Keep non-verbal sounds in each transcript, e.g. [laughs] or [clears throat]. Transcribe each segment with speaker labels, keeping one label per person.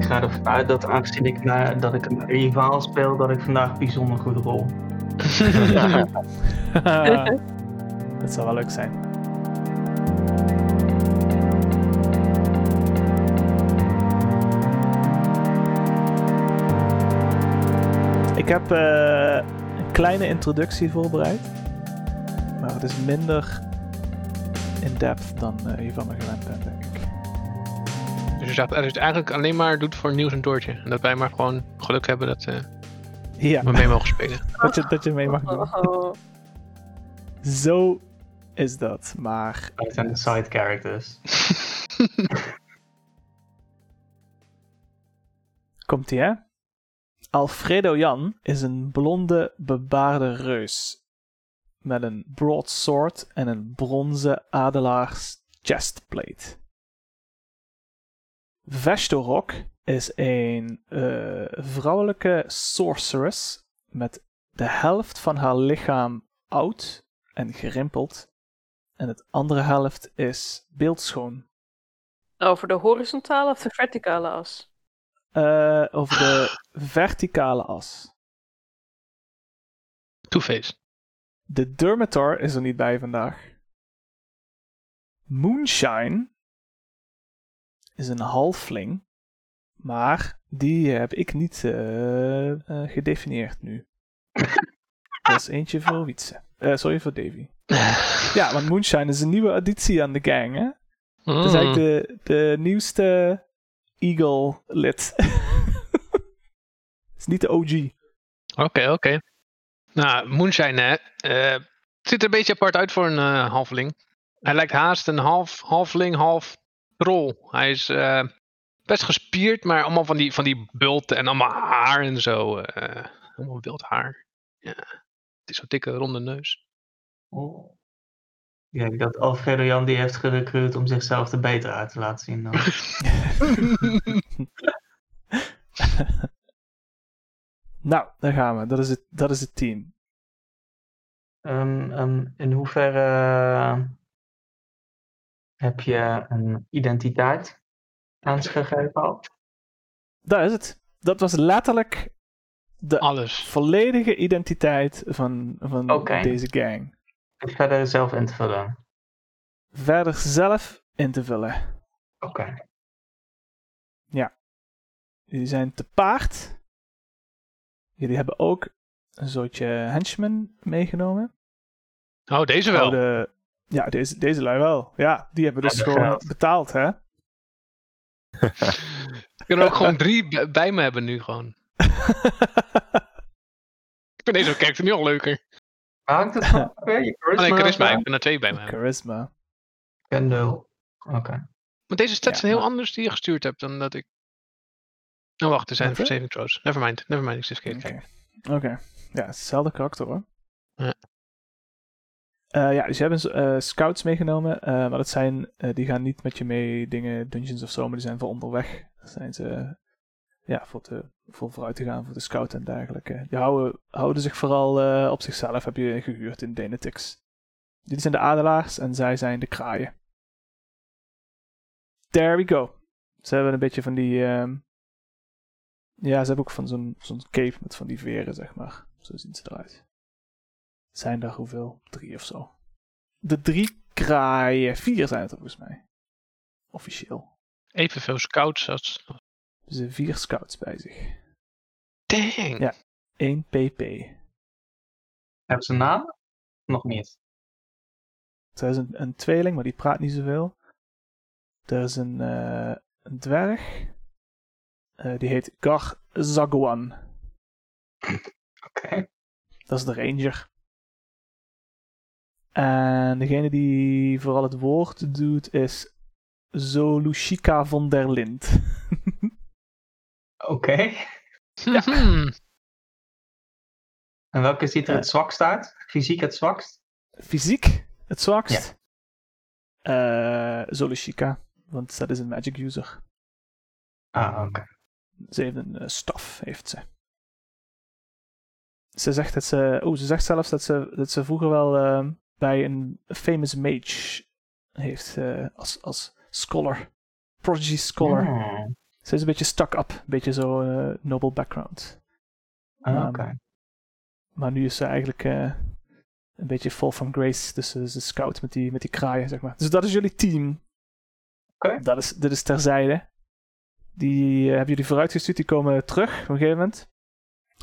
Speaker 1: ga ervan uit dat aangezien ik, na, dat ik een rivaal speel, dat ik vandaag bijzonder goed rol.
Speaker 2: Ah. dat zou wel leuk zijn. Ik heb eh, een kleine introductie voorbereid. Maar het is minder in-depth dan eh, je van me gewend bent, denk ik.
Speaker 3: Dus je zegt dat je het eigenlijk alleen maar doet voor nieuws en doortje. En dat wij maar gewoon geluk hebben dat eh,
Speaker 2: Ja,
Speaker 3: we mee mogen spelen.
Speaker 2: [laughs] dat je, dat je mee mag doen.
Speaker 4: Oh.
Speaker 2: Zo is dat, maar...
Speaker 1: Dat zijn de side characters.
Speaker 2: Komt ie, hè? Alfredo Jan is een blonde, bebaarde reus. Met een broadsword en een bronzen adelaars chestplate. Vestorok is een eh, vrouwelijke sorceress met de helft van haar lichaam oud en gerimpeld. En het andere helft is beeldschoon.
Speaker 4: Over de horizontale of de verticale as?
Speaker 2: Eh, over de verticale as.
Speaker 3: Two-Face.
Speaker 2: De Dermitor is er niet bij vandaag. Moonshine is een halfling, maar die heb ik niet eh, eh, gedefinieerd nu. Dat is eentje voor Wietse. Eh, sorry, voor Davy. Ja, want Moonshine is een nieuwe additie aan de gang, hè? Dat is
Speaker 3: Mm.
Speaker 2: eigenlijk de, de nieuwste Eagle-lid. [laughs] is niet de OG.
Speaker 3: Oké, oké. Nou, Moonshine, hè. eh, het ziet er een beetje apart uit voor een eh, halfling. Hij lijkt haast een half halfling, half troll. Hij is eh, best gespierd, maar allemaal van die, van die bulten en allemaal haar en zo. eh, allemaal wild haar. Ja. Het is zo'n dikke, ronde neus.
Speaker 1: Oh. Ik denk dat Alfredo Jan die heeft gerecruit om zichzelf er beter uit te laten zien. Dan.
Speaker 2: [laughs] Nou, daar gaan we. Dat is het, dat is het
Speaker 1: [laughs]
Speaker 2: team.
Speaker 1: Ehm, ehm, in hoeverre heb je een identiteit aan ze gegeven al?
Speaker 2: Daar is het. Dat was letterlijk
Speaker 1: Ah.
Speaker 2: de
Speaker 3: Alles.
Speaker 2: volledige identiteit van, van
Speaker 1: Oké.
Speaker 2: deze gang.
Speaker 1: En Verder zelf in te vullen.
Speaker 2: Verder zelf in te vullen.
Speaker 1: Oké.
Speaker 2: Jullie zijn te paard. Jullie hebben ook een soortje henchmen meegenomen.
Speaker 3: Oh, deze wel.
Speaker 2: Oude- ja, deze, deze lui wel. Ja, die hebben dus
Speaker 1: Hebben
Speaker 2: gewoon
Speaker 1: geld. [laughs]
Speaker 2: betaald, hè?
Speaker 3: [laughs] Ik kan er ook gewoon drie bij- bij me hebben nu gewoon. Ik vind deze kijkt nu al leuker.
Speaker 1: Maar hangt het
Speaker 3: [laughs]
Speaker 1: van weer? Je
Speaker 3: Oh nee,
Speaker 1: charisma?
Speaker 3: charisma. Ik ben er twee bij me hebben.
Speaker 2: Charisma.
Speaker 1: Ja, nul. Oké.
Speaker 3: Maar deze stats
Speaker 2: Ja,
Speaker 3: zijn heel
Speaker 2: maar-
Speaker 3: anders die je gestuurd hebt dan dat ik. Nou wacht, er zijn
Speaker 2: Wat, hè?
Speaker 3: saving throws. Nevermind, nevermind, ik zit verkeerd.
Speaker 2: Oké.
Speaker 3: kijken.
Speaker 2: Oké. Ja, hetzelfde karakter hoor.
Speaker 3: Ja.
Speaker 2: Eh, ja, dus je hebt een s- eh, scouts meegenomen, eh, maar dat zijn, eh, die gaan niet met je mee dingen, dungeons of zo, maar die zijn voor onderweg. Dat zijn ze, ja, voor, te, voor vooruit te gaan, voor de scout en dergelijke. Die houden, houden zich vooral eh, op zichzelf, heb je gehuurd in Denetix. Dit zijn de adelaars en zij zijn de kraaien. There we go. Ze hebben een beetje van die, ehm, ja, ze hebben ook van zo'n zo'n cape met van die veren, zeg maar. Zo zien ze eruit. Zijn er hoeveel? Drie of zo. De drie kraaien. Vier zijn het er volgens mij. Officieel.
Speaker 3: Evenveel scouts als.
Speaker 2: Dus er vier scouts bij zich.
Speaker 3: Dang!
Speaker 2: Ja. 1 pp.
Speaker 1: Hebben ze een naam? Nog niet.
Speaker 2: Er is een, een tweeling, maar die praat niet zoveel. Er is een, eh, een dwerg. Eh, die heet Gar Zaguan.
Speaker 1: Oké.
Speaker 2: Dat is de ranger. En degene die vooral het woord doet is Zolushika von der Lind.
Speaker 1: Oké.
Speaker 3: [laughs] Mhm.
Speaker 1: En welke ziet er
Speaker 2: Eh.
Speaker 1: het zwakst uit? Fysiek het zwakst?
Speaker 2: Fysiek het zwakst. Eh Zolushika, want dat is een magic user.
Speaker 1: Ah, oké.
Speaker 2: Ze heeft een eh, staf, heeft ze. Ze zegt, dat ze, oh, ze zegt zelfs dat ze, dat ze vroeger wel eh, bij een famous mage heeft eh, als, als scholar. Prodigy scholar.
Speaker 1: Hmm.
Speaker 2: Ze is een beetje stuck up, een beetje zo eh, noble background.
Speaker 1: Ah,
Speaker 2: Ehm,
Speaker 1: Oké.
Speaker 2: Maar nu is ze eigenlijk eh, een beetje fall from grace. Dus ze is een scout met die, met die kraaien, zeg maar. Dus dat is jullie team.
Speaker 1: Oké.
Speaker 2: Dat is, dit is terzijde. Die eh, hebben jullie vooruitgestuurd. Die komen terug op een gegeven moment.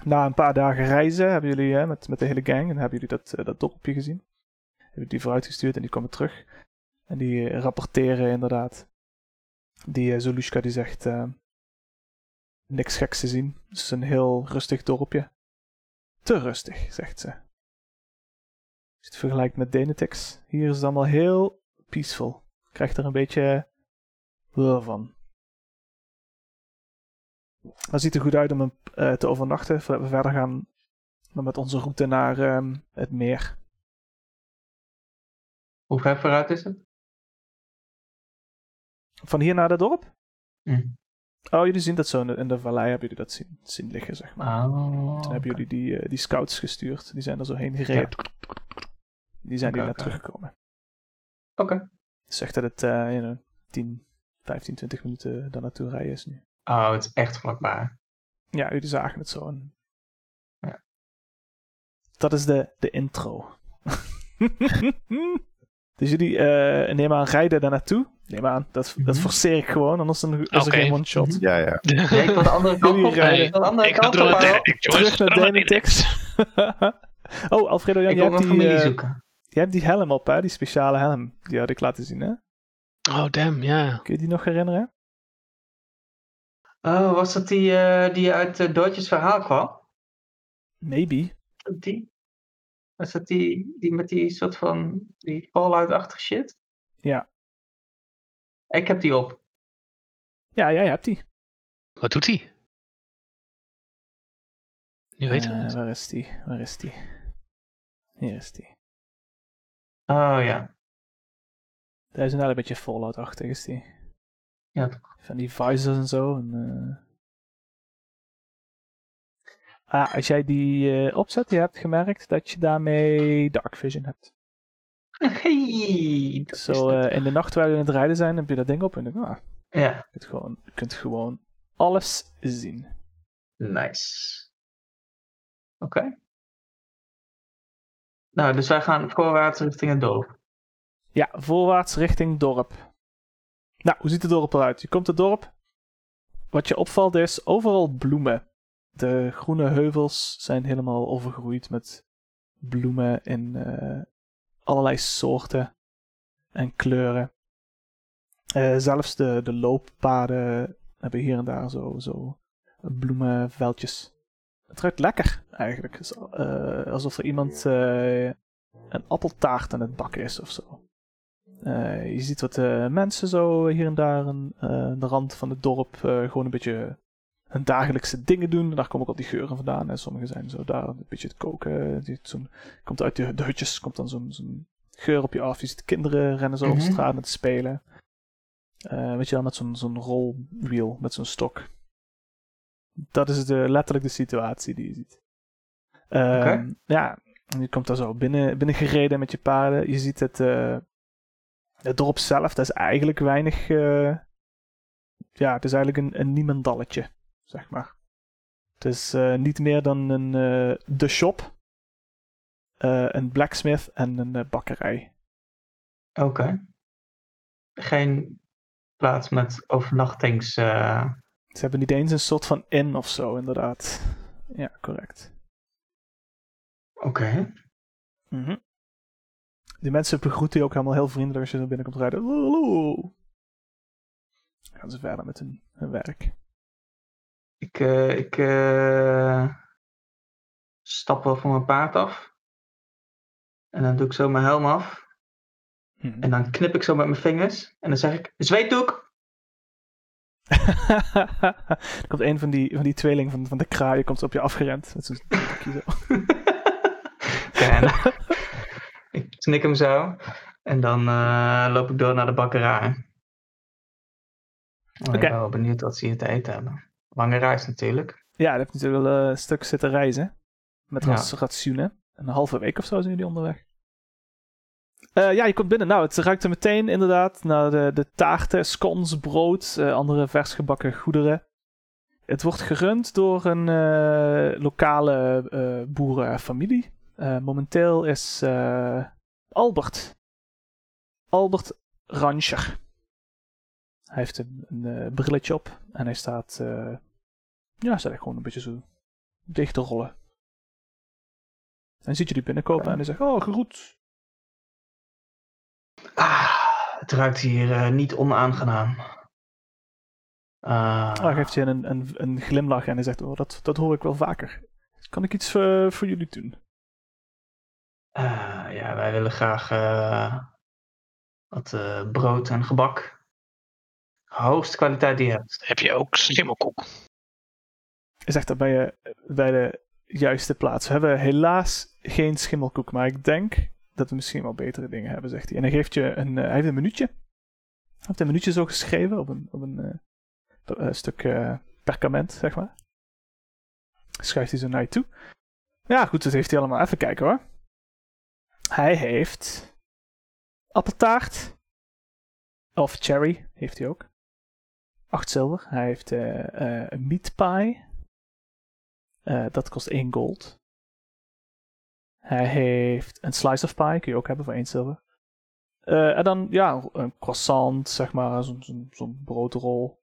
Speaker 2: Na een paar dagen reizen hebben jullie eh, met, met de hele gang. En hebben jullie dat, eh, dat dorpje gezien. Hebben die vooruitgestuurd en die komen terug. En die eh, rapporteren inderdaad. Die eh, Zolushka die zegt... eh, niks geks te zien. Het is een heel rustig dorpje. Te rustig, zegt ze. Als je het vergelijkt met Denetex, hier is het allemaal heel peaceful. Ik krijg er een beetje blur van. Maar het ziet er goed uit om een- eh, te overnachten voordat we verder gaan met onze route naar ehm, het meer.
Speaker 1: Hoe ver vooruit is het?
Speaker 2: Van hier naar het dorp?
Speaker 1: Hm.
Speaker 2: Oh, jullie zien dat zo in de, in de vallei, hebben jullie dat zien, zien liggen, zeg maar.
Speaker 1: Ah,
Speaker 2: Toen
Speaker 1: oké.
Speaker 2: hebben jullie die, eh, die scouts gestuurd. Die zijn er zo heen gereden. Die zijn
Speaker 1: Oké,
Speaker 2: hier
Speaker 1: oké.
Speaker 2: naar teruggekomen.
Speaker 1: Oké.
Speaker 2: Zegt dat het eh, you know, 10, 15, 20 minuten daar naartoe rijden is nu.
Speaker 1: Oh, het is echt vlakbij.
Speaker 2: Ja, jullie zagen het zo. En...
Speaker 1: Ja.
Speaker 2: Dat is de, de intro. [laughs] dus jullie eh neem aan rijden daar naartoe. Neem aan, dat, dat
Speaker 1: Mhm.
Speaker 2: forceer ik gewoon, anders dan, is er
Speaker 3: Oké.
Speaker 2: geen one-shot.
Speaker 1: Mhm.
Speaker 5: Ja,
Speaker 3: [laughs]
Speaker 5: ja.
Speaker 1: Nee, ik wil de andere kant
Speaker 2: Jullie
Speaker 1: op.
Speaker 2: rijden.
Speaker 1: Ik wil de andere
Speaker 3: Ik ga
Speaker 1: kant
Speaker 3: door
Speaker 1: op.
Speaker 3: naar
Speaker 1: Harold.
Speaker 3: Denetex, jongens.
Speaker 2: Terug naar
Speaker 3: Door naar
Speaker 2: Denetex. [laughs] oh, Alfredo, Jan,
Speaker 1: Ik
Speaker 2: jij
Speaker 1: wil
Speaker 2: hebt,
Speaker 1: mijn
Speaker 2: die,
Speaker 1: familie
Speaker 2: eh,
Speaker 1: zoeken.
Speaker 2: jij hebt die helm op, hè? Die speciale helm. Die had ik laten zien, hè?
Speaker 3: Oh, damn, ja.
Speaker 2: Kun je die nog herinneren?
Speaker 1: Oh, was dat die, eh, die uit eh, Doortjes verhaal kwam?
Speaker 2: Maybe.
Speaker 1: Dat die? Was dat die, die met die soort van die Fallout-achtige shit?
Speaker 2: Ja.
Speaker 1: Ik heb die op.
Speaker 2: Ja, jij hebt die.
Speaker 3: Wat doet hij? Nu weten we
Speaker 2: Eh,
Speaker 3: het.
Speaker 2: Waar is die? Waar is die? Hier is die.
Speaker 1: Oh ja.
Speaker 2: Daar is inderdaad een beetje Fallout-achtig, is die.
Speaker 1: Ja, toch.
Speaker 2: Van die visors en zo. En, eh. Ah, als jij die eh, opzet, je hebt gemerkt dat je daarmee Dark Vision hebt.
Speaker 1: [laughs] Hey, dat is
Speaker 2: Zo
Speaker 1: het.
Speaker 2: eh, in de nacht waar we aan het rijden zijn, heb je dat ding op en denk ik, ah,
Speaker 1: Ja,
Speaker 2: je kunt gewoon, je kunt gewoon alles zien.
Speaker 1: nice. Oké. Nou, dus wij gaan voorwaarts richting het dorp.
Speaker 2: Ja, voorwaarts richting dorp. Nou, hoe ziet het dorp eruit? Je komt het dorp. Wat je opvalt is overal bloemen. De groene heuvels zijn helemaal overgroeid met bloemen in eh, allerlei soorten en kleuren. Eh, zelfs de, de looppaden hebben hier en daar zo, zo bloemenveldjes. Het ruikt lekker eigenlijk. Het is, eh, alsof er iemand eh, een appeltaart aan het bakken is of zo. Eh, je ziet wat eh, mensen zo hier en daar aan eh, aan de rand van het dorp eh, gewoon een beetje hun dagelijkse dingen doen. Daar komen ook al die geuren vandaan. En sommigen zijn zo daar een beetje te koken. Die- Zo'n, komt uit de, de hutjes, komt dan zo'n, zo'n geur op je af. Je ziet kinderen rennen zo
Speaker 1: Mhm.
Speaker 2: op straat met spelen. Eh, weet je wel, met zo'n, zo'n rolwiel, met zo'n stok. Dat is de, letterlijk de situatie die je ziet. Ehm,
Speaker 1: Oké.
Speaker 2: Ja, en je komt daar zo binnen, binnen gereden met je paarden. Je ziet het, eh, het dorp zelf, dat is eigenlijk weinig. eh, ja, het is eigenlijk een, een niemendalletje, zeg maar. Het is eh, niet meer dan een eh, de shop, eh, een blacksmith en een eh, bakkerij.
Speaker 1: Oké. Geen plaats met overnachtings. eh,
Speaker 2: Ze hebben niet eens een soort van inn of zo, inderdaad. Ja, correct.
Speaker 1: Oké.
Speaker 2: Die mensen begroeten je ook helemaal heel vriendelijk als je er binnenkomt rijden. Hallo. Dan Gaan ze verder met hun, hun werk.
Speaker 1: Ik, eh, ik eh, stap wel van mijn paard af. En dan doe ik zo mijn helm af. En dan knip ik zo met mijn vingers. En dan zeg ik, zweetdoek!
Speaker 2: [laughs] er komt een van die, van die tweeling van, van de kraaien komt op je afgerend. Met zo'n doekje zo.
Speaker 1: [laughs] en ik snik hem zo. En dan eh, loop ik door naar de bakkerij. Oh, Ik
Speaker 2: Oké.
Speaker 1: ben wel benieuwd wat ze hier te eten hebben. Lange reis natuurlijk.
Speaker 2: Ja, dat heeft natuurlijk wel eh, een stuk zitten reizen. Met
Speaker 1: Ja.
Speaker 2: ras- ratsioenen. Een halve week of zo zijn jullie onderweg. Eh, ja, je komt binnen. Nou, het ruikt er meteen inderdaad naar de, de taarten, scones, brood, eh, andere vers gebakken goederen. Het wordt gerund door een eh, lokale eh, boerenfamilie. Eh, momenteel is eh, Albert. Albert Rancher. Hij heeft een, een eh, brilletje op en hij staat. eh, ja, hij staat echt gewoon een beetje zo dicht te rollen. En ziet jullie binnenkomen en hij zegt: Oh, geroet.
Speaker 1: Ah, het ruikt hier eh, niet onaangenaam. Ah,
Speaker 2: Ah, geeft je een, een, een glimlach en hij zegt: Oh, dat, dat hoor ik wel vaker. Kan ik iets eh, voor jullie doen?
Speaker 1: eh, ja, wij willen graag eh, wat eh, brood en gebak. Hoogste kwaliteit die je
Speaker 2: Eh,
Speaker 1: hebt.
Speaker 3: Heb je ook schimmelkoek?
Speaker 2: Hij zegt dat bij, je, bij de juiste plaats. We hebben helaas geen schimmelkoek, maar ik denk dat we misschien wel betere dingen hebben, zegt hij. En hij geeft je een, eh, hij heeft een minuutje. Hij heeft een minuutje zo geschreven op een, op een eh, per- eh, stuk eh, perkament, zeg maar. Schuift hij zo naar je toe. Ja, goed, dat heeft hij allemaal. Even kijken hoor. Hij heeft appeltaart. Of cherry heeft hij ook. Acht zilver. Hij heeft eh, eh, een meat pie. Eh, dat kost 1 gold. Hij heeft een slice of pie, kun je ook hebben voor 1 zilver. Eh, en dan, ja, een croissant, zeg maar, zo'n zo'n- zo'n broodrol.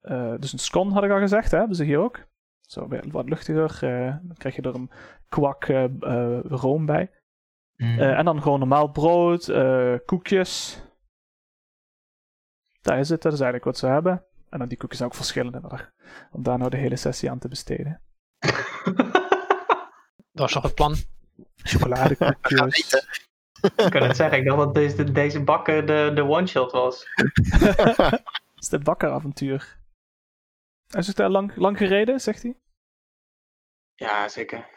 Speaker 2: Eh, dus een scone had ik al gezegd, hè, hebben ze hier ook. Zo, weer wat luchtiger. eh, dan krijg je er een kwak eh, eh, room bij.
Speaker 1: Mhm. Hmm. [laughs]
Speaker 2: Eh, en dan gewoon normaal brood, eh, koekjes. Daar is het, dat is eigenlijk wat ze hebben. En dan die koekjes zijn ook verschillende, maar om daar nou de hele sessie aan te besteden.
Speaker 3: Dat is toch het plan?
Speaker 2: chocoladekoekjes.
Speaker 1: ik kan het zeggen, ik dacht dat deze, deze bakker de, de one-shot was.
Speaker 2: Het is de bakkeravontuur. Hij zegt daar lang, lang gereden, zegt hij.
Speaker 1: Ja, zeker.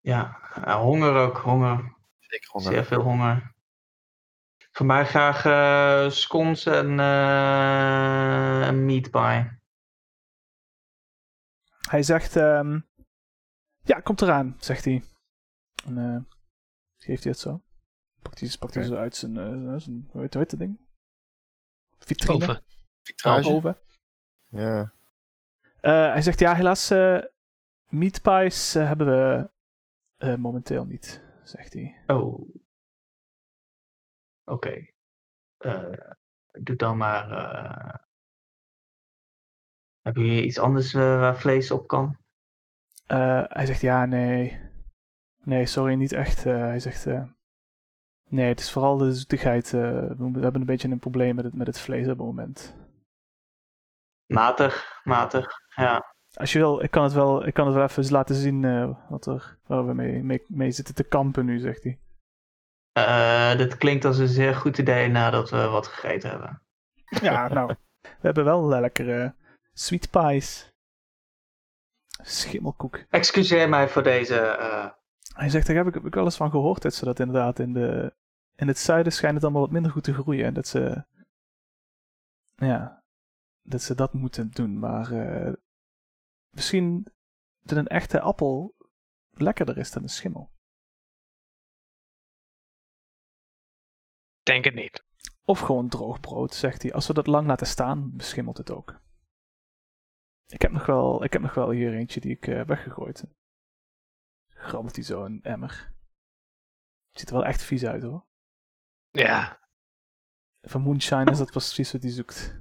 Speaker 1: Ja, eh, honger ook, honger.
Speaker 5: Ik gewoon
Speaker 1: Zeer veel honger. Voor mij graag eh, scones en eh, een meat pie.
Speaker 2: Hij zegt, ehm, ja, komt eraan, zegt hij. En eh, geeft hij het zo. Pakt hij, pakt hij zo uit zijn, eh, zijn hoe heet hoe heet dat ding? Vitrine.
Speaker 3: Boven.
Speaker 2: Ah,
Speaker 5: vitrage.
Speaker 2: Oven.
Speaker 5: Ja.
Speaker 2: Eh, hij zegt, ja, helaas, eh meat pies eh, hebben we eh, momenteel niet, zegt hij.
Speaker 1: Oh. Oké. Eh, doe dan maar. eh Hebben jullie iets anders eh, waar vlees op kan?
Speaker 2: Eh, hij zegt ja, nee. Nee, sorry, niet echt. Eh, hij zegt. eh, nee, het is vooral de zoetigheid. eh, we, we hebben een beetje een probleem met het, met het vlees op het moment.
Speaker 1: Matig, matig. Ja.
Speaker 2: Als je wil, ik kan het wel, ik kan het wel even laten zien eh, wat er, waar we mee, mee, mee zitten te kampen nu, zegt hij.
Speaker 1: Eh, dat klinkt als een zeer goed idee nadat we wat gegeten hebben.
Speaker 2: Ja, nou. [laughs] We hebben wel eh, lekkere sweet pies. Schimmelkoek.
Speaker 1: Excuseer mij voor deze. eh,
Speaker 2: Hij zegt, daar heb ik, heb ik wel eens van gehoord dat ze dat inderdaad in, de, in het zuiden schijnt het allemaal wat minder goed te groeien. En dat ze, ja, dat ze dat moeten doen. Maar eh, misschien dat een echte appel lekkerder is dan een schimmel.
Speaker 3: Denk het niet.
Speaker 2: Of gewoon droog brood, zegt hij. Als we dat lang laten staan, beschimmelt het ook. Ik heb nog wel, ik heb nog wel hier eentje die ik eh, weggegooid heb. Grabbelt hij zo een emmer. Ziet er wel echt vies uit hoor. [laughs]
Speaker 3: Ja. [laughs]
Speaker 2: Van Moonshine is dat precies wat hij zoekt.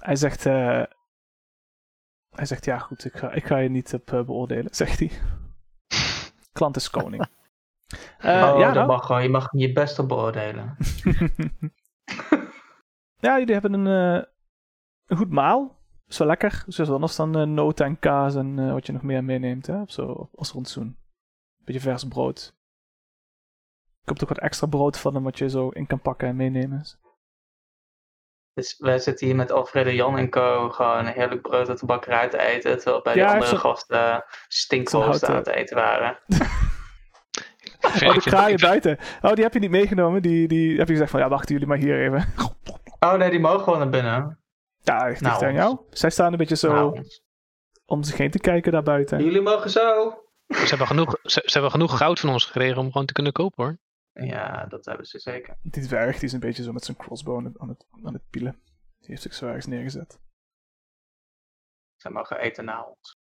Speaker 2: Hij zegt, eh, hij zegt ja goed, ik ga, ik ga je niet op eh, beoordelen, zegt hij. Klant is koning. Eh,
Speaker 1: oh,
Speaker 2: ja,
Speaker 1: dat
Speaker 2: nou.
Speaker 1: mag gewoon. Je mag je best op beoordelen.
Speaker 2: [laughs] ja, jullie hebben een, eh, een goed maal. Is wel lekker. Dus anders dan eh, noten en kaas en eh, wat je nog meer meeneemt. Hè? Of zo, als rondzoen. Beetje vers brood. Er komt ook wat extra brood van hem wat je zo in kan pakken en meenemen.
Speaker 1: Dus wij zitten hier met Alfred en Jan en Co. gewoon een heerlijk brood uit de bakkerij te eten. Terwijl bij
Speaker 2: Ja,
Speaker 1: de
Speaker 2: hij
Speaker 1: andere
Speaker 2: heeft
Speaker 1: gasten stinkroos
Speaker 2: houten-
Speaker 1: aan het eten waren.
Speaker 2: Oh, de
Speaker 1: [laughs]
Speaker 2: kraaien buiten. Oh, die heb je niet meegenomen. Die, die heb je gezegd van, ja, wachten jullie maar hier even.
Speaker 1: Oh nee, die mogen gewoon naar binnen.
Speaker 2: Ja, echt
Speaker 1: Nou,
Speaker 2: dicht aan jou. Zij staan een beetje zo
Speaker 1: Nou,
Speaker 2: om zich heen te kijken daarbuiten.
Speaker 1: jullie mogen zo.
Speaker 3: Ze hebben, genoeg, ze, ze hebben genoeg goud van ons gekregen om gewoon te kunnen kopen hoor.
Speaker 1: Ja, dat hebben ze zeker.
Speaker 2: Die dwerg die is een beetje zo met zijn crossbow aan het, aan het, aan het pielen. Die heeft zich zo ergens neergezet.
Speaker 1: Ze mogen eten na ons.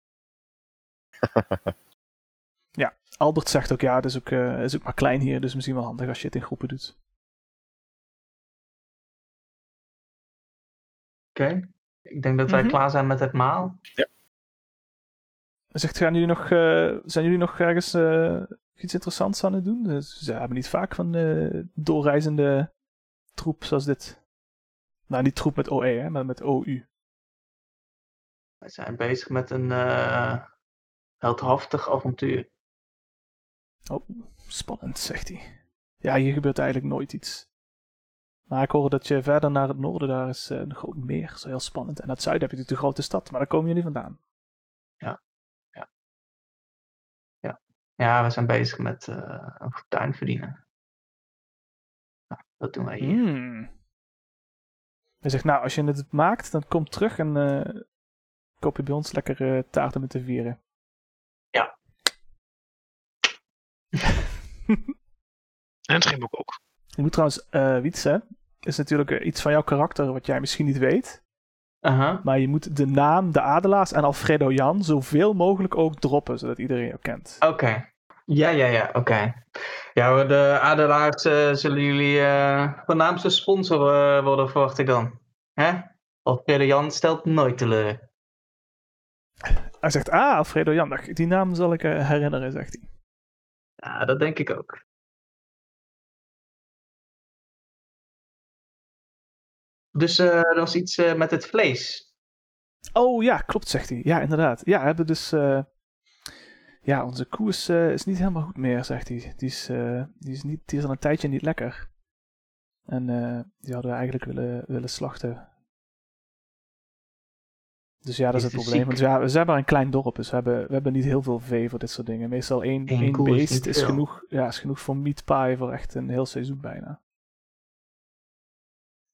Speaker 2: Albert zegt ook ja, het is ook, eh, het is ook maar klein hier, dus misschien wel handig als je het in groepen doet.
Speaker 1: Oké. Ik denk dat wij
Speaker 2: Mhm.
Speaker 1: klaar zijn met het maal.
Speaker 2: Zegt, gaan jullie nog, eh, zijn jullie nog ergens eh, iets interessants aan het doen? Dus Ze hebben niet vaak van eh doorreizende troep zoals dit. Nou, niet troep met OE, hè, maar met OU.
Speaker 1: Wij zijn bezig met een eh, heldhaftig avontuur.
Speaker 2: Oh, spannend, zegt hij. Ja, hier gebeurt eigenlijk nooit iets. Maar ik hoorde dat je verder naar het noorden, daar is eh, een groot meer, zo heel spannend. En naar het zuiden heb je natuurlijk de grote stad, maar daar komen jullie vandaan.
Speaker 1: Ja, we zijn bezig met eh, een fortuin verdienen. Nou, dat doen wij hier.
Speaker 2: Hmm. Hij zegt, nou, als je het maakt, dan kom terug en eh, koop je bij ons lekker eh, taarten met de vieren.
Speaker 1: Ja.
Speaker 3: En Schimmelk ook.
Speaker 2: Ik moet trouwens, eh Wietse, is natuurlijk eh, iets van jouw karakter wat jij misschien niet weet.
Speaker 1: Aha.
Speaker 2: Maar je moet de naam De Adelaars en Alfredo Jan zoveel mogelijk ook droppen, zodat iedereen jou kent.
Speaker 1: Oké. Ja, ja, ja, oké. Ja, we- de Adelaars eh, zullen jullie eh voornaamste sponsor eh, worden, verwacht ik dan. Hè? Of Peder Jan stelt nooit teleur.
Speaker 2: Hij zegt, ah, Alfredo Jan, dag, die naam zal ik eh, herinneren, zegt hij.
Speaker 1: Ja, dat denk ik ook. Dus eh er was iets eh, met het vlees.
Speaker 2: Oh ja, klopt, zegt hij. Ja, inderdaad. Ja, we hebben dus. eh, ja, onze koe is, eh, is niet helemaal goed meer, zegt hij. Die is, eh, die, is niet, die is al een tijdje niet lekker. En eh, die hadden we eigenlijk willen, willen slachten. Dus ja, dat is
Speaker 1: Is
Speaker 2: het
Speaker 1: die
Speaker 2: probleem.
Speaker 1: ziek?
Speaker 2: Want ja, we zijn maar een klein dorp, dus we hebben, we hebben niet heel veel vee voor dit soort dingen. Meestal één,
Speaker 1: Eén
Speaker 2: één
Speaker 1: koe is
Speaker 2: beest
Speaker 1: niet
Speaker 2: is,
Speaker 1: veel.
Speaker 2: genoeg, ja, is genoeg voor meat pie voor echt een heel seizoen bijna.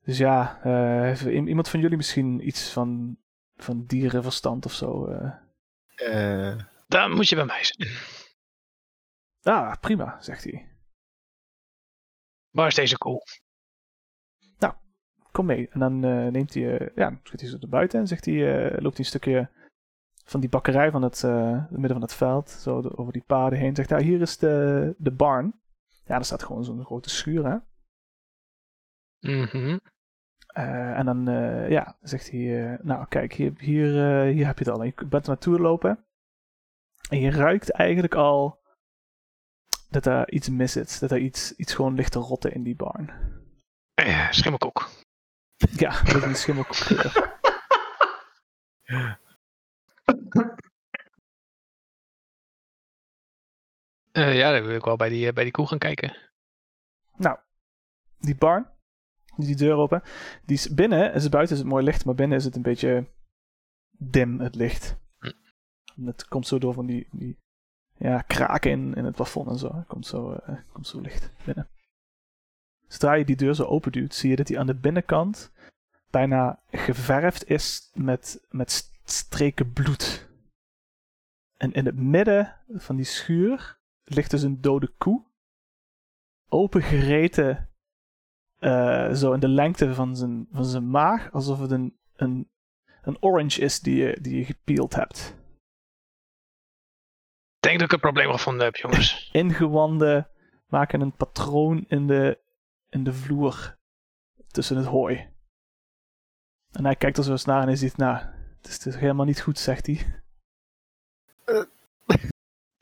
Speaker 2: Dus ja, eh, heeft i- iemand van jullie misschien iets van, van dierenverstand of zo? eh?
Speaker 5: Eh,
Speaker 3: Daar moet je bij mij zijn.
Speaker 2: Ah, prima, zegt hij.
Speaker 3: Waar is deze koe?
Speaker 2: kom mee. En dan eh, neemt hij, eh, ja, dan schiet hij zo naar buiten en zegt hij, eh, loopt hij een stukje van die bakkerij van het, eh, het midden van het veld, zo de- over die paden heen. Zegt, nou, hier is de, de barn. Ja, daar staat gewoon zo'n grote schuur, hè.
Speaker 3: Mhm.
Speaker 2: Eh, en dan, eh, ja, zegt hij, eh, nou kijk, hier, hier, eh, hier heb je het al. En je bent er naartoe lopen en je ruikt eigenlijk al dat er iets mis is. Dat er iets, iets gewoon ligt te rotten in die barn.
Speaker 3: Eh, Schimmelkoek.
Speaker 2: Ja, dat is een schimmelkleur.
Speaker 3: Eh, ja, dan wil ik wel bij die, eh, bij die koe gaan kijken.
Speaker 2: die barn. Die, die deur open. Die is binnen, is buiten is het mooi licht, maar binnen is het een beetje dim, het licht. En het komt zo door van die, die ja, kraken in, in het plafond en zo. Komt zo, eh, komt zo licht binnen. Zodra je die deur zo open duwt, zie je dat die aan de binnenkant bijna geverfd is met, met st- streken bloed. En in het midden van die schuur ligt dus een dode koe. Opengereten eh, zo in de lengte van zijn, van zijn maag, alsof het een, een, een orange is die je, die je gepeeld hebt.
Speaker 3: Ik denk dat ik een probleem gevonden heb,
Speaker 2: [laughs]
Speaker 3: jongens.
Speaker 2: Ingewanden maken een patroon in de, in de vloer tussen het hooi. En hij kijkt er zo eens naar en hij ziet, nou, het is, het is helemaal niet goed, zegt hij.
Speaker 3: Het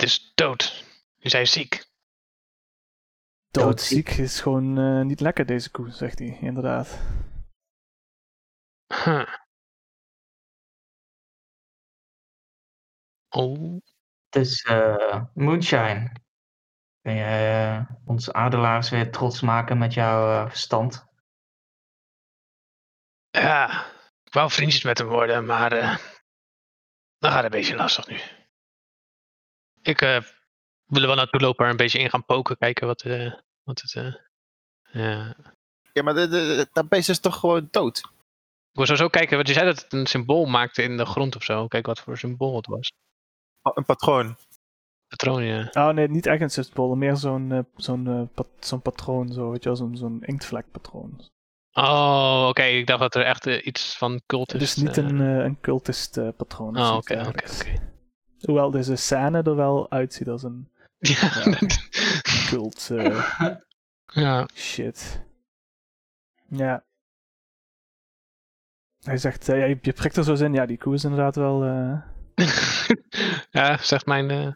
Speaker 3: is dood. Is hij ziek?
Speaker 2: Doodziek is gewoon eh, niet lekker deze koe, zegt hij, inderdaad.
Speaker 3: Huh. Oh.
Speaker 1: Het is eh, moonshine. Kun je eh, ons adelaars weer trots maken met jouw eh, verstand?
Speaker 3: Ja, ik wou vriendjes met hem worden, maar eh dat gaat een beetje lastig nu. Ik eh, wil er wel naartoe lopen, er een beetje in gaan poken, kijken wat, eh, wat het... eh, ja.
Speaker 5: ja, maar de, de, dat beest is toch gewoon dood?
Speaker 3: Ik wil sowieso kijken, want je zei dat het een symbool maakte in de grond of zo. Kijk wat voor symbool het was.
Speaker 5: Oh, Een patroon.
Speaker 3: Patroon, ja.
Speaker 2: Oh nee, niet echt een zustbollen, meer zo'n eh, zo'n eh, pat- zo'n patroon, zo, weet je wel, zo'n zo'n inktvlekpatroon.
Speaker 3: Oh, oké. Ik dacht dat er echt eh, iets van cult is.
Speaker 2: Het is niet
Speaker 3: eh.
Speaker 2: een, eh, een cultist eh, patroon. of
Speaker 3: Oh,
Speaker 2: zoiets
Speaker 3: oké, oké,
Speaker 2: dergelijks.
Speaker 3: oké.
Speaker 2: Hoewel deze scène er wel uitziet als een
Speaker 3: Ja,
Speaker 2: Ja.
Speaker 3: dat-
Speaker 2: cult
Speaker 3: [laughs]
Speaker 2: eh,
Speaker 3: [laughs] ja.
Speaker 2: shit. Ja. Hij zegt, eh, ja, je, je prikt er zo eens in, ja, die koe is inderdaad wel... eh,
Speaker 3: ja, zegt mijn... eh,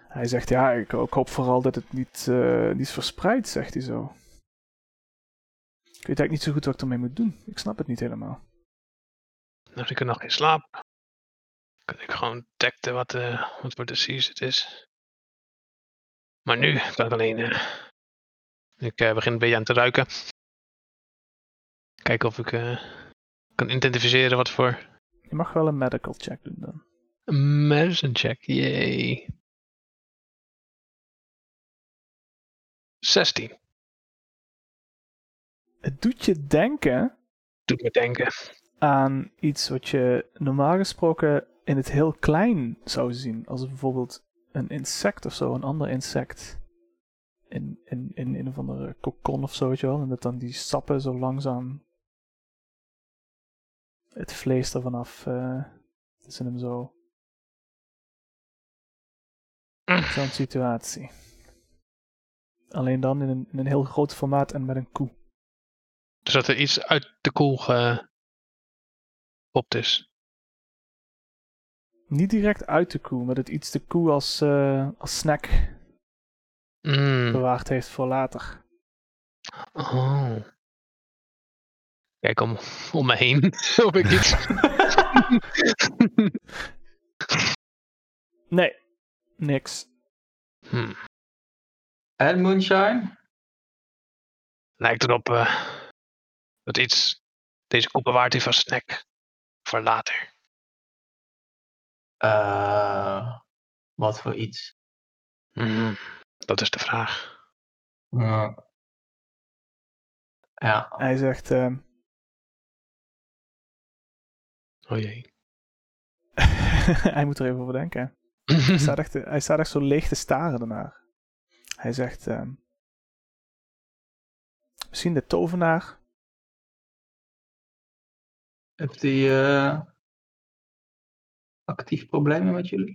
Speaker 2: Hij zegt, ja, ik, ik hoop vooral dat het niet, eh, niet verspreid, zegt hij zo. Ik weet eigenlijk niet zo goed wat ik ermee moet doen. Ik snap het niet helemaal.
Speaker 3: Nou, ik kan nog geen slaap. Kan ik gewoon detecten wat, eh, wat voor disease het is. Maar nu ben ik alleen. eh, ik eh, begin een beetje aan te ruiken. Kijken of ik eh, kan identificeren wat voor.
Speaker 2: Je mag wel een medical check doen dan.
Speaker 3: Een Medicine check, yay. 16.
Speaker 2: Het doet je denken
Speaker 3: Doet me denken.
Speaker 2: aan iets wat je normaal gesproken in het heel klein zou zien. Als bijvoorbeeld een insect of zo, een ander insect. In, in, in een of andere kokon of zo, weet je wel. En dat dan die sappen zo langzaam het vlees ervan af. eh, het is in hem zo. Zo'n situatie. Alleen dan in een, in een heel groot formaat en met een koe.
Speaker 3: Dus dat er iets uit de koel gepopt is.
Speaker 2: Niet direct uit de koe, maar dat iets de koe als, eh, als snack
Speaker 3: Mm.
Speaker 2: bewaard heeft voor later.
Speaker 3: Oh. Kijk om, [laughs] om me heen of ik iets.
Speaker 2: Nee, niks.
Speaker 3: [laughs] Hmm,
Speaker 1: [laughs] En Moonshine?
Speaker 3: Lijkt erop eh, dat iets deze koe bewaard heeft als snack voor later.
Speaker 1: Eh, wat voor iets?
Speaker 3: Hmm, Dat is de vraag.
Speaker 1: Ja. Ja.
Speaker 2: Hij zegt, ehm, [laughs]
Speaker 3: Oh jee.
Speaker 2: hij moet er even over denken.
Speaker 3: Mhm.
Speaker 2: Hij staat, echt, hij staat echt zo leeg te staren daarnaar. Hij zegt, ehm, misschien de tovenaar.
Speaker 1: Heeft die eh, actief problemen met jullie?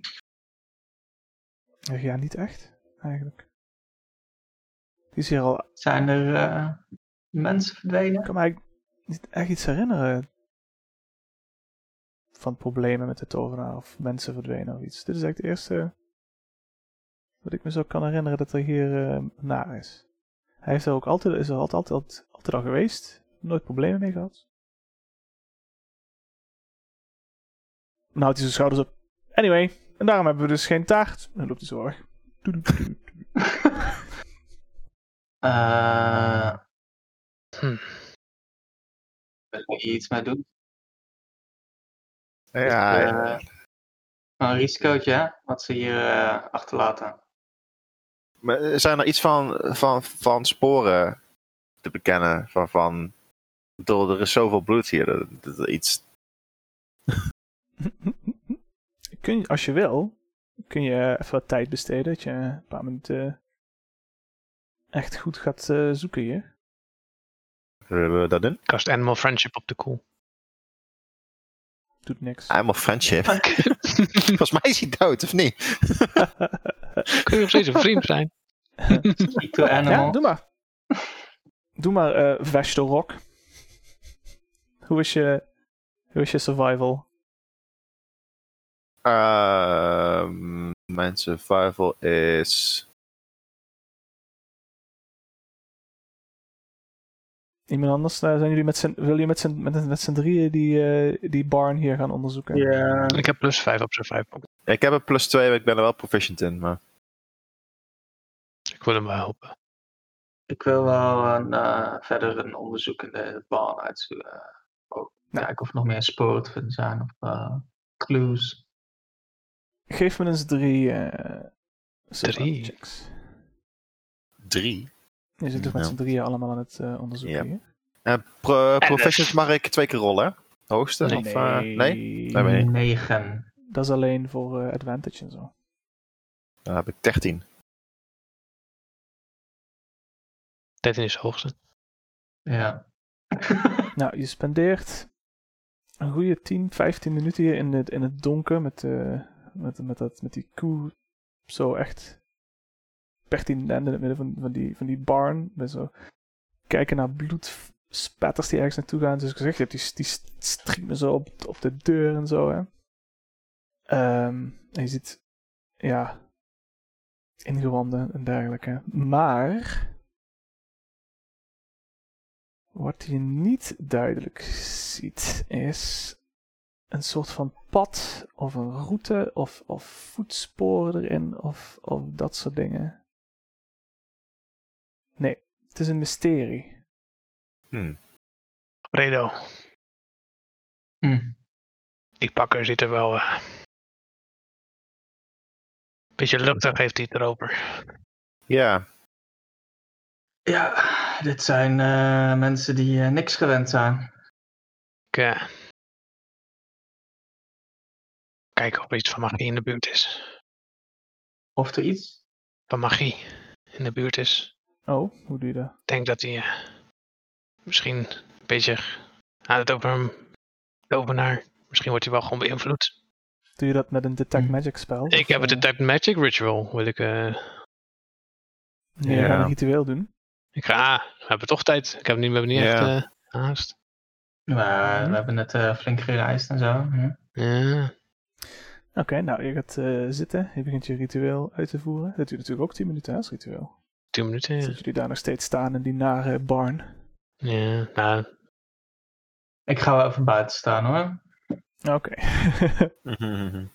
Speaker 2: Ik zeg, Ja, niet echt, eigenlijk. Die is hier al, ik
Speaker 1: Zijn er eh, mensen verdwenen? [laughs]
Speaker 2: kan me eigenlijk niet echt iets herinneren van problemen met de tovenaar of mensen verdwenen of iets. Dit is echt het eerste wat ik me zo kan herinneren dat er hier eh, naar is. Hij heeft er ook altijd, is er altijd, altijd, altijd al geweest. Nooit problemen mee gehad. Nou houdt hij zijn schouders op. Anyway, en daarom hebben we dus geen taart. En dan loopt hij zo weg. Doedoe, doedoe.
Speaker 1: Eh
Speaker 3: Hm.
Speaker 1: Wil je hier iets mee doen?
Speaker 5: Ja,
Speaker 1: Eh,
Speaker 5: ja.
Speaker 1: Een risicootje, hè? Wat ze hier eh, achterlaten.
Speaker 5: Maar eh, zijn er iets van, van, van sporen te bekennen? Van, van, ik bedoel, er is zoveel bloed hier. Dat, dat er iets...
Speaker 2: [laughs] kun je, als je wil, kun je even wat tijd besteden. Dat je een paar minuten echt goed gaat eh, zoeken hier.
Speaker 5: Willen we dat doen?
Speaker 3: [laughs] Kast Animal Friendship op de koel.
Speaker 2: Doet niks.
Speaker 5: I'm of friendship. [laughs] Volgens mij is hij dood, of niet?
Speaker 3: [laughs] Kun je nog steeds een vriend zijn?
Speaker 1: Speak to animal.
Speaker 2: Ja, doe maar. Doe maar eh Vesto Rock. Hoe is je, hoe is je survival?
Speaker 5: Ehm, mijn survival is...
Speaker 2: Iemand anders? eh, zijn jullie met z'n, wil je met z'n, met, met z'n drieën die, eh, die barn hier gaan onderzoeken?
Speaker 1: Ja.
Speaker 3: Ik heb plus 5 op survival.
Speaker 5: Ik heb een plus 2, maar ik ben er wel proficient in. Maar...
Speaker 3: Ik wil hem wel helpen.
Speaker 1: Ik wil wel een, eh, verder een onderzoekende baan uitzoeken. Eh, ook
Speaker 2: Nou.
Speaker 1: Kijken of nog meer sporen te vinden zijn of eh, clues.
Speaker 2: Geef me eens drie... eh survival
Speaker 3: Drie?
Speaker 2: checks.
Speaker 5: Drie.
Speaker 2: Je zit toch met
Speaker 5: Ja.
Speaker 2: z'n drieën allemaal aan het eh, onderzoeken
Speaker 5: Ja.
Speaker 2: hier?
Speaker 5: En pro- proficient mag ik twee keer rollen, hè? Hoogste? of, eh, nee?
Speaker 2: nee.
Speaker 5: Nee, nee.
Speaker 1: Negen.
Speaker 2: Dat is alleen voor eh, advantage en zo.
Speaker 5: Dan heb ik 13.
Speaker 3: 13 is de hoogste.
Speaker 1: Ja. [laughs]
Speaker 2: Nou, je spendeert een goede 10, 15 minuten hier in het, in het donker met, eh, met, met, dat, met die koe zo echt pertinent in het midden van, van, die, van die barn. Met zo kijken naar bloedspatters die ergens naartoe gaan. Dus ik zeg, je hebt die, die striemen zo op, op de deur en zo. Hè. Ehm, en je ziet, ja, ingewanden en dergelijke. Maar wat je niet duidelijk ziet is een soort van pad of een route of, of voetsporen erin of, of dat soort dingen. Nee, het is een mysterie.
Speaker 5: Hmm.
Speaker 3: Redo,
Speaker 1: Hm.
Speaker 3: die pakker zit er wel. eh, beetje luchtig heeft hij het erover.
Speaker 5: [laughs] Ja,
Speaker 1: Ja, dit zijn eh, mensen die eh, niks gewend zijn.
Speaker 3: Ik, eh, kijk of er iets van magie in de buurt is.
Speaker 1: Of er iets.
Speaker 3: Van magie in de buurt is.
Speaker 2: Oh, hoe doe je dat?
Speaker 3: Ik denk dat hij eh, misschien een beetje had het over een tovenaar. Misschien wordt hij wel gewoon beïnvloed.
Speaker 2: Doe je dat met een detect
Speaker 1: Hm.
Speaker 2: magic spel?
Speaker 3: Ik heb het Detect Magic Ritual. Wil ik, eh,
Speaker 2: Nee, je gaat
Speaker 5: Ja.
Speaker 2: een ritueel doen.
Speaker 3: ik ga, ah, we hebben toch tijd. Ik heb niet, we hebben niet echt
Speaker 5: Ja.
Speaker 3: eh, haast.
Speaker 1: Maar
Speaker 2: Hm.
Speaker 1: we hebben net eh, flink gereisd en zo. Hm.
Speaker 3: Ja.
Speaker 2: Oké, nou, je gaat eh, zitten. Je begint je ritueel uit te voeren. Dat duurt natuurlijk ook 10 minuten hè, als ritueel.
Speaker 3: Tien minuten.
Speaker 2: Dus
Speaker 3: Ja.
Speaker 2: dat jullie daar nog steeds staan in die nare barn.
Speaker 3: ja. Nou,
Speaker 1: Ik ga wel even buiten staan hoor.
Speaker 2: Oké. [laughs]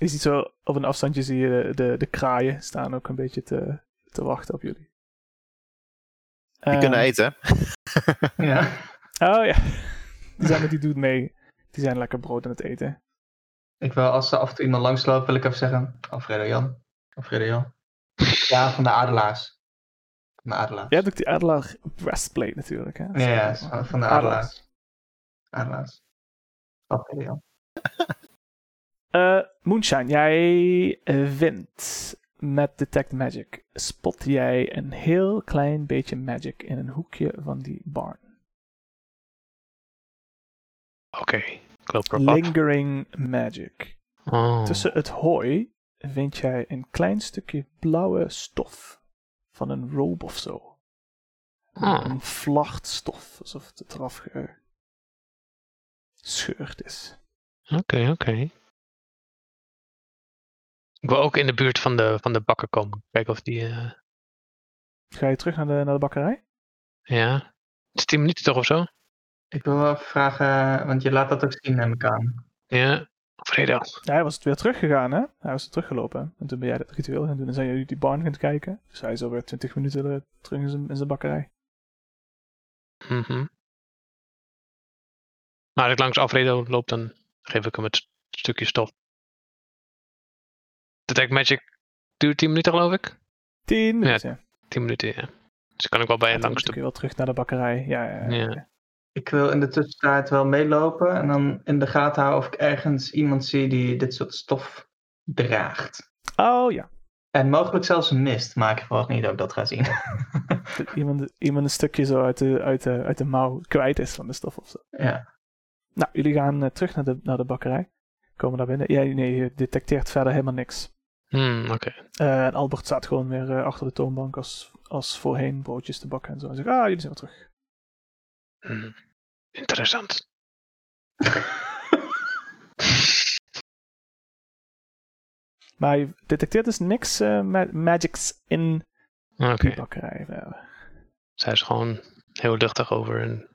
Speaker 2: Je ziet zo op een afstandje zie je de, de, de kraaien staan ook een beetje te, te wachten op jullie.
Speaker 5: die
Speaker 2: Ehm,
Speaker 5: kunnen eten. hè?
Speaker 1: Ja.
Speaker 2: Oh ja. Die zijn met die dude mee. Die zijn lekker brood aan het eten.
Speaker 1: Ik wil als er af en toe iemand langsloopt, wil ik even zeggen: Alfredo Jan. Alfredo Jan. Ja, van de Adelaars. Van de Adelaars.
Speaker 2: Je hebt ook die adelaar breastplate natuurlijk. Hè?
Speaker 1: Ja, ja, is van- van de Adelaars. Adelaars. Alfredo Jan.
Speaker 2: Eh, Moonshine, jij eh, wint met Detect Magic. Spot jij een heel klein beetje magic in een hoekje van die barn.
Speaker 3: oké. Ik loop erop af.
Speaker 2: Lingering magic.
Speaker 3: Oh.
Speaker 2: Tussen het hooi vind jij een klein stukje blauwe stof. Van een robe of zo.
Speaker 3: Oh.
Speaker 2: Een vlacht stof, alsof het eraf gescheurd is.
Speaker 3: Oké, oké. Ik wil ook in de buurt van de, van de bakker komen. Kijken of die... eh,
Speaker 2: Ga je terug naar de, naar de bakkerij?
Speaker 3: ja. Het is tien minuten toch of zo?
Speaker 1: Ik wil wel even vragen, want je laat dat ook zien, neem ik aan.
Speaker 3: Ja. Alfredo.
Speaker 2: Ja, hij was weer teruggegaan, hè? Hij was teruggelopen. En toen ben jij dat ritueel gaan doen. En zijn jullie die barn gaan kijken. Dus hij is alweer 20 minuten eh, terug in zijn, in zijn bakkerij.
Speaker 3: Mhm. Maar als ik langs Alfredo loop, dan geef ik hem het st- stukje stof. Detect Magic duurt 10 minuten, geloof ik.
Speaker 2: 10 minuten. Ja,
Speaker 3: 10 minuten, ja. Dus kan ik wel bij je langs
Speaker 2: kun
Speaker 3: de.
Speaker 2: je wel terug naar de bakkerij. Ja, ja, ja.
Speaker 3: Ja.
Speaker 1: Ik wil in de tussentijd wel meelopen en dan in de gaten houden of ik ergens iemand zie die dit soort stof draagt.
Speaker 2: Oh ja.
Speaker 1: En mogelijk zelfs mist, maar ik verwacht niet dat ik dat ga zien. [laughs]
Speaker 2: Dat iemand, iemand een stukje zo uit de, uit, de, uit de mouw kwijt is van de stof of zo.
Speaker 1: ja.
Speaker 2: Nou, jullie gaan eh, terug naar de, naar de bakkerij. Komen daar binnen. Ja, nee, je detecteert verder helemaal niks.
Speaker 3: Hmm, Oké.
Speaker 2: Eh, en Albert staat gewoon weer eh, achter de toonbank als, als voorheen broodjes te bakken en zo. En zegt, ah, jullie zijn weer terug.
Speaker 3: Hmm. Interessant.
Speaker 2: Maar je detecteert dus niks eh, ma- magics in
Speaker 3: Oké.
Speaker 2: die bakkerij. Eh, verder.
Speaker 3: Zij is gewoon heel luchtig over een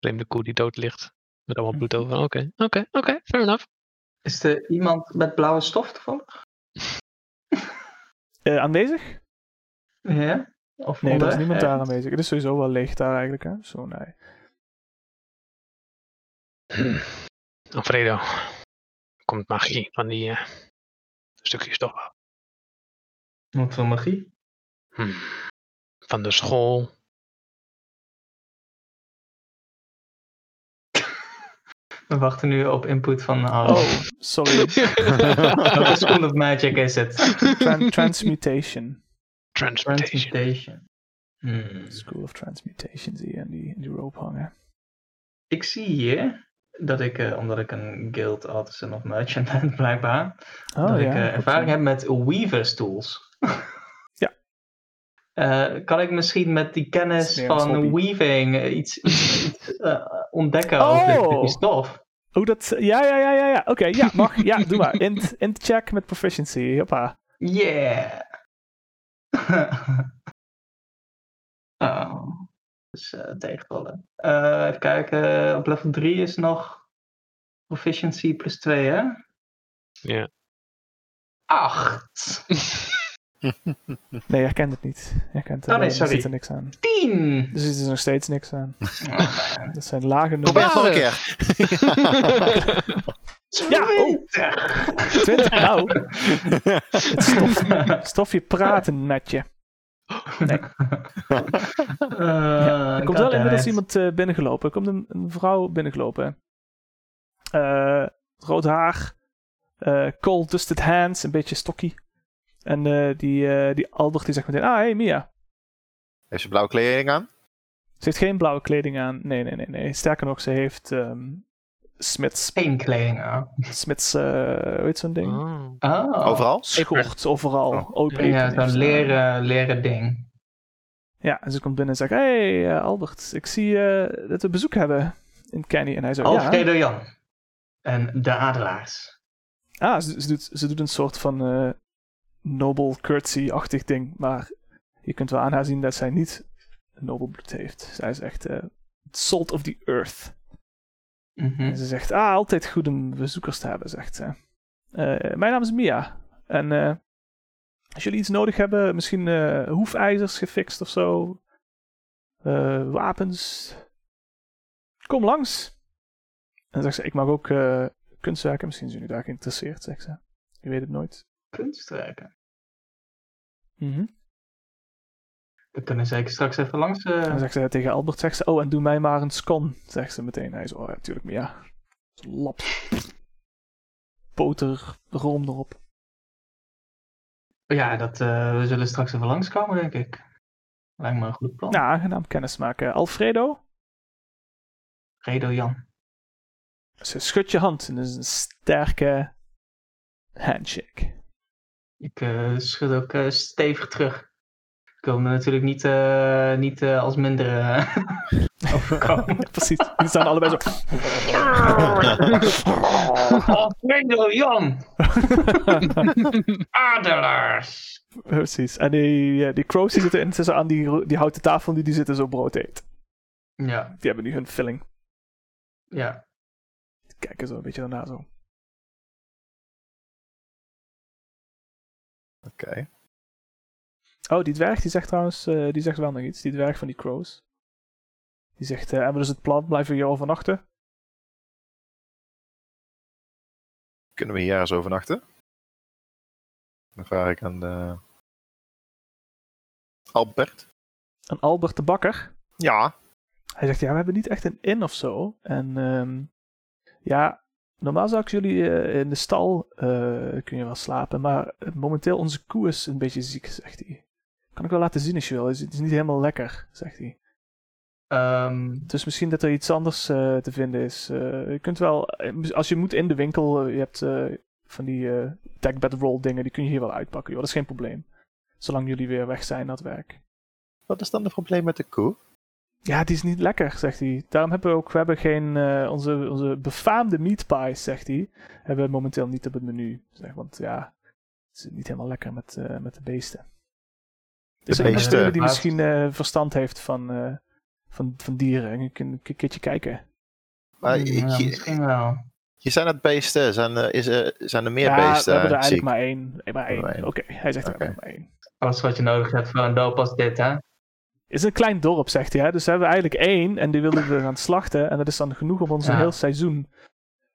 Speaker 3: vreemde koe die dood ligt. Met allemaal bloed
Speaker 2: Mhm.
Speaker 3: over. Oké, oké, oké. fair enough.
Speaker 1: Is er iemand met blauwe stof toevallig?
Speaker 2: Eh, aanwezig?
Speaker 1: Ja? Of
Speaker 2: Nee, er is
Speaker 1: onder-
Speaker 2: niemand daar
Speaker 1: ergens?
Speaker 2: aanwezig. Het is sowieso wel leeg daar eigenlijk. Hè? Zo, nee.
Speaker 3: Alfredo. Komt magie van die eh, stukjes stof af.
Speaker 1: Wat voor magie?
Speaker 3: Hmm. Van de school.
Speaker 1: We wachten nu op input van Harold.
Speaker 2: [laughs] Oh, sorry.
Speaker 1: Welke school of magic is het? [laughs]
Speaker 3: [laughs]
Speaker 2: Tran- transmutation.
Speaker 3: Transmutation.
Speaker 1: Transmutation. Hmm.
Speaker 2: School of Transmutation zie je in die, in die rope hangen.
Speaker 1: Ik zie hier dat ik, eh, omdat ik een guild artisan of merchant ben [laughs] blijkbaar, dat ik eh,
Speaker 2: Oh, goed
Speaker 1: ervaring
Speaker 2: zo.
Speaker 1: heb met weavers tools.
Speaker 2: [laughs] Ja.
Speaker 1: Eh, kan ik misschien met die
Speaker 2: Dat is
Speaker 1: kennis
Speaker 2: meer ons
Speaker 1: van
Speaker 2: hobby.
Speaker 1: weaving eh, iets, iets, iets, eh, ontdekken
Speaker 2: Oh!
Speaker 1: over dit stukje stof?
Speaker 2: Hoe dat... Ja, ja, ja, ja, ja. Oké, ja, mag. Ja, doe maar. Int, int check met proficiency. Hoppa.
Speaker 1: Yeah! [laughs] oh, dus eh tegenvallen. Eh, even kijken, op level 3 is nog proficiency plus 2, hè?
Speaker 3: Ja.
Speaker 1: 8,
Speaker 2: Nee, hij kent het niet. Hij kent het
Speaker 1: Oh, nee,
Speaker 2: Er
Speaker 1: sorry.
Speaker 2: zit er niks aan.
Speaker 1: 10!
Speaker 2: Dus er zit er nog steeds niks aan. Dat zijn lage
Speaker 5: Probeer
Speaker 2: nummers.
Speaker 1: nou!
Speaker 5: het nog een keer.
Speaker 2: [laughs]
Speaker 5: [laughs]
Speaker 2: Ja, oh. [laughs]
Speaker 1: 20!
Speaker 2: 20. Nou, het stof, stofje praten met je.
Speaker 1: [laughs] Er Eh,
Speaker 2: Er komt wel inmiddels iemand eh, binnengelopen. Er komt een, een vrouw binnengelopen. Eh, rood haar. eh cold dusted hands. Een beetje stokkie. En eh, die, eh, die Albert die zegt meteen... Ah, hey Mia.
Speaker 5: Heeft ze blauwe kleding aan?
Speaker 2: Ze heeft geen blauwe kleding aan. Nee, nee, nee. nee. Sterker nog, ze heeft... ehm smits...
Speaker 1: Geen kleding aan.
Speaker 2: Smits... eh, hoe heet zo'n ding?
Speaker 3: Oh.
Speaker 1: Oh.
Speaker 5: Overal?
Speaker 2: Schort overal.
Speaker 5: Oh.
Speaker 2: Open
Speaker 1: Ja,
Speaker 2: apron
Speaker 1: zo'n
Speaker 2: heeft ze aan.
Speaker 1: leren, leren ding.
Speaker 2: Ja, en ze komt binnen en zegt... hey, eh, Albert. Ik zie eh, dat we bezoek hebben in Kenny. En hij zegt... ja.
Speaker 1: Alfredo Jan. En de Adelaars.
Speaker 2: Ah, ze, ze doet, ze doet een soort van eh noble curtsy-achtig ding. Maar je kunt wel aan haar zien dat zij niet noble bloed heeft. Zij is echt eh, salt of the earth. En
Speaker 1: Mhm.
Speaker 2: ze zegt, ah, altijd goed om bezoekers te hebben, zegt ze. Eh, mijn naam is Mia. En eh, als jullie iets nodig hebben, misschien eh, hoefijzers gefixt of zo. eh, wapens. Kom langs. En dan zegt ze, ik mag ook eh, kunstwerken. Misschien zijn jullie daar geïnteresseerd, zegt ze. Je weet het nooit.
Speaker 1: Kunstwerken.
Speaker 2: Mhm.
Speaker 1: We kunnen zeker straks even langs. eh,
Speaker 2: En dan zegt ze tegen Albert, zegt ze, oh, en doe mij maar een scon, zegt ze meteen. Hij is, oh ja, tuurlijk, Mia. Lap. Boter, room erop.
Speaker 1: Ja, dat, eh, we zullen straks even langskomen, denk ik. Lijkt me een goed plan.
Speaker 2: Nou, aangenaam kennismaken. Alfredo,
Speaker 1: Alfredo Jan.
Speaker 2: ze schudt je hand en dat is een sterke handshake.
Speaker 1: Ik eh, schud ook eh, stevig terug. Ik wil me natuurlijk niet, eh, niet eh, als minder eh, [laughs] overkomen.
Speaker 2: [laughs] Ja, precies. Die staan allebei zo.
Speaker 1: Alfredo Oh, Jan! Adelaars!
Speaker 2: [laughs] precies. En die, eh, die crows die zitten intussen aan die, ro- die houten tafel die, die zitten zo brood te eten.
Speaker 1: Ja,
Speaker 2: Die hebben nu hun filling.
Speaker 1: ja.
Speaker 2: Die kijken zo een beetje daarna zo.
Speaker 5: Oké.
Speaker 2: Oh, die dwerg die zegt trouwens, eh, die zegt wel nog iets. Die dwerg van die crows. Die zegt, eh, hebben we dus het plan, blijven we hier overnachten?
Speaker 5: Kunnen we hier eens overnachten? Dan vraag ik aan de... Albert.
Speaker 2: En Albert de Bakker,
Speaker 5: Ja.
Speaker 2: Hij zegt, ja, we hebben niet echt een inn of zo. En ehm, ja, normaal zou ik jullie eh, in de stal eh kun je wel slapen. Maar eh, momenteel onze koe is een beetje ziek, zegt hij. Kan ik wel laten zien als je wil. Het is- het is niet helemaal lekker, zegt hij.
Speaker 1: Ehm,
Speaker 2: Dus misschien dat er iets anders eh, te vinden is. Eh, je kunt wel, eh, als je moet in de winkel, eh, je hebt eh, van die eh, deck bed roll dingen, die kun je hier wel uitpakken. Joh. Dat is geen probleem. Zolang jullie weer weg zijn naar het werk.
Speaker 5: Wat is dan het probleem met de koe?
Speaker 2: Ja, die is niet lekker, zegt hij. Daarom hebben we ook we hebben geen, eh, onze, onze befaamde meat pies, zegt hij, hebben we momenteel niet op het menu. Zeg, want ja, het is niet helemaal lekker met, eh, met de beesten. Dus er is
Speaker 5: beesten.
Speaker 2: iemand die
Speaker 1: Maar-
Speaker 2: misschien eh, verstand heeft van, eh, van, van dieren. En je kunt een keertje kijken.
Speaker 5: Maar
Speaker 1: Hmm, ja,
Speaker 5: je- je,
Speaker 1: misschien wel.
Speaker 5: je zijn het beesten. Zijn er, is er, zijn er meer
Speaker 2: ja, we
Speaker 5: beesten
Speaker 2: hebben er eigenlijk
Speaker 5: ziek?
Speaker 2: maar één. eh, Maar één.
Speaker 5: Maar één.
Speaker 2: Oké, hij zegt
Speaker 5: Oké.
Speaker 2: er maar één.
Speaker 1: Alles wat je nodig hebt voor een doop als dit, hè?
Speaker 2: Het is een klein dorp, zegt hij. Hè? Dus we hebben eigenlijk één en die willen we gaan slachten. En dat is dan genoeg om ons een
Speaker 1: Ja.
Speaker 2: heel seizoen...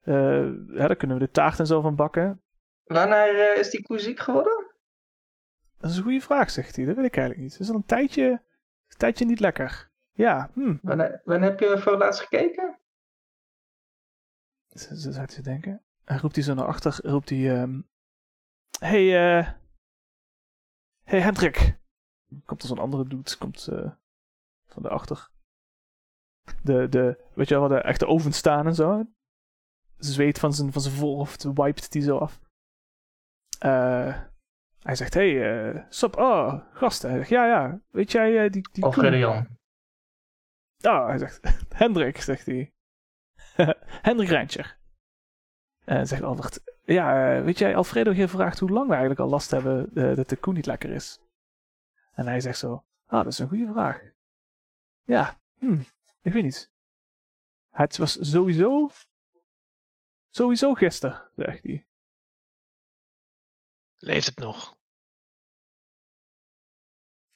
Speaker 2: eh ja, daar kunnen we de taart en zo van bakken.
Speaker 1: Wanneer eh, is die koe ziek geworden?
Speaker 2: Dat is een goede vraag, zegt hij. Dat weet ik eigenlijk niet. Het is al een tijdje, een tijdje niet lekker. Ja, hm.
Speaker 1: Wanneer, wanneer heb je voor het laatst gekeken?
Speaker 2: Z- z- Zat hij te denken. En roept hij zo naar achter, roept hij... ehm, hey, eh hey Hendrik! Komt er zo'n andere dude, komt eh, van de achter. De, de, weet je wel, waar de echte ovens staan en zo. Zweet van zijn, van zijn voorhoofd, wiped die zo af. Eh, hij zegt, hey, eh sup, oh, gasten. Hij zegt, ja, ja, weet jij eh, die... die
Speaker 1: Of
Speaker 2: Koen?" [laughs]
Speaker 1: Gideon.
Speaker 2: Ah, hij zegt, [laughs] Hendrik, zegt hij. [laughs] Hendrik Rijntjer. En zegt Albert, ja, eh, weet jij, Alfredo heeft gevraagd hoe lang we eigenlijk al last hebben eh, dat de koe niet lekker is. En hij zegt zo, ah, dat is een goede vraag. Ja, hm, ik weet niet. Het was sowieso, sowieso gisteren, zegt hij.
Speaker 3: Leeft het nog?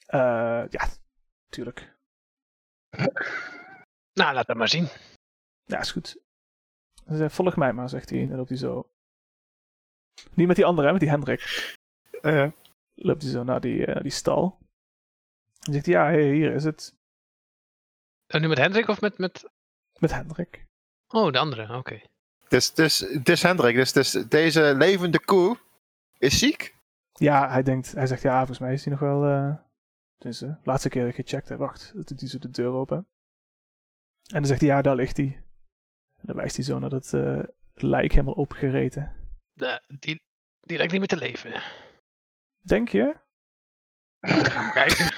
Speaker 2: Eh, ja, tuurlijk.
Speaker 3: Nou, laat dat maar zien.
Speaker 2: Ja, is goed. Hij zegt, volg mij maar, zegt hij. En dan loopt hij zo. Niet met die andere, hè, met die Hendrik.
Speaker 5: Ja.
Speaker 2: loopt hij zo naar die, eh, naar die stal. En zegt hij, ja, hey, hier is het.
Speaker 3: En nu met Hendrik of met... met...
Speaker 2: Met Hendrik.
Speaker 3: Oh, de andere. Oké.
Speaker 5: Dus, dus, dus Hendrik, dus, dus deze levende koe is ziek?
Speaker 2: Ja, hij denkt, hij zegt, ja, volgens mij is hij nog wel... eh dus laatste keer dat ik gecheckt heb, wacht. Dat doet hij zo de deur open. En dan zegt hij, ja, daar ligt hij. En dan wijst hij zo naar dat eh, lijk helemaal opgereten.
Speaker 3: De- die, die lijkt niet meer te leven.
Speaker 2: Denk je?
Speaker 3: Kijk.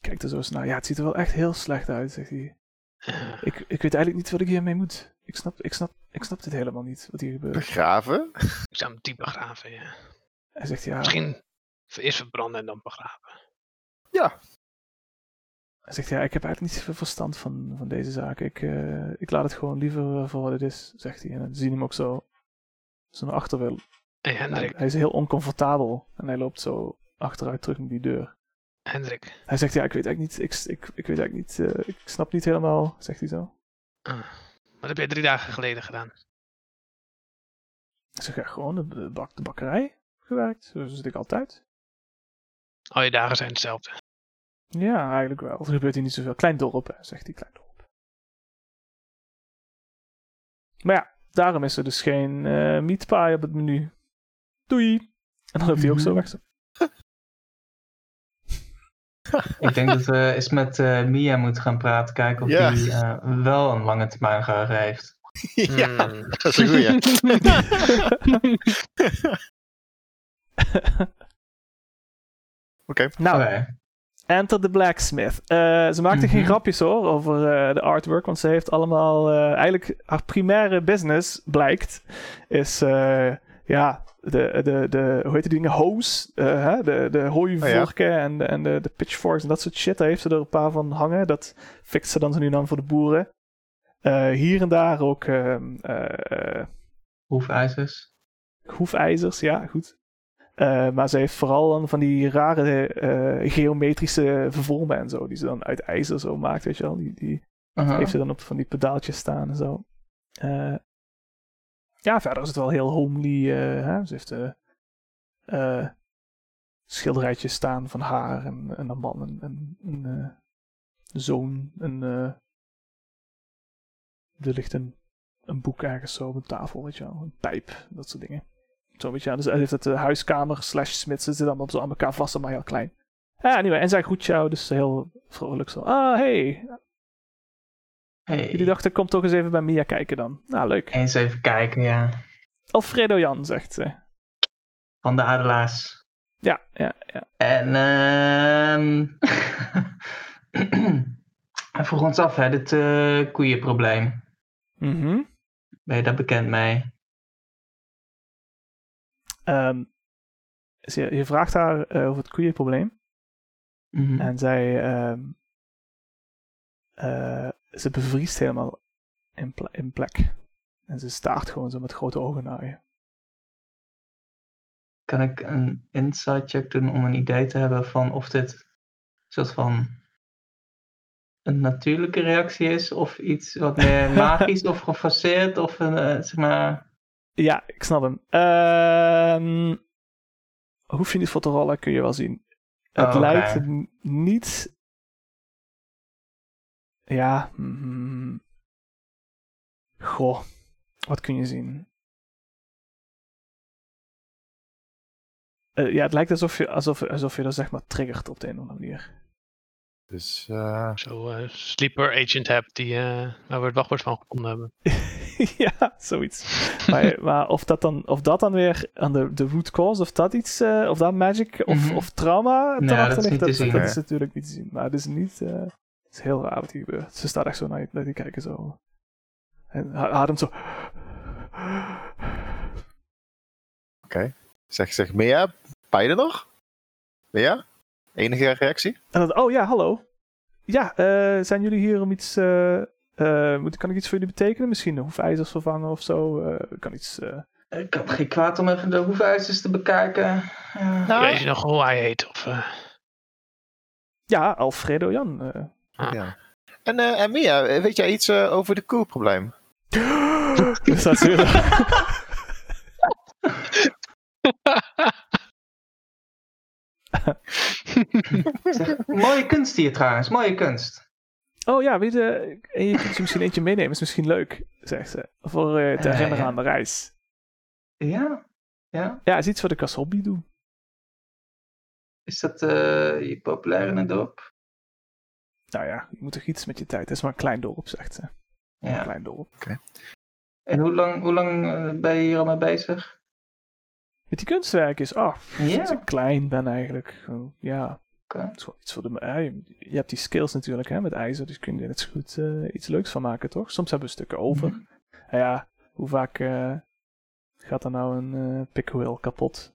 Speaker 2: Kijkt er zo eens naar. Ja, het ziet er wel echt heel slecht uit, zegt hij.
Speaker 3: eh,
Speaker 2: Ik, ik weet eigenlijk niet wat ik hiermee moet. Ik snap, ik, snap, ik snap dit helemaal niet, wat hier gebeurt.
Speaker 5: Begraven?
Speaker 3: Ik zou hem diep begraven, ja.
Speaker 2: Hij zegt, ja...
Speaker 3: Misschien eerst verbranden en dan begraven.
Speaker 2: Hij zegt, ja, ik heb eigenlijk niet zoveel verstand van, van deze zaken. Ik, eh, ik laat het gewoon liever eh, voor wat het is, zegt hij. En dan zie je hem ook zo, zo naar achter wil.
Speaker 3: Hé,
Speaker 2: Hij,
Speaker 3: Hendrik.
Speaker 2: hij is heel oncomfortabel en hij loopt zo achteruit terug naar die deur.
Speaker 3: Hendrik.
Speaker 2: Hij zegt, ja, ik weet eigenlijk niet, ik, ik, ik weet eigenlijk niet, eh, ik snap niet helemaal, zegt hij zo.
Speaker 3: Ah, Wat heb jij drie dagen geleden gedaan?
Speaker 2: Ik zeg, ja, gewoon de, de bak, de bakkerij gewerkt, zo zit ik altijd.
Speaker 3: Al je dagen zijn hetzelfde.
Speaker 2: Ja, eigenlijk wel. Er gebeurt hier niet zoveel. Klein dorp, hè, zegt hij, klein dorp. Maar ja, daarom is er dus geen eh meat pie op het menu. Doei! En dan loopt hij ook
Speaker 1: Mhm.
Speaker 2: zo weg. zo.
Speaker 1: Ik denk dat we eens met eh, Mia moeten gaan praten. Kijken of
Speaker 5: Ja.
Speaker 1: die eh, wel een lange termijn geheugen heeft.
Speaker 5: ja,
Speaker 3: Hmm.
Speaker 5: [laughs] dat is
Speaker 2: [laughs]
Speaker 5: een goeie.
Speaker 2: Nou,
Speaker 1: Oké.
Speaker 2: Enter the Blacksmith. Eh, ze maakte geen
Speaker 1: Mhm.
Speaker 2: grapjes hoor over eh, de artwork, want ze heeft allemaal... eh, eigenlijk haar primaire business, blijkt, is... eh, ja, de, de, de, hoe heet die dingen? Hoes. eh, hè? De, de hooivorken en, de, en de, de pitchforks en dat soort shit. Daar heeft ze er een paar van hangen. Dat fixt ze dan zo nu en dan voor de boeren. Eh, hier en daar ook ehm eh, eh,
Speaker 1: Hoefijzers.
Speaker 2: hoefijzers, ja, goed. Eh, maar ze heeft vooral dan van die rare eh, geometrische vormen en zo, die ze dan uit ijzer zo maakt, weet je wel. Die, die
Speaker 1: Aha.
Speaker 2: heeft ze dan op van die pedaaltjes staan en zo. Eh, ja, verder is het wel heel homely. eh, hè? Ze heeft eh eh, schilderijtjes staan van haar en, en een man en en een eh, zoon. En, eh, er ligt een, een boek ergens zo op een tafel, weet je wel. Een pijp, dat soort dingen. Zo, weet je wel. Dus hij heeft het eh, huiskamer slash smid. Ze zitten allemaal zo aan elkaar vast, maar heel klein. Ja, anyway, en zij groet jou, dus heel vrolijk zo. Ah, hey,
Speaker 1: Hey.
Speaker 2: Jullie dachten, kom toch eens even bij Mia kijken dan. Nou, leuk.
Speaker 1: Eens even kijken, ja.
Speaker 2: Alfredo Jan, zegt ze.
Speaker 1: Van de Adelaars.
Speaker 2: Ja, ja, ja.
Speaker 1: En ehm [laughs] we vroegen ons af, hè, dit eh, koeienprobleem.
Speaker 2: Mhm.
Speaker 1: Ben je daar bekend mee?
Speaker 2: Ehm, ze- je vraagt haar eh, over het koeienprobleem.
Speaker 1: Mhm.
Speaker 2: En zij... ehm, eh, ze bevriest helemaal in, pla- in plek. En ze staart gewoon zo met grote ogen naar je.
Speaker 1: Kan ik een insight check doen om een idee te hebben van of dit een soort van een natuurlijke reactie is of iets wat meer magisch of gefaseerd of een, eh, zeg maar.
Speaker 2: Ja, ik snap hem. Ehm, hoef je niet voor te rollen, kun je wel zien. Het
Speaker 1: Oh, oké.
Speaker 2: lijkt n- niet. Ja. mm, mm-hmm. Goh, wat kun je zien? Eh, ja, het lijkt alsof je, alsof, alsof je dat zeg maar triggert op de een of andere manier. [laughs]
Speaker 5: Dus eh,
Speaker 3: Zo eh, sleeper agent hebt die, eh, waar we het wachtwoord van gevonden hebben.
Speaker 2: ja, zoiets.
Speaker 1: [laughs]
Speaker 2: Maar, eh, maar of, dat dan, of dat dan weer aan de, de root cause, of dat iets, eh, of dat magic of,
Speaker 1: Mhm.
Speaker 2: of trauma
Speaker 1: Nee,
Speaker 2: erachter
Speaker 1: dat is
Speaker 2: ligt,
Speaker 1: niet te zien,
Speaker 2: dat
Speaker 5: hè.
Speaker 2: is natuurlijk niet te zien. Maar het is niet, eh, het is heel raar wat hier gebeurt. Ze staat echt zo naar, je- naar die kijken zo. En ha- ademt zo.
Speaker 5: zeg, zeg Mia, ben je er nog? Mia? Enige reactie?
Speaker 2: En dan, oh ja, hallo. Ja, eh, zijn jullie hier om iets, eh, eh, moet, kan ik iets voor jullie betekenen? Misschien hoefijzers vervangen of zo. eh, kan iets, eh,
Speaker 1: Ik kan geen kwaad om even de hoefijzers te bekijken. Eh, Ja.
Speaker 5: Nou.
Speaker 3: Weet je nog hoe hij heet? Of, eh,
Speaker 2: ja, Alfredo Jan. eh. [laughs]
Speaker 5: En, eh, en Mia, weet jij iets eh, over de koelprobleem?
Speaker 2: Dan staat ze weer-
Speaker 1: Zeg, mooie kunst hier trouwens, mooie kunst.
Speaker 2: Oh ja, weet je, en je kunt ze misschien eentje meenemen, is misschien leuk, zegt ze. Voor eh, te
Speaker 1: Ja,
Speaker 2: herinneren
Speaker 1: ja.
Speaker 2: aan de reis.
Speaker 1: Ja, ja.
Speaker 2: Ja, is iets wat ik als hobby doe.
Speaker 1: Is dat eh, je populair in het dorp?
Speaker 2: Nou ja, je moet toch iets met je tijd. Het is maar een klein dorp, zegt ze. Een
Speaker 1: Ja.
Speaker 2: klein dorp.
Speaker 1: En hoe lang, hoe lang eh, ben je hier al mee bezig?
Speaker 2: Met die kunstwerk is, oh, pff,
Speaker 1: Ja.
Speaker 2: sinds ik klein ben eigenlijk. Oh, ja,
Speaker 1: Oké.
Speaker 2: het is wel iets voor de... ja, je, je hebt die skills natuurlijk, hè, met ijzer. Dus kun je er net zo goed eh, iets leuks van maken, toch? Soms hebben we stukken over.
Speaker 1: Mhm.
Speaker 2: Nou ja, hoe vaak eh, gaat er nou een eh pikhuil kapot?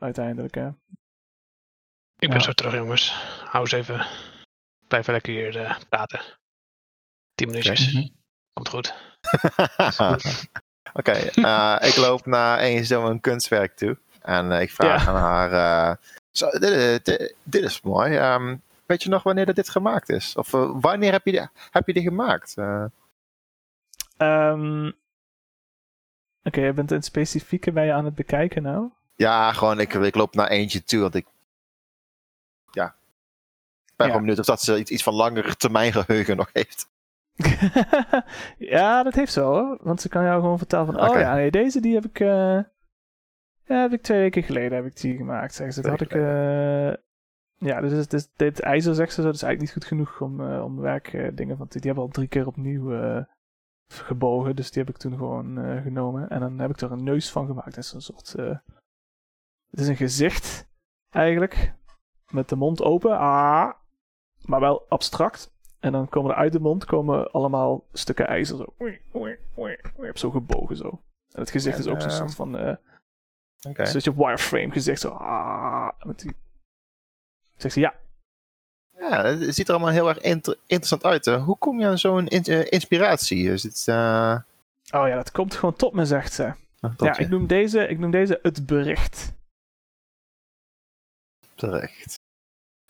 Speaker 2: Uiteindelijk, hè?
Speaker 3: ik ben
Speaker 1: Ja.
Speaker 3: zo terug, jongens. Hou eens even. Blijf lekker hier eh, praten. Tien minuutjes.
Speaker 1: Mhm.
Speaker 3: Komt goed.
Speaker 5: Oké, eh, ik loop naar een zo'n kunstwerk toe. En eh, ik vraag
Speaker 2: Ja.
Speaker 5: aan haar... eh, zo, dit, eh, dit, dit is mooi. ehm, weet je nog wanneer dat dit gemaakt is? Of eh, wanneer heb je, die- heb je die gemaakt? Eh,
Speaker 2: Ehm, Oké, je bent een specifieke bij je aan het bekijken nou.
Speaker 5: ja, gewoon ik, ik loop naar eentje toe. Want ik... Ja. Ik
Speaker 2: Ja.
Speaker 5: ben gewoon benieuwd of dat ze iets, iets van langer termijn geheugen nog heeft.
Speaker 2: ja, dat heeft zo hoor. Want ze kan jou gewoon vertellen van, oh
Speaker 5: Oké.
Speaker 2: ja, nee, deze die heb ik, eh, ja, heb ik twee weken geleden heb ik die gemaakt. Zeggen ze, dat had ik,
Speaker 5: Twee
Speaker 2: eh, ja, dus, dit- dit- dit ijzer zegt ze, dat is eigenlijk niet goed genoeg om, eh, om werkdingen, dingen want die, die hebben al drie keer opnieuw eh, gebogen, dus die heb ik toen gewoon eh, genomen. En dan heb ik er een neus van gemaakt. Dat is een soort, eh, het is een gezicht eigenlijk, met de mond open, ah, maar wel abstract. En dan komen er uit de mond komen allemaal stukken ijzer zo. Oei, oei, oei. Je hebt zo gebogen zo. En het gezicht
Speaker 5: En,
Speaker 2: is ook zo'n
Speaker 5: eh,
Speaker 2: soort van... eh
Speaker 5: Oké.
Speaker 2: Zo'n soort wireframe gezicht zo. Ah, met die... Zegt ze, ja.
Speaker 5: Ja, het ziet er allemaal heel erg inter- interessant uit. hè. Hoe kom je aan zo'n in- eh, inspiratie? Is het, eh, nou,
Speaker 2: Oh ja, dat komt gewoon tot me, zegt ze.
Speaker 5: tot
Speaker 2: Ja,
Speaker 5: je
Speaker 2: ik noem deze, ik noem deze het bericht.
Speaker 5: terecht?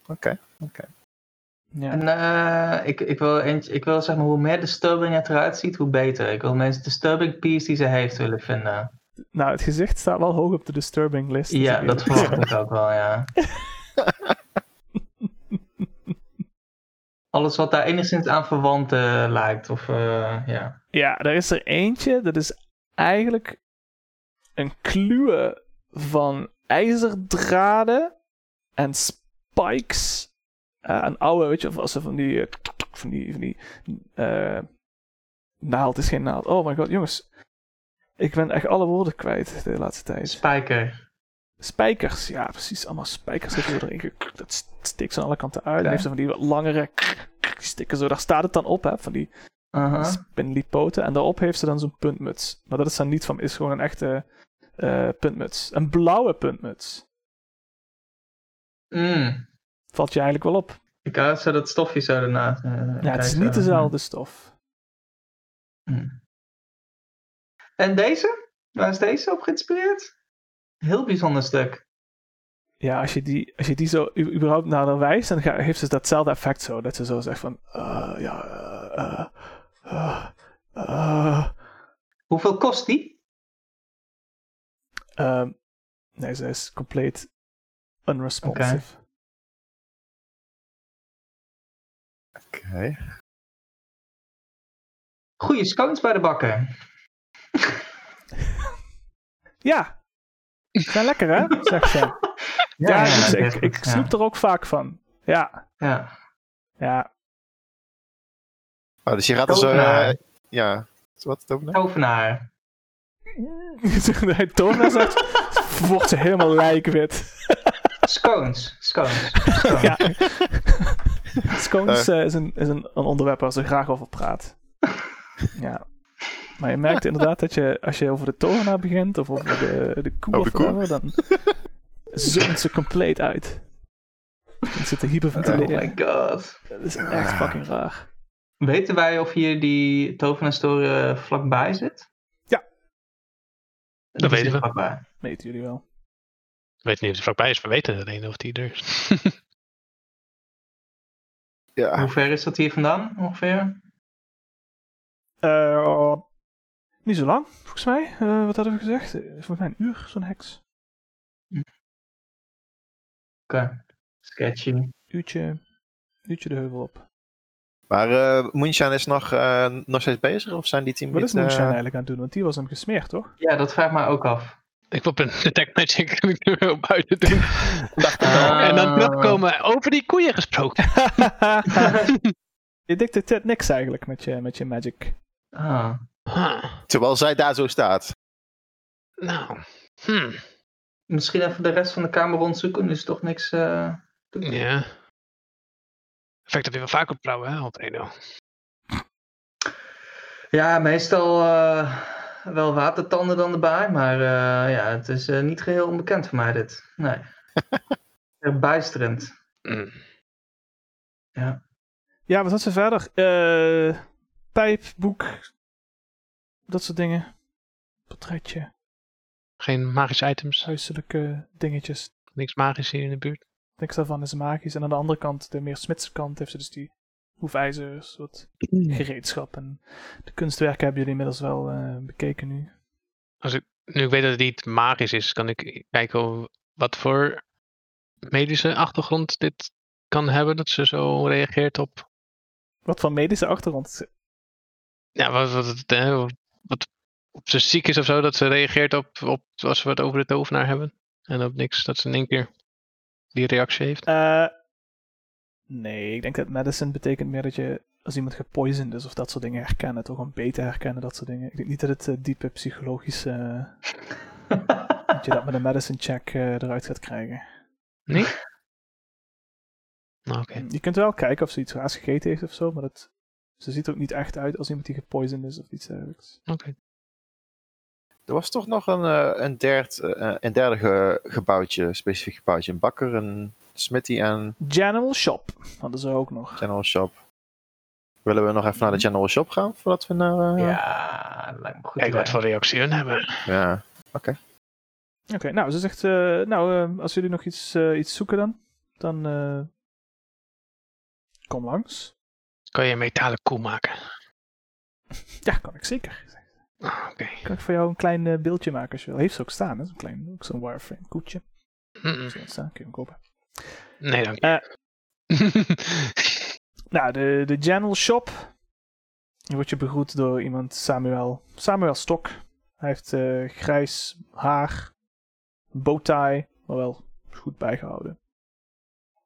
Speaker 5: Oké.
Speaker 2: Ja.
Speaker 1: En eh, ik, ik wil, eentje, ik wil zeg maar, hoe meer disturbing het eruit ziet, hoe beter. Ik wil mensen disturbing piece die ze heeft willen vinden.
Speaker 2: Nou, het gezicht staat wel hoog op de disturbing list. dus
Speaker 1: Ja,
Speaker 2: natuurlijk.
Speaker 1: dat
Speaker 2: [laughs]
Speaker 1: verwacht ik ook wel, ja. Alles wat daar enigszins aan verwant eh, lijkt, of eh, ja.
Speaker 2: Ja, er is er eentje. Dat is eigenlijk een kluwe van ijzerdraden en spikes. Eh, een oude, weet je, of als ze van die. eh, van die. Van die eh, naald is geen naald. Oh my god, jongens. Ik ben echt alle woorden kwijt de laatste tijd.
Speaker 1: Spijker.
Speaker 2: Spijkers, ja, precies. Allemaal spijkers hebben ze erin. gek- Dat st- steekt ze aan alle kanten uit.
Speaker 1: Ja.
Speaker 2: Dan heeft ze van die wat langere. Die stikken zo. Daar staat het dan op, hè? Van die
Speaker 1: Aha.
Speaker 2: spindelipoten. En daarop heeft ze dan zo'n puntmuts. Maar dat is dan niet van, is gewoon een echte eh, puntmuts. Een blauwe puntmuts.
Speaker 1: Mm.
Speaker 2: Valt je eigenlijk wel op.
Speaker 1: Ik had zo dat stofje zo daarna. eh,
Speaker 2: Ja, het is
Speaker 1: kijk,
Speaker 2: niet
Speaker 1: zo.
Speaker 2: dezelfde stof.
Speaker 1: En deze? Waar is deze op geïnspireerd? Heel bijzonder stuk.
Speaker 2: Ja, als je die, als je die zo u- überhaupt naar haar wijst, dan ga- heeft ze datzelfde effect zo. Dat ze zo zegt van, eh, ja, eh, eh, eh, eh,
Speaker 1: Hoeveel kost die?
Speaker 2: ehm. nee, ze is compleet unresponsive.
Speaker 5: Oké.
Speaker 1: Goeie scones bij de bakker.
Speaker 2: Ja. Ze zijn lekker, hè? Zegt ze. Ja, dus ik, ik snoep er ook vaak van. Ja,
Speaker 1: Ja.
Speaker 2: ja.
Speaker 5: Oh, dus je gaat er zo...
Speaker 1: Tovenaar.
Speaker 5: eh, ja.
Speaker 1: [laughs]
Speaker 5: Wat? Tovenaar?
Speaker 1: Tovenaar.
Speaker 2: [laughs] Hij tovenaar zegt, wordt ze helemaal lijkwit.
Speaker 1: Scones. Scones. Scones.
Speaker 5: [laughs]
Speaker 2: Ja. Scones eh, is, een, is een, een onderwerp waar ze graag over praat. Ja. Maar je merkt inderdaad dat je, als je over de tovenaar begint, of over de, de koe
Speaker 5: Over
Speaker 2: of
Speaker 5: de koe?
Speaker 2: whatever, dan zoont ze compleet uit. Dan zit te
Speaker 1: Oh
Speaker 2: hyperventileren.
Speaker 1: my god.
Speaker 2: dat is
Speaker 5: Ah.
Speaker 2: echt fucking raar.
Speaker 1: Weten wij of hier die tovenaarsstoren vlakbij zit?
Speaker 2: Ja.
Speaker 1: Dat,
Speaker 3: weten
Speaker 1: hier
Speaker 3: we.
Speaker 1: vlakbij.
Speaker 2: Meten jullie wel.
Speaker 3: Ik weet niet of hij vlakbij is, we weten het alleen of die er is.
Speaker 5: Ja.
Speaker 1: Hoe ver is dat hier vandaan ongeveer?
Speaker 2: Eh, niet zo lang, volgens mij. Eh, wat hadden we gezegd? Eh, Volgens mij een uur, zo'n heks.
Speaker 1: Oké. Sketchy.
Speaker 2: Uurtje, uurtje de heuvel op.
Speaker 5: Maar eh Moonshine is nog, eh, nog steeds bezig? Of zijn die team
Speaker 2: Wat is
Speaker 5: niet, eh,
Speaker 2: Moonshine eigenlijk aan het doen? Want die was hem gesmeerd, toch? [laughs]
Speaker 1: Ja, dat vraag ik mij ook
Speaker 3: [laughs]
Speaker 1: af.
Speaker 3: ik wil een detect magic en ik er wel buiten doen. Dacht ik al.
Speaker 1: Ah.
Speaker 3: En dan terugkomen over die koeien gesproken.
Speaker 2: je dicteert niks eigenlijk met je, met je magic.
Speaker 1: Ah.
Speaker 3: Ah,
Speaker 5: [laughs] Terwijl zij daar zo staat.
Speaker 3: nou, hmm,
Speaker 1: Misschien even de rest van de kamer rondzoeken. Nu is toch niks. eh, te doen.
Speaker 3: ja. Effect dat we wel vaker trouwen, hè, Altreno.
Speaker 1: Ja, meestal eh, wel watertanden dan erbij. Maar eh, ja, het is eh, niet geheel onbekend voor mij dit. Nee. Erg Bijsterend. [laughs]
Speaker 3: Mm.
Speaker 2: Ja, wat had ze verder? Eh pijp, boek, dat soort dingen. Portretje,
Speaker 3: Geen magische items,
Speaker 2: huiselijke dingetjes.
Speaker 3: niks magisch hier in de buurt.
Speaker 2: Niks daarvan is magisch. En aan de andere kant, de meer smidse kant, heeft ze dus die hoefijzers, wat gereedschap. En de kunstwerken hebben jullie inmiddels wel eh, bekeken nu.
Speaker 3: Nu ik weet dat het niet magisch is, kan ik kijken hoe- wat voor medische achtergrond dit kan hebben. Dat ze zo reageert op.
Speaker 2: Wat van medische achtergrond.
Speaker 3: Ja, wat, wat, het, hè, wat op ze ziek is of zo, dat ze reageert op, op als we het over de tovenaar hebben. En op niks, dat ze in één keer die reactie heeft.
Speaker 2: Eh, nee, ik denk dat medicine betekent meer dat je als iemand gepoisoned is of dat soort dingen herkennen, toch een beter herkennen, dat soort dingen. Ik denk niet dat het eh, diepe psychologische, eh, dat je dat met een medicine check eh, eruit gaat krijgen.
Speaker 3: Nee? Nou, Oké.
Speaker 2: Je kunt wel kijken of ze iets raars gegeten heeft of zo, maar dat, ze ziet er ook niet echt uit als iemand die gepoisoned is of iets dergelijks.
Speaker 3: oké.
Speaker 5: Er was toch nog een, eh, een, derd, eh, een derde ge- gebouwtje, specifiek gebouwtje. Een bakker, een smithy en
Speaker 2: General Shop hadden ze ook nog.
Speaker 5: general shop. Willen we nog even naar de general shop gaan voordat we naar... eh,
Speaker 1: Ja, lijkt me een goed.
Speaker 3: Kijk
Speaker 1: idee.
Speaker 3: wat voor reactie hun hebben.
Speaker 5: ja.
Speaker 2: Oké, nou, ze zegt, eh, nou, eh, als jullie nog iets, eh, iets zoeken dan, dan eh, kom langs.
Speaker 3: Kan je een metalen koe maken?
Speaker 2: Ja, kan ik zeker.
Speaker 3: Ah, Oké.
Speaker 2: Kan ik voor jou een klein eh, beeldje maken als je wil? Heeft ze ook staan, hè? Zo'n klein, ook zo'n wireframe koetje.
Speaker 3: Mm-mm.
Speaker 2: Heeft ze ook staan, kun je hem kopen.
Speaker 3: Nee, dank je.
Speaker 2: Eh. Nou, de, de General Shop. Dan word je begroet door iemand, Samuel. Samuel Stok. Hij heeft eh, grijs haar, bowtie, maar wel goed bijgehouden.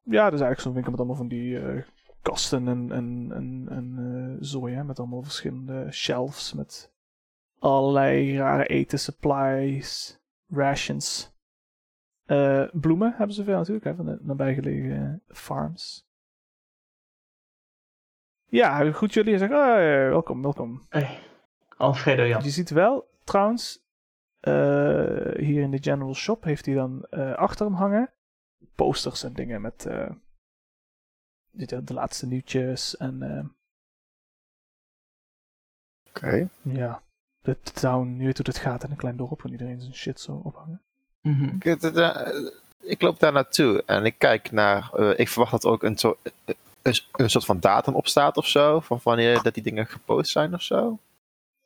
Speaker 2: Ja, dat is eigenlijk zo'n winkel met allemaal van die eh, kasten en, en, en, en eh, zooi, hè? Met allemaal verschillende shelves met allerlei rare eten supplies, rations. Eh, bloemen hebben ze veel natuurlijk, hè, van de nabijgelegen farms. Ja, hij groet jullie en zegt, "Ah, eh, welkom, welkom.
Speaker 1: Hey. Alfredo Jan.
Speaker 2: Je ziet wel, trouwens, eh, hier in de General Shop heeft hij dan eh, achter hem hangen posters en dingen met eh, dit en de laatste nieuwtjes en eh,
Speaker 5: Oké.
Speaker 2: ja, de town, je weet hoe dat gaat in een klein dorp en iedereen zijn shit zo ophangen.
Speaker 1: Mhm.
Speaker 5: Ik, het- het, eh, ik loop daar naartoe en ik kijk naar. eh, ik verwacht dat er ook een, zo- eh, een, een soort van datum op staat of zo. Van wanneer dat die dingen gepost zijn of zo.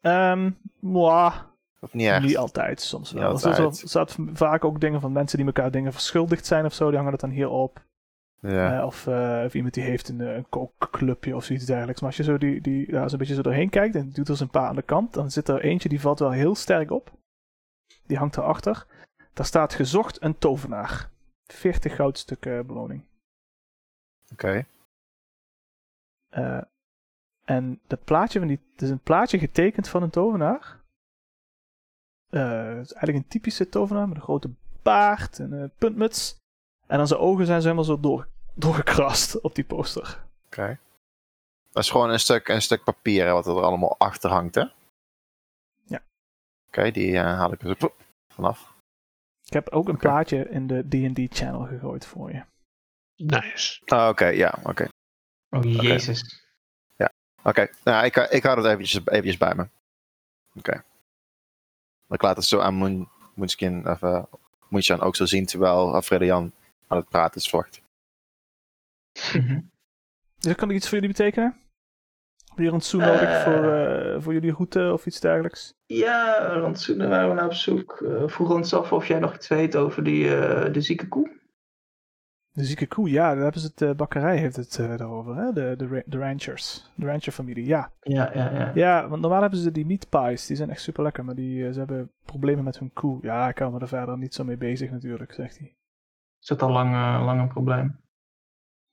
Speaker 2: Ehm, mwah,
Speaker 5: Of niet echt?
Speaker 2: Niet altijd, soms wel.
Speaker 5: Niet
Speaker 2: Er zitten wel-
Speaker 5: altijd.
Speaker 2: Er staat vaak ook dingen van mensen die elkaar dingen verschuldigd zijn of zo, die hangen dat dan hier op.
Speaker 5: Ja.
Speaker 2: Eh, of, eh, of iemand die heeft een, eh, een kookclubje of zoiets dergelijks. Maar als je zo die, die, daar zo'n beetje zo doorheen kijkt en doet er eens een paar aan de kant, dan zit er eentje die valt wel heel sterk op. Die hangt erachter. Daar staat gezocht een tovenaar. 40 goudstukken eh, beloning.
Speaker 5: Oké.
Speaker 2: Eh, en dat plaatje van die. Het is een plaatje getekend van een tovenaar. Eh, het is eigenlijk een typische tovenaar met een grote baard en een puntmuts. En aan zijn ogen zijn ze helemaal zo door, doorgekrast op die poster.
Speaker 5: Oké. Dat is gewoon een stuk, een stuk papier hè, wat er allemaal achter hangt, hè?
Speaker 2: Ja.
Speaker 5: Oké, die eh, haal ik er zo ploep, vanaf.
Speaker 2: Ik heb ook een
Speaker 5: Oké.
Speaker 2: plaatje in de DD-channel gegooid voor je.
Speaker 3: [laughs] Nice.
Speaker 5: Ah, Oké, ja, oké.
Speaker 1: Oh, jezus.
Speaker 5: Oké, nou, ik, ik hou het eventjes, eventjes bij me. Oké. Ik laat het zo aan Moon, Moonskin, of eh, Moonshan ook zo zien, terwijl Alfredian aan het praten is vocht.
Speaker 1: Mhm.
Speaker 2: Dus kan ik iets voor jullie betekenen? Heb je een zoen nodig
Speaker 1: Eh.
Speaker 2: voor, eh, voor jullie route of iets dergelijks?
Speaker 1: Ja, Rantsoenen waren we naar op zoek. Eh, vroegen ons af of jij nog iets weet over die, eh, de zieke koe.
Speaker 2: De zieke koe, ja, daar hebben ze het, de bakkerij heeft het eh, daarover, hè? De, de, ra- de ranchers. De rancherfamilie, ja.
Speaker 1: Ja, ja, ja.
Speaker 2: Ja, want normaal hebben ze die meat pies. Die zijn echt super lekker, maar die, eh, ze hebben problemen met hun koe. Ja, ik hou me er verder niet zo mee bezig natuurlijk, zegt hij.
Speaker 1: Is dat al lang, eh, lang een probleem?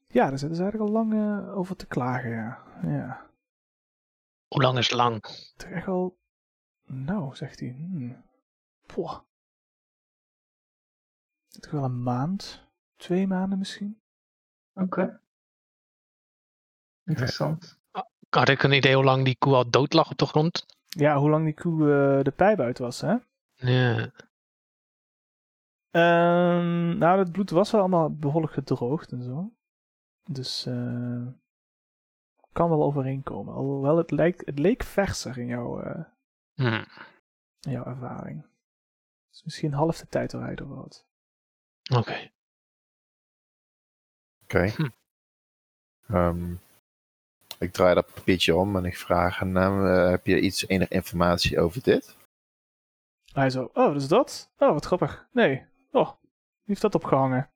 Speaker 2: Ja, daar zitten ze eigenlijk al lang eh, over te klagen, ja. Ja,
Speaker 3: Hoe lang is lang?
Speaker 2: toch echt al... Nou, zegt hij. Hmm. Poh. Toch wel een maand? Twee maanden misschien?
Speaker 1: Oké. Interessant.
Speaker 3: Had ik een idee hoe lang die koe al dood lag op de grond?
Speaker 2: Ja, hoe lang die koe eh, de pijp uit was, hè?
Speaker 3: Ja.
Speaker 2: Ehm, nou, het bloed was wel allemaal behoorlijk gedroogd en zo. Dus eh, kan wel overeenkomen. Alhoewel, het, lijkt, het leek verser in jouw, eh,
Speaker 3: Hm.
Speaker 2: in jouw ervaring. Dus misschien half de tijd eruit of wat.
Speaker 3: Oké.
Speaker 5: Oké.
Speaker 3: Hm.
Speaker 5: Ehm, ik draai dat papiertje om en ik vraag aan hem, eh, heb je iets, enig informatie over dit?
Speaker 2: Hij zo, oh, dat is dat? Oh, wat grappig. Nee. Oh, wie heeft dat opgehangen?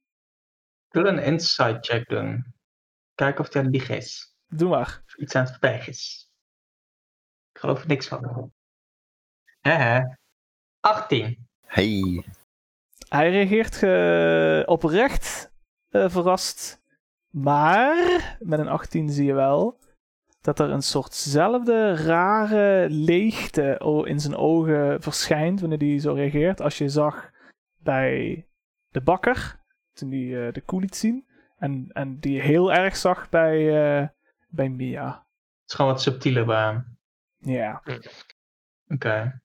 Speaker 1: Ik wil een inside check doen. Kijken of hij een lieg is.
Speaker 2: Doe maar.
Speaker 1: Of iets aan het verbergen is. Ik geloof er niks van. Hè hè. 18.
Speaker 5: Hey,
Speaker 2: Hij reageert eh, oprecht eh, verrast. Maar met een 18 zie je wel dat er een soortzelfde rare leegte o- in zijn ogen verschijnt wanneer hij zo reageert. Als je zag bij de bakker, toen hij eh, de koe liet zien. En, en die je heel erg zag bij, eh, bij Mia.
Speaker 1: Het is gewoon wat subtieler bij hem.
Speaker 2: Ja.
Speaker 1: Oké.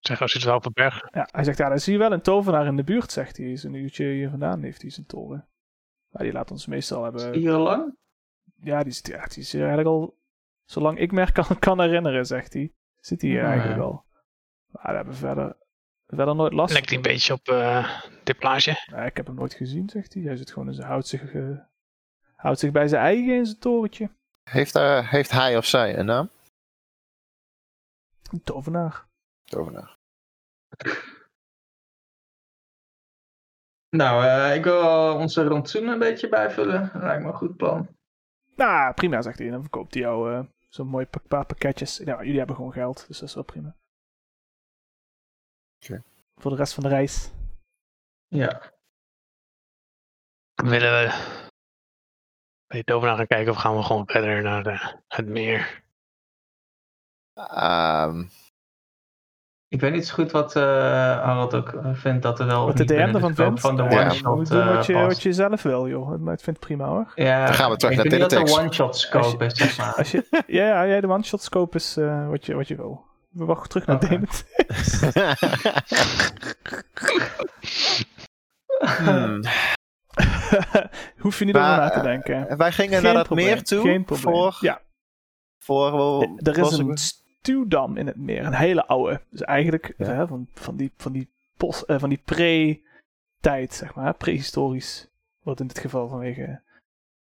Speaker 3: Zeg, als je het wel verbergt.
Speaker 2: Ja, hij zegt, ja, dan zie je wel een tovenaar in de buurt, zegt hij. Is een uurtje hier vandaan heeft hij zijn toren. Maar die laat ons meestal
Speaker 1: Is
Speaker 2: hebben.
Speaker 1: die hier al lang?
Speaker 2: Ja, die is, ja, die is hier eigenlijk al. Zolang ik me [laughs] er kan, kan herinneren, zegt hij. Zit hij hier
Speaker 1: Ja.
Speaker 2: eigenlijk al. Maar daar hebben we verder, verder nooit last
Speaker 3: Lijkt hij een beetje op eh de plage.
Speaker 2: Nee, ik heb hem nooit gezien, zegt hij. Hij zit gewoon in zijn, houdt, zich, eh, houdt zich bij zijn eigen in zijn torentje.
Speaker 5: heeft, eh, heeft hij of zij een naam?
Speaker 2: Een tovenaar.
Speaker 5: Tovenaar.
Speaker 1: Nou, eh, ik wil wel onze rantsoen een beetje bijvullen. Lijkt me een goed plan.
Speaker 2: Nou, prima, zegt hij. En dan verkoopt hij jou eh, zo'n mooi pak- paar pakketjes. Nou, jullie hebben gewoon geld, dus dat is wel prima.
Speaker 5: Oké.
Speaker 2: Voor de rest van de reis.
Speaker 1: Ja.
Speaker 3: Willen we bij de tovenaar gaan kijken of gaan we gewoon verder naar de, het
Speaker 5: [laughs]
Speaker 3: meer?
Speaker 5: Ehm,
Speaker 1: Ik weet niet zo goed wat eh Harald ook eh, vindt dat er wel.
Speaker 2: Wat de
Speaker 1: niet binnen
Speaker 2: DM ervan
Speaker 1: scope
Speaker 2: vindt.
Speaker 1: Van de
Speaker 2: Ja, Je
Speaker 1: one-shot.
Speaker 2: moet doen
Speaker 1: eh,
Speaker 2: wat je,
Speaker 1: past.
Speaker 2: wat je zelf wil, joh. Maar ik vind het prima hoor.
Speaker 1: Ja,
Speaker 5: Dan gaan we terug
Speaker 1: ik
Speaker 5: naar
Speaker 1: weet niet wat de
Speaker 5: Teletext.
Speaker 1: one-shot
Speaker 2: Als je-
Speaker 1: scope is, zeg maar.
Speaker 2: Als
Speaker 5: [laughs]
Speaker 2: je, ja, ja, ja, de one-shot scope is eh, wat, je, wat je wil. We wachten terug naar
Speaker 5: Ah.
Speaker 1: Oké.
Speaker 2: Damon. [laughs]
Speaker 5: hmm.
Speaker 2: Hoef je niet
Speaker 5: Maar,
Speaker 2: over na te
Speaker 5: eh,
Speaker 2: denken.
Speaker 5: Wij gingen naar
Speaker 2: Geen
Speaker 5: dat
Speaker 2: probleem,
Speaker 5: meer toe
Speaker 2: Geen probleem.
Speaker 5: voor...
Speaker 2: Ja,
Speaker 5: voor
Speaker 2: er is
Speaker 5: was
Speaker 2: een
Speaker 5: ik-
Speaker 2: stuwdam in het meer. Een hele oude. Dus eigenlijk
Speaker 5: Ja.
Speaker 2: eh, van, van die, van die, pos- eh, van die pre-tijd, zeg maar. Prehistorisch. Wat in dit geval vanwege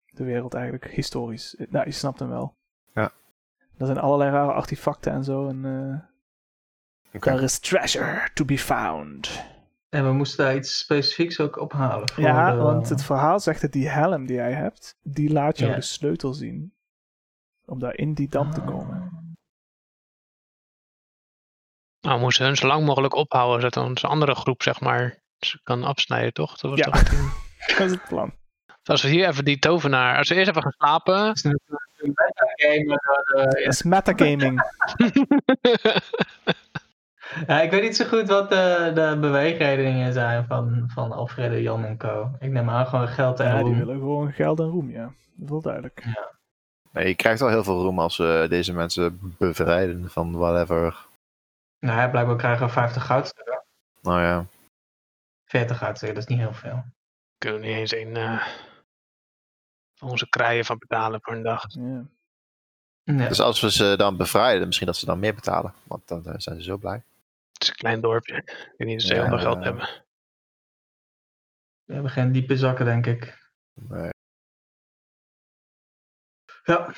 Speaker 2: de wereld eigenlijk historisch. Eh, Nou, je snapt hem wel.
Speaker 5: Ja.
Speaker 2: Er zijn allerlei rare artefacten en zo. En, eh,
Speaker 5: Oké.
Speaker 2: There is treasure to be found.
Speaker 1: En we moesten daar iets specifieks ook ophalen. voor
Speaker 2: Ja,
Speaker 1: de-
Speaker 2: want het verhaal zegt dat die helm die jij hebt, die laat jou
Speaker 1: Ja. Ah.
Speaker 2: de sleutel zien. Om daar in die dam te komen.
Speaker 3: Nou, we moesten hun zo lang mogelijk ophouden, zodat onze andere groep, zeg maar, ze kan afsnijden, toch? Dat was
Speaker 2: Ja,
Speaker 3: toch-
Speaker 2: dat is het plan.
Speaker 3: Als we hier even die tovenaar. Als we eerst even gaan
Speaker 5: [laughs]
Speaker 3: slapen.
Speaker 1: Het is natuurlijk een metagame, maar, eh,
Speaker 2: Dat is metagaming.
Speaker 1: ja, ik weet niet zo goed wat de, de beweegredenen zijn van, van Alfredo, Jan en Co. Ik neem aan gewoon geld en
Speaker 2: Ja, die
Speaker 1: roem.
Speaker 2: willen gewoon geld en roem, ja. Dat is wel duidelijk.
Speaker 5: Nee, je krijgt al heel veel roem als we deze mensen bevrijden van whatever.
Speaker 1: Nou ja, blijkbaar krijgen we 50 goudstukken.
Speaker 5: Nou ja.
Speaker 1: 40 goudstukken, dat is niet heel veel.
Speaker 3: kunnen we niet eens een. eh, van onze kraaien van betalen voor een dag.
Speaker 2: Ja.
Speaker 1: Nee.
Speaker 5: Dus als we ze dan bevrijden, misschien dat ze dan meer betalen. Want dan eh, zijn ze zo blij.
Speaker 3: Het is een klein dorpje. Ik weet niet of ze
Speaker 5: Ja,
Speaker 3: heel veel geld
Speaker 5: eh,
Speaker 3: hebben.
Speaker 1: We hebben geen diepe zakken, denk ik.
Speaker 5: Nee.
Speaker 1: Ja,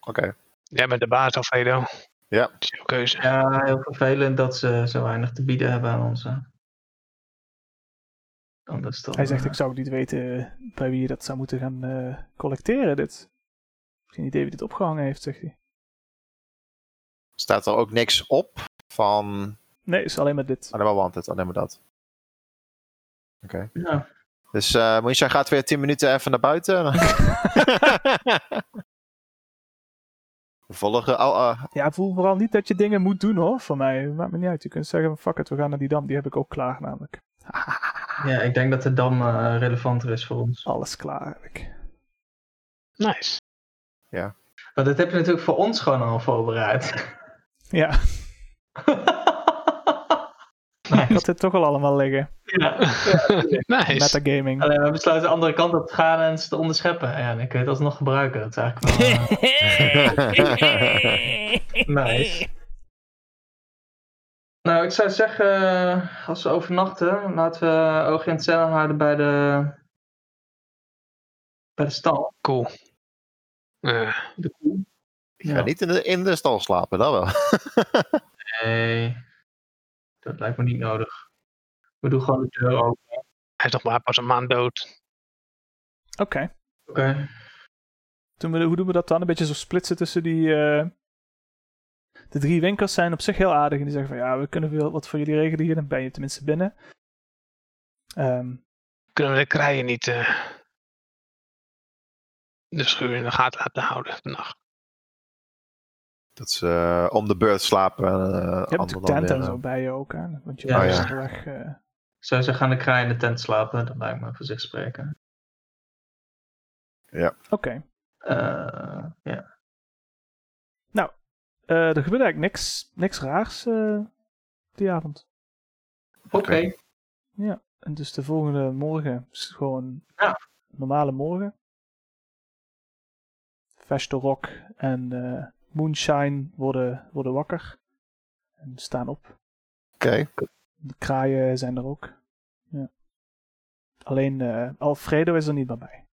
Speaker 5: Oké.
Speaker 3: Jij bent de baas, Alfredo.
Speaker 5: Ja.
Speaker 3: Dat is jouw keuze.
Speaker 1: ja, heel vervelend dat ze zo weinig te bieden hebben aan ons. hè. Anders dan,
Speaker 2: Hij zegt,
Speaker 1: eh,
Speaker 2: ik zou ook niet weten bij wie je dat zou moeten gaan eh, collecteren, dit. Geen idee wie dit opgehangen heeft, zegt hij.
Speaker 5: Staat er ook niks op van
Speaker 2: Nee, is alleen maar dit.
Speaker 5: alleen maar wanted, alleen maar dat. Oké.
Speaker 1: nou,
Speaker 5: Dus eh Moesha gaat weer 10 minuten even naar buiten. [laughs] We volgen al. eh,
Speaker 2: Ja, voel vooral niet dat je dingen moet doen, hoor, voor mij. Maakt me niet uit. Je kunt zeggen, fuck it, we gaan naar die dam. Die heb ik ook klaar, namelijk.
Speaker 1: ja, ik denk dat de dam eh, relevanter is voor ons.
Speaker 2: Alles klaar, eigenlijk.
Speaker 3: Nice.
Speaker 1: Maar dat heb je natuurlijk voor ons gewoon al
Speaker 2: [laughs]
Speaker 1: voorbereid.
Speaker 2: Ja, ik had dit toch al allemaal liggen.
Speaker 1: [laughs] ja.
Speaker 3: nice.
Speaker 2: Metagaming.
Speaker 1: Alleen we besluiten de andere kant op te gaan en ze te onderscheppen. Ja, dan kun je het alsnog gebruiken. Dat is eigenlijk
Speaker 2: [laughs]
Speaker 1: wel eh, nice. Nou, ik zou zeggen, eh, als we overnachten, laten we oog in het zeil houden bij de, bij de stal.
Speaker 3: Cool. Eh,
Speaker 1: De koe.
Speaker 5: Ik ga niet in de, in de stal slapen, dat wel.
Speaker 1: Nee, dat lijkt me niet nodig. We doen gewoon de deur open.
Speaker 3: hij is nog maar pas een maand dood.
Speaker 2: Oké.
Speaker 1: Oké.
Speaker 2: Doen we- hoe doen we dat dan? Een beetje zo splitsen tussen die. eh, De drie winkels zijn op zich heel aardig. En die zeggen van ja, we kunnen wel wat voor jullie regelen hier. Dan ben je tenminste binnen. Ehm,
Speaker 3: Kunnen we de kraaien niet. eh, de schuur in de gaten laten houden vannacht?
Speaker 5: Dat ze eh, om de beurt slapen. eh
Speaker 2: je hebt
Speaker 5: ander
Speaker 2: natuurlijk
Speaker 5: dan
Speaker 2: tent en
Speaker 5: weer, eh,
Speaker 2: zo bij je ook aan. Want je
Speaker 1: Ja,
Speaker 2: was
Speaker 5: ja.
Speaker 2: onderweg, eh,
Speaker 1: Ik zou zeggen, gaan de kraai in de tent slapen. Dat lijkt me voor zich spreken.
Speaker 2: Oké.
Speaker 1: Eh, ja.
Speaker 2: Eh, er gebeurt eigenlijk niks, niks raars eh, die avond.
Speaker 1: Oké.
Speaker 2: En dus de volgende morgen is het gewoon
Speaker 1: Ja.
Speaker 2: normale morgen. Vesto Rock en eh, Moonshine worden, worden wakker. En staan op.
Speaker 5: Oké.
Speaker 2: De kraaien zijn er ook. Ja. Alleen eh, Alfredo is er niet meer bij.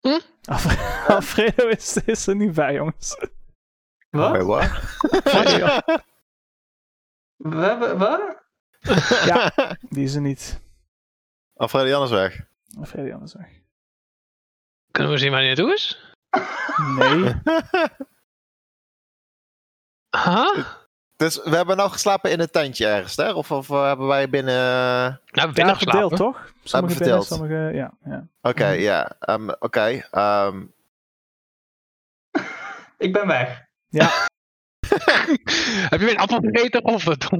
Speaker 3: Hm?
Speaker 2: Alfre- [laughs] Alfredo is, is er niet bij, jongens.
Speaker 1: Wat?
Speaker 5: Wait, what?
Speaker 1: We hebben, wat?
Speaker 2: Ja. Die is er niet.
Speaker 5: Alfredo Jan is weg.
Speaker 2: Alfredo anders weg.
Speaker 3: Kunnen we zien waar hij naartoe is?
Speaker 2: Nee.
Speaker 3: [laughs] Huh?
Speaker 5: [laughs] dus we hebben nou geslapen in een tentje ergens, hè? Of, of eh, hebben wij binnen. eh,
Speaker 3: Nou, we
Speaker 2: Ja,
Speaker 3: hebben
Speaker 2: verdeeld
Speaker 3: geslapen.
Speaker 2: toch? Sommige binnen,
Speaker 5: verdeeld.
Speaker 2: sommige... Ja, ja.
Speaker 5: Oké,
Speaker 2: Mhm.
Speaker 5: ja. ehm, Oké. ehm,
Speaker 1: Ik ben weg.
Speaker 3: [laughs] Heb je weer een appel gegeten
Speaker 2: [laughs]
Speaker 3: of wat?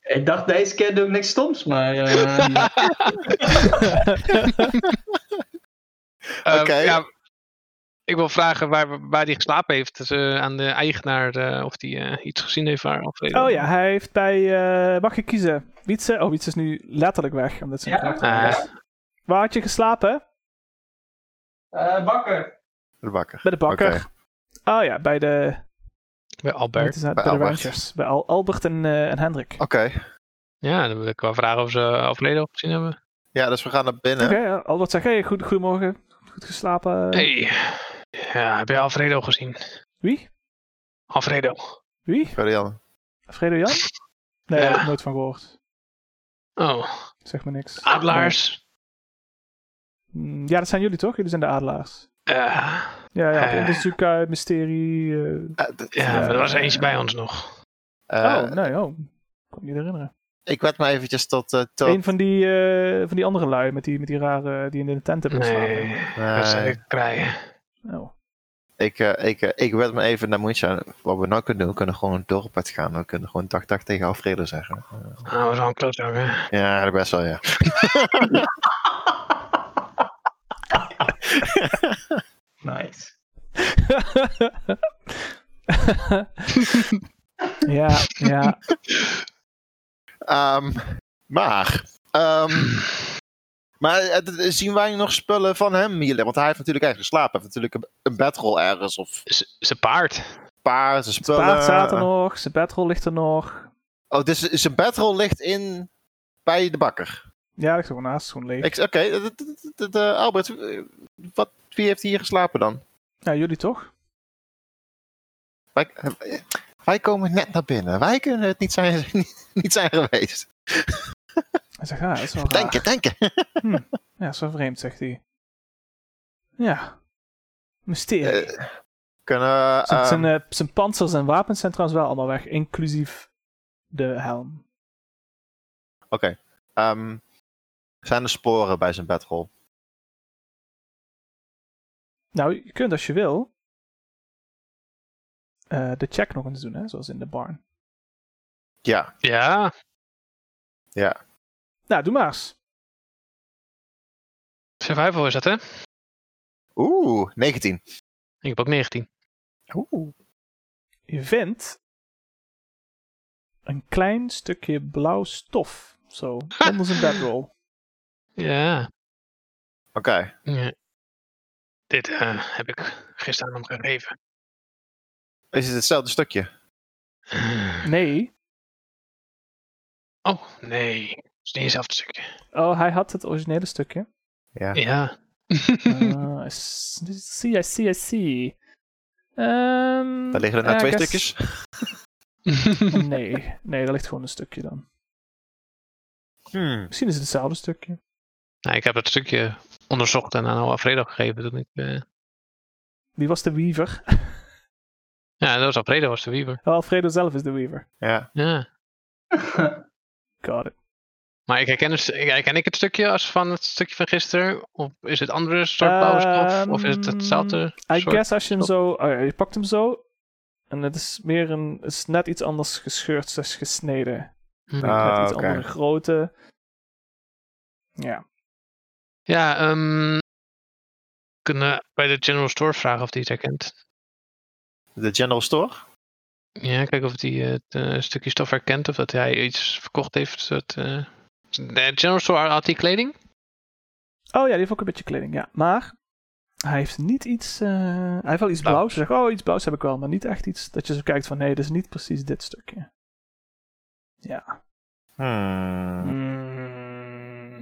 Speaker 3: Eh,
Speaker 1: Ik dacht, deze keer doe ik niks stoms, maar... [laughs] eh,
Speaker 3: Ehm,
Speaker 5: Oké.
Speaker 3: ja, ik wil vragen waar, we- waar hij geslapen heeft. Dus, eh, aan de eigenaar eh, of die eh, iets gezien heeft waar eh, Alfredo.
Speaker 2: Oh ja, hij heeft bij... eh, mag je kiezen? Wietse? Oh, Wietse is nu letterlijk weg. Omdat ze
Speaker 1: Ja.
Speaker 2: ja.
Speaker 3: Eh,
Speaker 2: Waar had je geslapen?
Speaker 1: eh, bakker.
Speaker 5: de bakker.
Speaker 2: Bij de bakker. Oh ja, bij de...
Speaker 3: bij
Speaker 2: Bij,
Speaker 3: Albert.
Speaker 2: bij,
Speaker 5: Bij
Speaker 2: bij de
Speaker 5: Albert.
Speaker 2: Rangers. Bij Al- Albert en, eh, en Hendrik.
Speaker 5: Oké.
Speaker 2: Oké,
Speaker 3: Ja, dan wil ik wel vragen of ze Alfredo gezien hebben.
Speaker 5: Ja, dus we gaan naar binnen.
Speaker 2: ja, Albert zegt, hey, goed, goedemorgen. Goed geslapen.
Speaker 3: Hey. Ja, heb je Alfredo gezien?
Speaker 2: Wie?
Speaker 3: Alfredo.
Speaker 2: Wie?
Speaker 5: Alfredo Jan.
Speaker 2: Fredo Jan? Nee,
Speaker 3: Ja.
Speaker 2: daar heb ik nooit van gehoord.
Speaker 3: Oh,
Speaker 2: Zeg me niks.
Speaker 3: adelaars.
Speaker 2: Mm, Ja, dat zijn jullie toch? Jullie zijn de adelaars.
Speaker 3: Eh,
Speaker 2: Ja, ja.
Speaker 3: Eh.
Speaker 2: Onderzoek uit, mysterie. eh,
Speaker 5: Eh, d-
Speaker 3: ja,
Speaker 2: Ja.
Speaker 3: er was eentje bij ons nog.
Speaker 5: eh,
Speaker 2: oh, nee, oh. Ik kan me niet herinneren.
Speaker 5: Ik werd me eventjes tot... eh, tot
Speaker 2: Een van die, eh, van die andere lui met die, met die rare die in de tent hebben
Speaker 3: Nee,
Speaker 2: geslapen.
Speaker 3: dat zou ik krijgen.
Speaker 2: Oh. [laughs]
Speaker 5: Eh, ik, eh, ik, eh, ik werd me even naar Moonshine. Wat we nou kunnen doen, we kunnen gewoon het dorp uitgaan. We kunnen gewoon dag dag tegen Alfredo zeggen.
Speaker 3: Ah, dat was wel een klootzak, hè.
Speaker 5: Ja, eigenlijk best wel, ja.
Speaker 1: [laughs] Nice.
Speaker 2: ja, ja.
Speaker 5: Ehm, maar... ehm, maar eh, d- zien wij nog spullen van hem hier? Want hij heeft natuurlijk ergens geslapen. Hij heeft natuurlijk een, een bedrol ergens. Of
Speaker 3: Z- Zijn paard.
Speaker 5: paard, zijn
Speaker 2: Het
Speaker 5: spullen.
Speaker 2: paard staat er nog, zijn bedrol ligt er nog.
Speaker 5: Oh, dus zijn bedrol ligt in... Bij de bakker.
Speaker 2: Ja, dat ligt er gewoon naast, gewoon leeg.
Speaker 5: Ik- Oké, eh, d- d- d- d- eh, Albert, eh, wat, wie heeft hier geslapen dan?
Speaker 2: Ja, jullie toch?
Speaker 5: Wij, eh, wij komen net naar binnen. Wij kunnen het niet zijn, [laughs] niet zijn geweest.
Speaker 2: Hij zegt, ah, dat is wel raar.
Speaker 5: Denken, denken.
Speaker 2: Ja, dat is wel vreemd, zegt hij. Ja. Mysterie.
Speaker 5: Eh, Kunnen,
Speaker 2: zijn,
Speaker 5: ehm,
Speaker 2: zijn, eh, zijn panzers en wapens zijn trouwens wel allemaal weg, inclusief de helm.
Speaker 5: ehm, zijn er sporen bij zijn bedrol?
Speaker 2: Nou, je kunt als je wil eh, de check nog eens doen, hè, zoals in de barn.
Speaker 5: Ja,
Speaker 3: Ja,
Speaker 2: Nou, doe maar eens.
Speaker 3: survival is dat, hè?
Speaker 5: oeh, 19.
Speaker 3: Ik heb ook 19.
Speaker 5: Oeh,
Speaker 2: Je vindt een klein stukje blauw stof, zo, onder zijn bedroll.
Speaker 3: Ja.
Speaker 5: oké.
Speaker 3: Ja. Dit eh, heb ik gisteren aan hem gegeven.
Speaker 5: Is het hetzelfde
Speaker 2: Mm,
Speaker 5: stukje?
Speaker 2: Nee,
Speaker 3: Oh, nee. Het is niet hetzelfde stukje.
Speaker 2: oh, hij had het originele stukje.
Speaker 5: Ja.
Speaker 3: Ja. [laughs]
Speaker 2: Ah, I s- see, I see, I see. Ehm,
Speaker 5: Daar liggen er nou
Speaker 2: I
Speaker 5: twee
Speaker 2: guess-
Speaker 5: stukjes.
Speaker 2: Nee, nee, daar ligt gewoon een stukje dan.
Speaker 5: Hmm.
Speaker 2: Misschien is het hetzelfde stukje.
Speaker 3: nou, ik heb dat stukje onderzocht en aan Alfredo gegeven toen ik... eh,
Speaker 2: Wie was de weaver? [laughs]
Speaker 3: Ja, dat was Alfredo, was de wieber.
Speaker 2: Oh, Alfredo zelf is de weaver.
Speaker 5: Ja.
Speaker 3: Ja.
Speaker 2: Got it.
Speaker 3: Maar ik herken, het st- ik- herken ik het stukje als van het stukje van gisteren? Of is het andere soort blauwe stof? Of is het hetzelfde
Speaker 2: Ehm, I
Speaker 3: soort?
Speaker 2: guess als je hem zo... oh ja, je pakt hem zo. En het is meer een... Het is net iets anders gescheurd, dus gesneden.
Speaker 3: Hm.
Speaker 2: Met
Speaker 5: Ah,
Speaker 2: iets
Speaker 5: oké.
Speaker 2: andere grootte. Ja.
Speaker 3: Ja, ehm kunnen bij de General Store vragen of die het herkent.
Speaker 5: De General Store?
Speaker 3: Ja, kijken of die eh, het eh, stukje stof herkent of dat hij iets verkocht heeft. Dat, eh, De General Store had die kleding?
Speaker 2: Oh ja, die heeft ook een beetje kleding, ja. Maar hij heeft niet iets... eh, hij heeft wel iets
Speaker 3: Blauw.
Speaker 2: blauws. Hij zegt, oh, iets blauws heb ik wel. Maar niet echt iets dat je zo kijkt van... Nee, dat is niet precies dit stukje. Ja.
Speaker 5: Hmm.
Speaker 1: Hmm.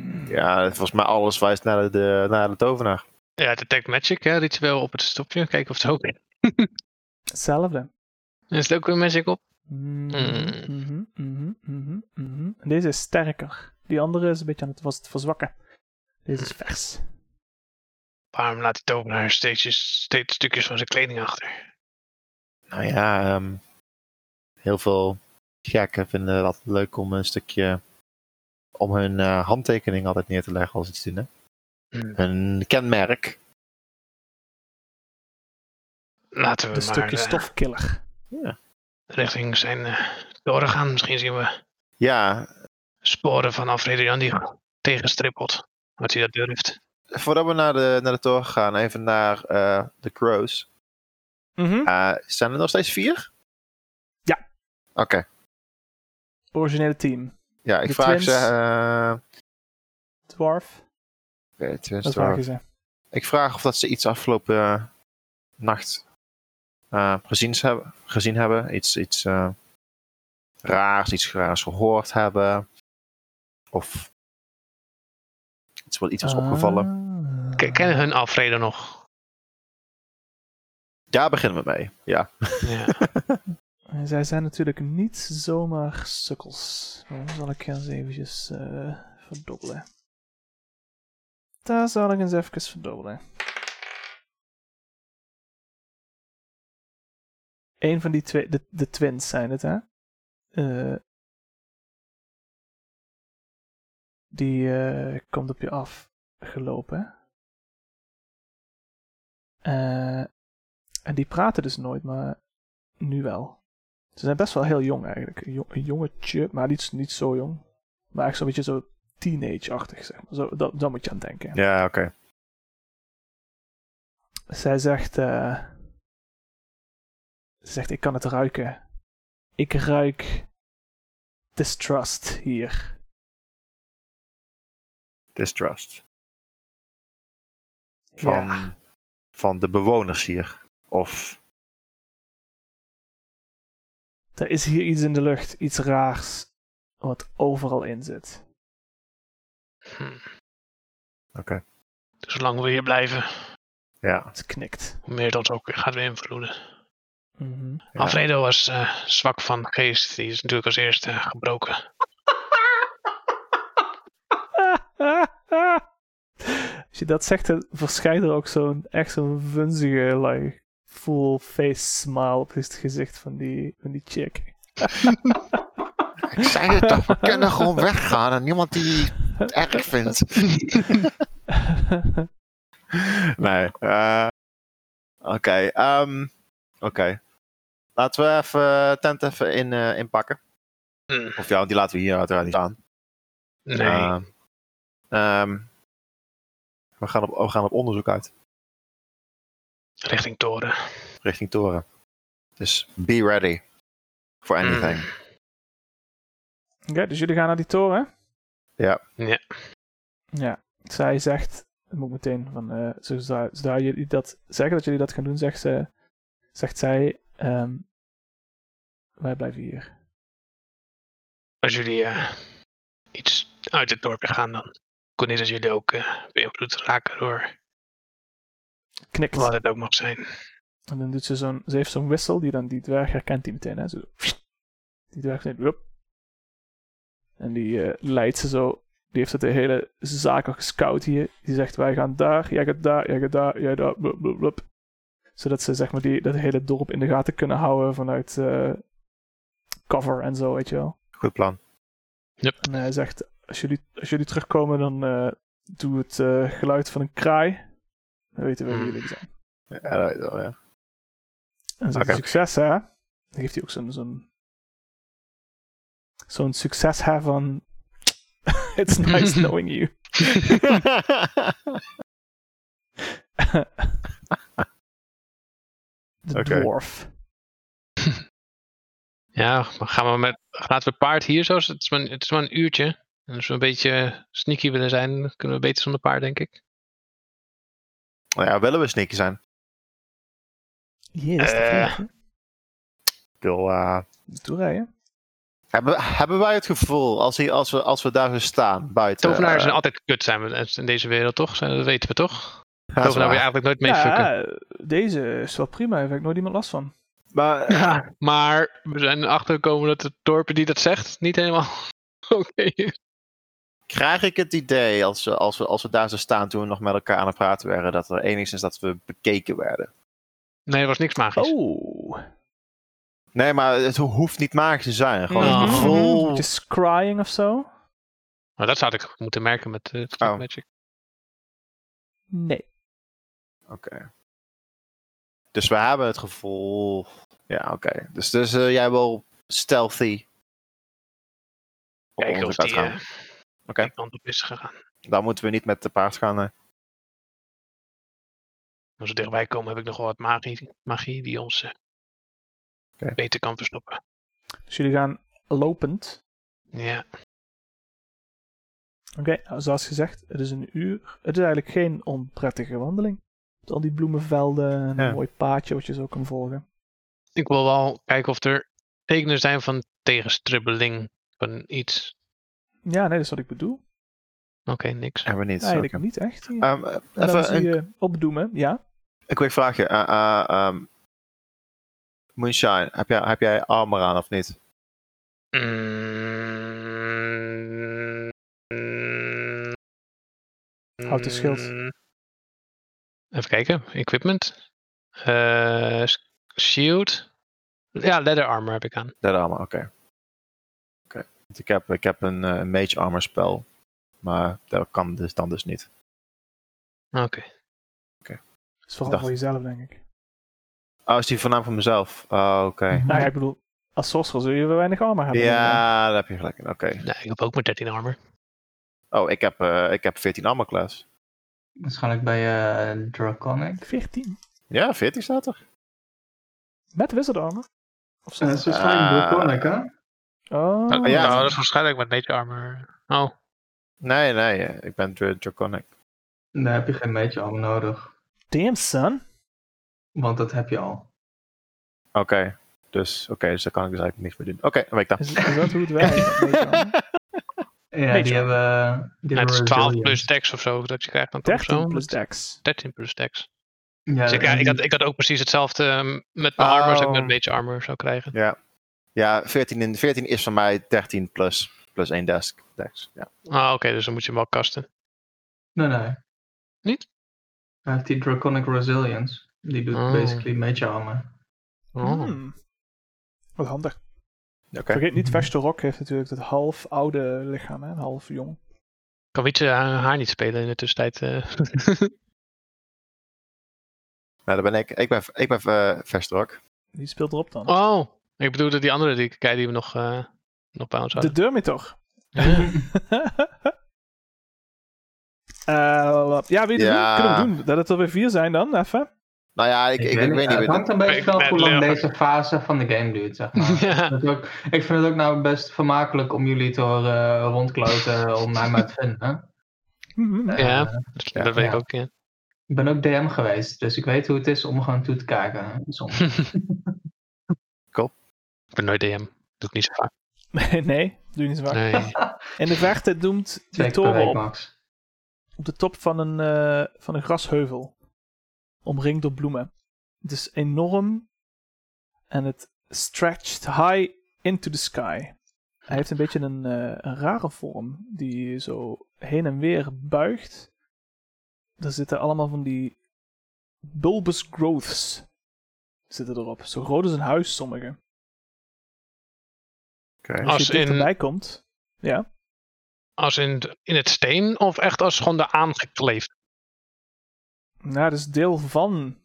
Speaker 2: Mm.
Speaker 5: Ja, volgens mij alles wijst naar de, naar de tovenaar.
Speaker 3: Ja, Detect Magic, hè, ritueel op het stofje. Kijken of het ook is.
Speaker 2: Hetzelfde.
Speaker 3: Is het ook weer magic op?
Speaker 2: Mhm,
Speaker 3: Mm.
Speaker 2: mhm, mhm, mhm, mhm. En Deze is sterker. Die andere is een beetje aan het, was het verzwakken. Deze is vers.
Speaker 3: Waarom laat die tovenaar steeds, steeds stukjes van zijn kleding achter?
Speaker 5: Nou ja, ehm, heel veel gekken vinden dat leuk om een stukje om hun eh, handtekening altijd neer te leggen als iets doen. Hè?
Speaker 3: Hmm.
Speaker 5: Hun kenmerk.
Speaker 3: Laten we
Speaker 2: Een
Speaker 3: maar
Speaker 2: stukje
Speaker 3: eh,
Speaker 2: stofkiller.
Speaker 3: richting zijn eh, toren gaan. Misschien zien we
Speaker 5: Ja,
Speaker 3: sporen van Alfredo Jan die tegenstrippelt. Wat hij dat durft.
Speaker 5: voordat we naar de, naar de toren gaan, even naar eh, de crows.
Speaker 2: Mhm.
Speaker 5: Eh, zijn er nog steeds vier?
Speaker 2: Ja.
Speaker 5: Oké,
Speaker 2: Originele team.
Speaker 5: ja, ik
Speaker 2: De
Speaker 5: vraag
Speaker 2: twins.
Speaker 5: ze. eh,
Speaker 2: Dwarf.
Speaker 5: oké, twins
Speaker 2: Dat
Speaker 5: door.
Speaker 2: vraag je ze.
Speaker 5: Ik vraag of dat ze iets afgelopen eh, nacht eh, gezien, ze hebben, gezien hebben. Iets, iets eh, raars, iets raars gehoord hebben. Of iets wat iets was opgevallen.
Speaker 2: Ah.
Speaker 1: [laughs]
Speaker 3: K- kennen hun Alfredo nog?
Speaker 5: [laughs] Daar beginnen we mee. Ja.
Speaker 3: Ja.
Speaker 2: En Eh, zij zijn natuurlijk niet zomaar sukkels. Maar Dan zal ik eens eventjes eh, verdubbelen. Daar zal ik eens even verdubbelen. Eén van die twee, de, de twins zijn het, hè? Eh, die eh, komt op je af gelopen. Eh, en die praten dus nooit, maar nu wel. Ze zijn best wel heel jong eigenlijk. Een, jong- een jongetje, maar niet, niet zo jong. Maar eigenlijk zo'n beetje zo teenage-achtig, zeg maar. Zo, dat, dat moet je aan denken.
Speaker 5: Ja, oké.
Speaker 2: Zij zegt... eh, ze zegt, ik kan het ruiken. Ik ruik distrust hier.
Speaker 5: Distrust. Van, van de bewoners hier. Of
Speaker 2: Er is hier iets in de lucht, iets raars, wat overal in zit.
Speaker 3: Hm.
Speaker 5: Oké.
Speaker 3: Dus zolang we hier blijven,
Speaker 5: ja.
Speaker 2: Het knikt.
Speaker 3: hoe meer dat ook gaat beïnvloeden.
Speaker 2: Mhm.
Speaker 5: Ja.
Speaker 3: Alfredo was eh, zwak van geest. Die is natuurlijk als eerste gebroken.
Speaker 2: [laughs] Als je dat zegt, dan verschijnt er ook zo'n echt zo'n vunzige, like, full face smile op het gezicht van die, van die chick. [laughs]
Speaker 5: Ik zei het toch, we kunnen gewoon weggaan en niemand die het erg vindt. [laughs] Nee. eh, Oké. ehm, Oké. Laten we even eh, tent even in, eh, inpakken.
Speaker 3: Hm,
Speaker 5: Of ja, want die laten we hier uiteraard niet aan.
Speaker 3: Nee.
Speaker 5: Ehm, ehm, we, gaan op, we gaan op onderzoek uit.
Speaker 3: Richting toren.
Speaker 5: Richting toren. Dus be ready. For
Speaker 3: Hmm. Hm.
Speaker 5: anything.
Speaker 2: Oké, dus jullie gaan naar die toren?
Speaker 5: Ja.
Speaker 3: Ja.
Speaker 2: Ja, zij zegt, dat moet ik meteen, van, eh, zodra, zodra jullie dat zeggen, dat jullie dat gaan doen, zegt, ze, zegt zij, ehm, wij blijven hier.
Speaker 3: Als jullie eh, iets uit het dorp gaan, dan kon niet dat jullie ook eh, beïnvloed raken door
Speaker 2: Knikt.
Speaker 3: wat het ook mag zijn.
Speaker 2: En dan doet ze zo'n, ze heeft zo'n wissel, die dan die dwerg herkent die meteen, hè. Zo, die dwerg zegt, "Wup." En die eh, leidt ze zo, die heeft het de hele zaak al gescout hier. Die zegt, wij gaan daar, jij gaat daar, jij gaat daar, jij daar, blub, blub, blub. Zodat ze, zeg maar, die, dat hele dorp in de gaten kunnen houden vanuit eh, cover en zo, weet je wel.
Speaker 5: Goed plan.
Speaker 2: En hij zegt, als jullie, als jullie terugkomen, dan eh, doe het eh, geluid van een kraai. Dan weten we wie
Speaker 3: Hmm.
Speaker 2: jullie zijn.
Speaker 5: Ja, dat weet ik wel, ja.
Speaker 2: En zo'n
Speaker 5: Oké.
Speaker 2: succes, hè? Dan geeft hij ook zo'n. Zo'n, zo'n succes, hè? Van. [laughs] It's
Speaker 5: [laughs]
Speaker 2: nice knowing you. De
Speaker 5: Oké.
Speaker 2: dwarf.
Speaker 3: Ja, maar gaan we met, laten we paard hier zo. Het is maar, het is maar een uurtje. En als we een beetje sneaky willen zijn, dan kunnen we beter zonder paard, denk
Speaker 5: Eh,
Speaker 3: ik.
Speaker 5: Nou ja, willen we sneaky zijn?
Speaker 2: Yes, dat
Speaker 3: Eh.
Speaker 2: vraag, hè?
Speaker 5: Ik bedoel, eh,
Speaker 2: Naartoe rijden.
Speaker 5: hebben, hebben wij het gevoel, als, hij, als, we, als we daar zo staan, buiten...
Speaker 3: Tovenaars
Speaker 5: eh,
Speaker 3: zijn altijd kut zijn we in deze wereld, toch? Zijn- Dat weten we toch?
Speaker 5: eh, ja, dat is
Speaker 3: Tovenaar wil je
Speaker 5: waar.
Speaker 3: eigenlijk nooit mee fucken.
Speaker 2: Ja, deze is wel prima. Daar heb ik nooit iemand last van.
Speaker 5: Maar
Speaker 3: Ja, maar we zijn erachter gekomen dat het dorp die dat zegt niet helemaal [laughs] oké is.
Speaker 5: Krijg ik het idee, als we, als, we, als we daar zo staan toen we nog met elkaar aan het praten waren, dat er enigszins dat we bekeken werden?
Speaker 3: Nee, er was niks magisch.
Speaker 2: Oh.
Speaker 5: Nee, maar het hoeft niet magisch te zijn. Gewoon
Speaker 3: Ja.
Speaker 5: het gevoel.
Speaker 2: Het is crying of zo?
Speaker 3: Maar dat zou ik moeten merken met eh, het
Speaker 5: Oh.
Speaker 3: magic.
Speaker 2: Nee.
Speaker 5: Oké. Dus we hebben het gevoel. Ja, oké. Dus, dus eh, jij wil stealthy. op
Speaker 3: Kijken of
Speaker 5: onderzoek
Speaker 3: die
Speaker 5: uitgaan.
Speaker 3: eh,
Speaker 5: Oké.
Speaker 3: die kant op is gegaan.
Speaker 5: Dan moeten we niet met de paard gaan. eh.
Speaker 3: Als we dichtbij komen heb ik nog wel wat magie, magie die ons eh,
Speaker 5: Oké.
Speaker 3: beter kan verstoppen.
Speaker 2: Dus jullie gaan lopend.
Speaker 3: Ja,
Speaker 2: Oké, nou, zoals gezegd, het is een uur. Het is eigenlijk geen onprettige wandeling. Met al die bloemenvelden en een
Speaker 5: Ja.
Speaker 2: mooi paadje wat je zo kan volgen.
Speaker 3: ik wil wel kijken of er tekenen zijn van tegenstribbeling van iets.
Speaker 2: Ja, nee, dat is wat ik bedoel.
Speaker 3: Oké, niks.
Speaker 5: Hebben we niet.
Speaker 2: Eigenlijk
Speaker 5: Oké.
Speaker 2: niet echt. Ja.
Speaker 5: Ehm, eh,
Speaker 2: En dan
Speaker 5: even
Speaker 2: zie
Speaker 5: een,
Speaker 2: je opdoemen, ja.
Speaker 5: een quick vraagje. Eh, eh, ehm, Moonshine, heb jij, heb jij armor aan of niet?
Speaker 3: Mm.
Speaker 2: Houten schild.
Speaker 3: Even kijken. Equipment. Eh, s- shield. Ja, leather armor heb ik aan.
Speaker 5: Dat armor, oké. Oké. Want Ik, heb, ik heb een eh, mage armor spel, maar dat kan dus dan dus niet.
Speaker 3: Oké.
Speaker 2: Dat is vooral
Speaker 5: Dacht-
Speaker 2: voor jezelf, denk ik.
Speaker 5: Oh, is die voornaam van mezelf? Oh, oké.
Speaker 2: Nou ja, ik bedoel, als sorcerer zul je wel weinig armor hebben.
Speaker 5: Ja, daar heb je gelijk in. Oké.
Speaker 3: Nee, ik heb ook maar 13 armor.
Speaker 5: Oh, ik heb, eh, ik heb 14 armor class.
Speaker 1: Waarschijnlijk bij eh, Draconic.
Speaker 2: 14.
Speaker 5: Ja, 14 staat er.
Speaker 2: Met wizard armor? Of zo?
Speaker 1: Dat is waarschijnlijk
Speaker 5: Ah.
Speaker 1: Draconic, hè?
Speaker 2: oh,
Speaker 5: Ah, ja.
Speaker 3: Nou, dat is [laughs] waarschijnlijk met nature armor. Oh,
Speaker 5: Nee, nee, eh, ik ben dra- draconic.
Speaker 1: Daar heb je geen mage armor nodig.
Speaker 2: damn son.
Speaker 1: Want dat heb je al.
Speaker 5: Oké, dus, oké, dus daar kan ik dus eigenlijk niks meer doen. Oké, dan ben ik daar.
Speaker 2: Is, is dat hoe het werkt?
Speaker 5: [laughs]
Speaker 2: Mage armor?
Speaker 1: Ja,
Speaker 2: Mage
Speaker 1: die
Speaker 2: armor.
Speaker 1: hebben... Die
Speaker 3: nou, het is
Speaker 1: hebben
Speaker 3: 12
Speaker 1: resilient.
Speaker 3: plus dex of zo dat je krijgt dan toch?
Speaker 2: 13
Speaker 3: zo?
Speaker 2: plus dex.
Speaker 3: 13 plus dex.
Speaker 1: Ja,
Speaker 3: Dus ik, ja,
Speaker 1: en
Speaker 3: ik, had,
Speaker 1: die-
Speaker 3: ik had ook precies hetzelfde ehm, met mijn armor als ik met een beetje armor zou krijgen.
Speaker 5: Ja, ja 14, in, 14 is voor mij 13 plus, plus 1 desk. dex. Ja.
Speaker 3: Ah, oké, dus dan moet je hem wel kasten.
Speaker 1: Nee, nee.
Speaker 3: Niet?
Speaker 1: Hij heeft die Draconic Resilience. Die doet
Speaker 3: Oh.
Speaker 1: basically mage armor.
Speaker 3: Oh.
Speaker 2: Hmm. Wat handig.
Speaker 5: Oké.
Speaker 2: Vergeet niet, Vestal Rock heeft natuurlijk dat half oude lichaam, hè? een half jong.
Speaker 3: Kan Wietse haar, haar niet spelen in de tussentijd? eh?
Speaker 5: Nou, daar ben ik. Ik ben, ik ben eh, Vesterok.
Speaker 2: Die speelt erop dan.
Speaker 3: oh, ik bedoelde die andere die, kei die we nog, eh, nog bij ons
Speaker 2: de
Speaker 3: hadden.
Speaker 2: Durmitor. [laughs] Eh, ja, weet je,
Speaker 5: Ja.
Speaker 2: kunnen we doen. Dat het er weer vier zijn dan, even.
Speaker 5: Nou ja, ik, ik, ik weet niet.
Speaker 1: eh, Het hangt een beetje
Speaker 3: Ik
Speaker 1: vanaf
Speaker 3: ben
Speaker 1: hoe lang
Speaker 3: Leo.
Speaker 1: deze fase van de game duurt, zeg
Speaker 3: [laughs]
Speaker 1: maar.
Speaker 3: [laughs] ja,
Speaker 1: Dat is ook- ik vind het ook nou best vermakelijk om jullie te horen eh,
Speaker 3: [laughs]
Speaker 1: rondkloten om mij maar te vinden.
Speaker 2: Mhm. [laughs]
Speaker 1: Eh,
Speaker 3: Ja. dat,
Speaker 5: Ja.
Speaker 3: dat weet ik
Speaker 1: Ja.
Speaker 3: ook. Ja. [laughs]
Speaker 1: ik ben ook DM geweest, dus ik weet hoe het is om gewoon toe te kijken. Soms.
Speaker 3: Ik ben nooit DM. Doe ik niet zo vaak.
Speaker 2: Nee, nee, doe je niet zo vaak.
Speaker 3: Nee.
Speaker 2: In de verte doemt
Speaker 1: Twee
Speaker 2: die
Speaker 1: keer per
Speaker 2: toren
Speaker 1: week
Speaker 2: op,
Speaker 1: max.
Speaker 2: op de top van een, eh, van een grasheuvel. Omringd door bloemen. Het is enorm. En het stretched high into the sky. Hij heeft een beetje een, eh, een rare vorm. Die zo heen en weer buigt. Er zitten allemaal van die bulbous growths zitten erop. Zo groot als een huis sommige.
Speaker 5: Oké.
Speaker 2: Als
Speaker 3: Als
Speaker 2: je
Speaker 3: in-
Speaker 2: dichterbij komt. Ja.
Speaker 3: Als in, d- in het steen of echt als gewoon de aangekleefd?
Speaker 2: Nou, dat is deel van.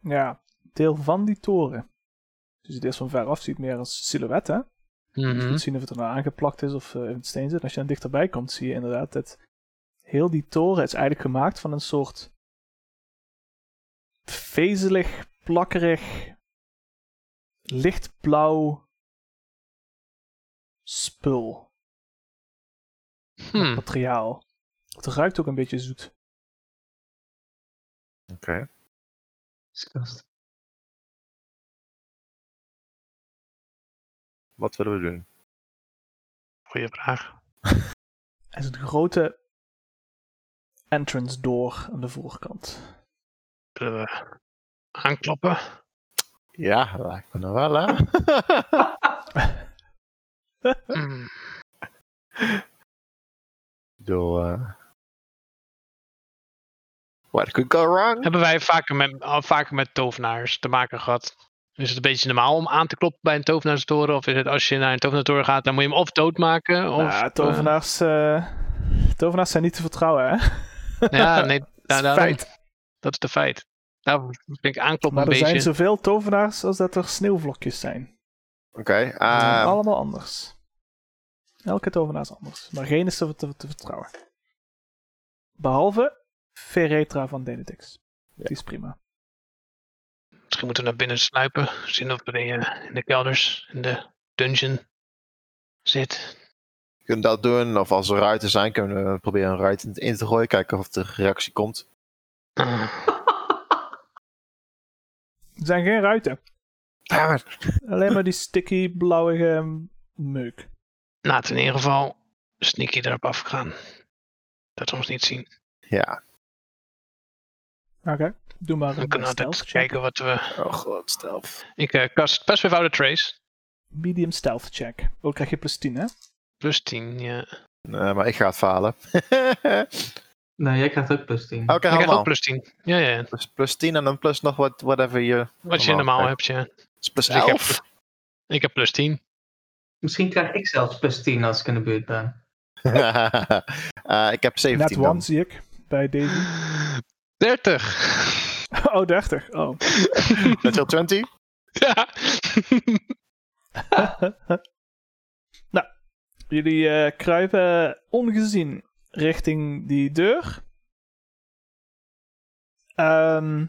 Speaker 2: Ja, deel van die toren. Dus het eerst van ver af ziet meer als silhouet, hè? Je
Speaker 3: Mhm.
Speaker 2: kunt zien of het er nou aangeplakt is of eh, in het steen zit. En als je dan dichterbij komt, zie je inderdaad dat heel die toren is eigenlijk gemaakt van een soort vezelig, plakkerig, lichtblauw spul,
Speaker 3: Hmm.
Speaker 2: materiaal. Het ruikt ook een beetje zoet.
Speaker 5: Oké.
Speaker 1: Disgust.
Speaker 5: Wat willen we doen?
Speaker 3: Goeie vraag.
Speaker 2: Er is een grote entrance door aan de voorkant.
Speaker 3: [laughs] Kunnen we aankloppen?
Speaker 5: Ja, dat lijkt me nog wel, hè?
Speaker 3: Nou, Hmm.
Speaker 5: Ik bedoel, eh, What could go wrong?
Speaker 3: Hebben wij vaker met, al vaker met tovenaars te maken gehad? Is het een beetje normaal om aan te kloppen bij een tovenaarstoren? Of is het als je naar een tovenaarstoren gaat, dan moet je hem of doodmaken? Of,
Speaker 2: Nou, tovenaars, eh, tovenaars zijn niet te vertrouwen, hè?
Speaker 3: eh, [laughs] ja,
Speaker 2: [laughs]
Speaker 3: nee,
Speaker 2: Dat
Speaker 3: ja,
Speaker 2: is
Speaker 3: daarom.
Speaker 2: feit.
Speaker 3: dat is de feit. Daarom vind ik aankloppen
Speaker 2: Maar er
Speaker 3: een beetje.
Speaker 2: zijn zoveel tovenaars als dat er sneeuwvlokjes zijn.
Speaker 5: Oké.
Speaker 2: Ze zijn
Speaker 5: eh,
Speaker 2: allemaal anders. Elke tovenaar is anders. Maar geen is te, te, te vertrouwen. Behalve Ferretra van Denetix. Die is prima.
Speaker 3: Misschien moeten we naar binnen sluipen. Zien of we in, eh, in de kelders, in de dungeon zit.
Speaker 5: kunnen dat doen. Of als er ruiten zijn, kunnen we proberen een ruit in- in te gooien. Kijken of er reactie komt.
Speaker 3: Ah,
Speaker 2: Er zijn geen ruiten.
Speaker 5: Damn it.
Speaker 2: Alleen maar die sticky, blauwige meuk.
Speaker 3: Laten we nou, in ieder geval sneaky erop afgaan. Dat we ons niet zien.
Speaker 5: Ja.
Speaker 2: Oké, doe maar
Speaker 3: We
Speaker 2: een
Speaker 3: kunnen
Speaker 2: eh,
Speaker 3: altijd
Speaker 2: stealth check.
Speaker 3: kijken wat we...
Speaker 5: Oh god, stealth.
Speaker 3: Ik eh cast Pass Without a Trace.
Speaker 2: Medium stealth check. Ook krijg je plus 10, hè?
Speaker 3: Plus 10, ja.
Speaker 5: Nee, maar ik ga het falen. [laughs]
Speaker 1: Nee, jij krijgt ook plus 10.
Speaker 5: Oké,
Speaker 3: Ik krijg ook
Speaker 5: allemaal.
Speaker 3: plus 10. Ja, ja. ja.
Speaker 5: Plus, plus 10 en dan plus nog wat, whatever je...
Speaker 3: Wat je
Speaker 5: Normaal
Speaker 3: normaal
Speaker 5: krijg-
Speaker 3: hebt, ja.
Speaker 5: is plus
Speaker 3: Dus ik heb
Speaker 5: 11.
Speaker 3: Ik heb plus 10.
Speaker 1: Misschien krijg ik zelfs plus 10 als ik in de buurt ben.
Speaker 5: [laughs]
Speaker 1: [laughs]
Speaker 5: Eh, ik heb
Speaker 2: Net
Speaker 5: 17
Speaker 2: one
Speaker 5: dan.
Speaker 2: zie ik bij Davy.
Speaker 3: 30.
Speaker 2: [laughs] Oh, 30. Oh.
Speaker 5: Natural 20?
Speaker 3: ja. [laughs]
Speaker 2: [laughs] nou, jullie eh, kruipen ongezien richting die deur. Ehm,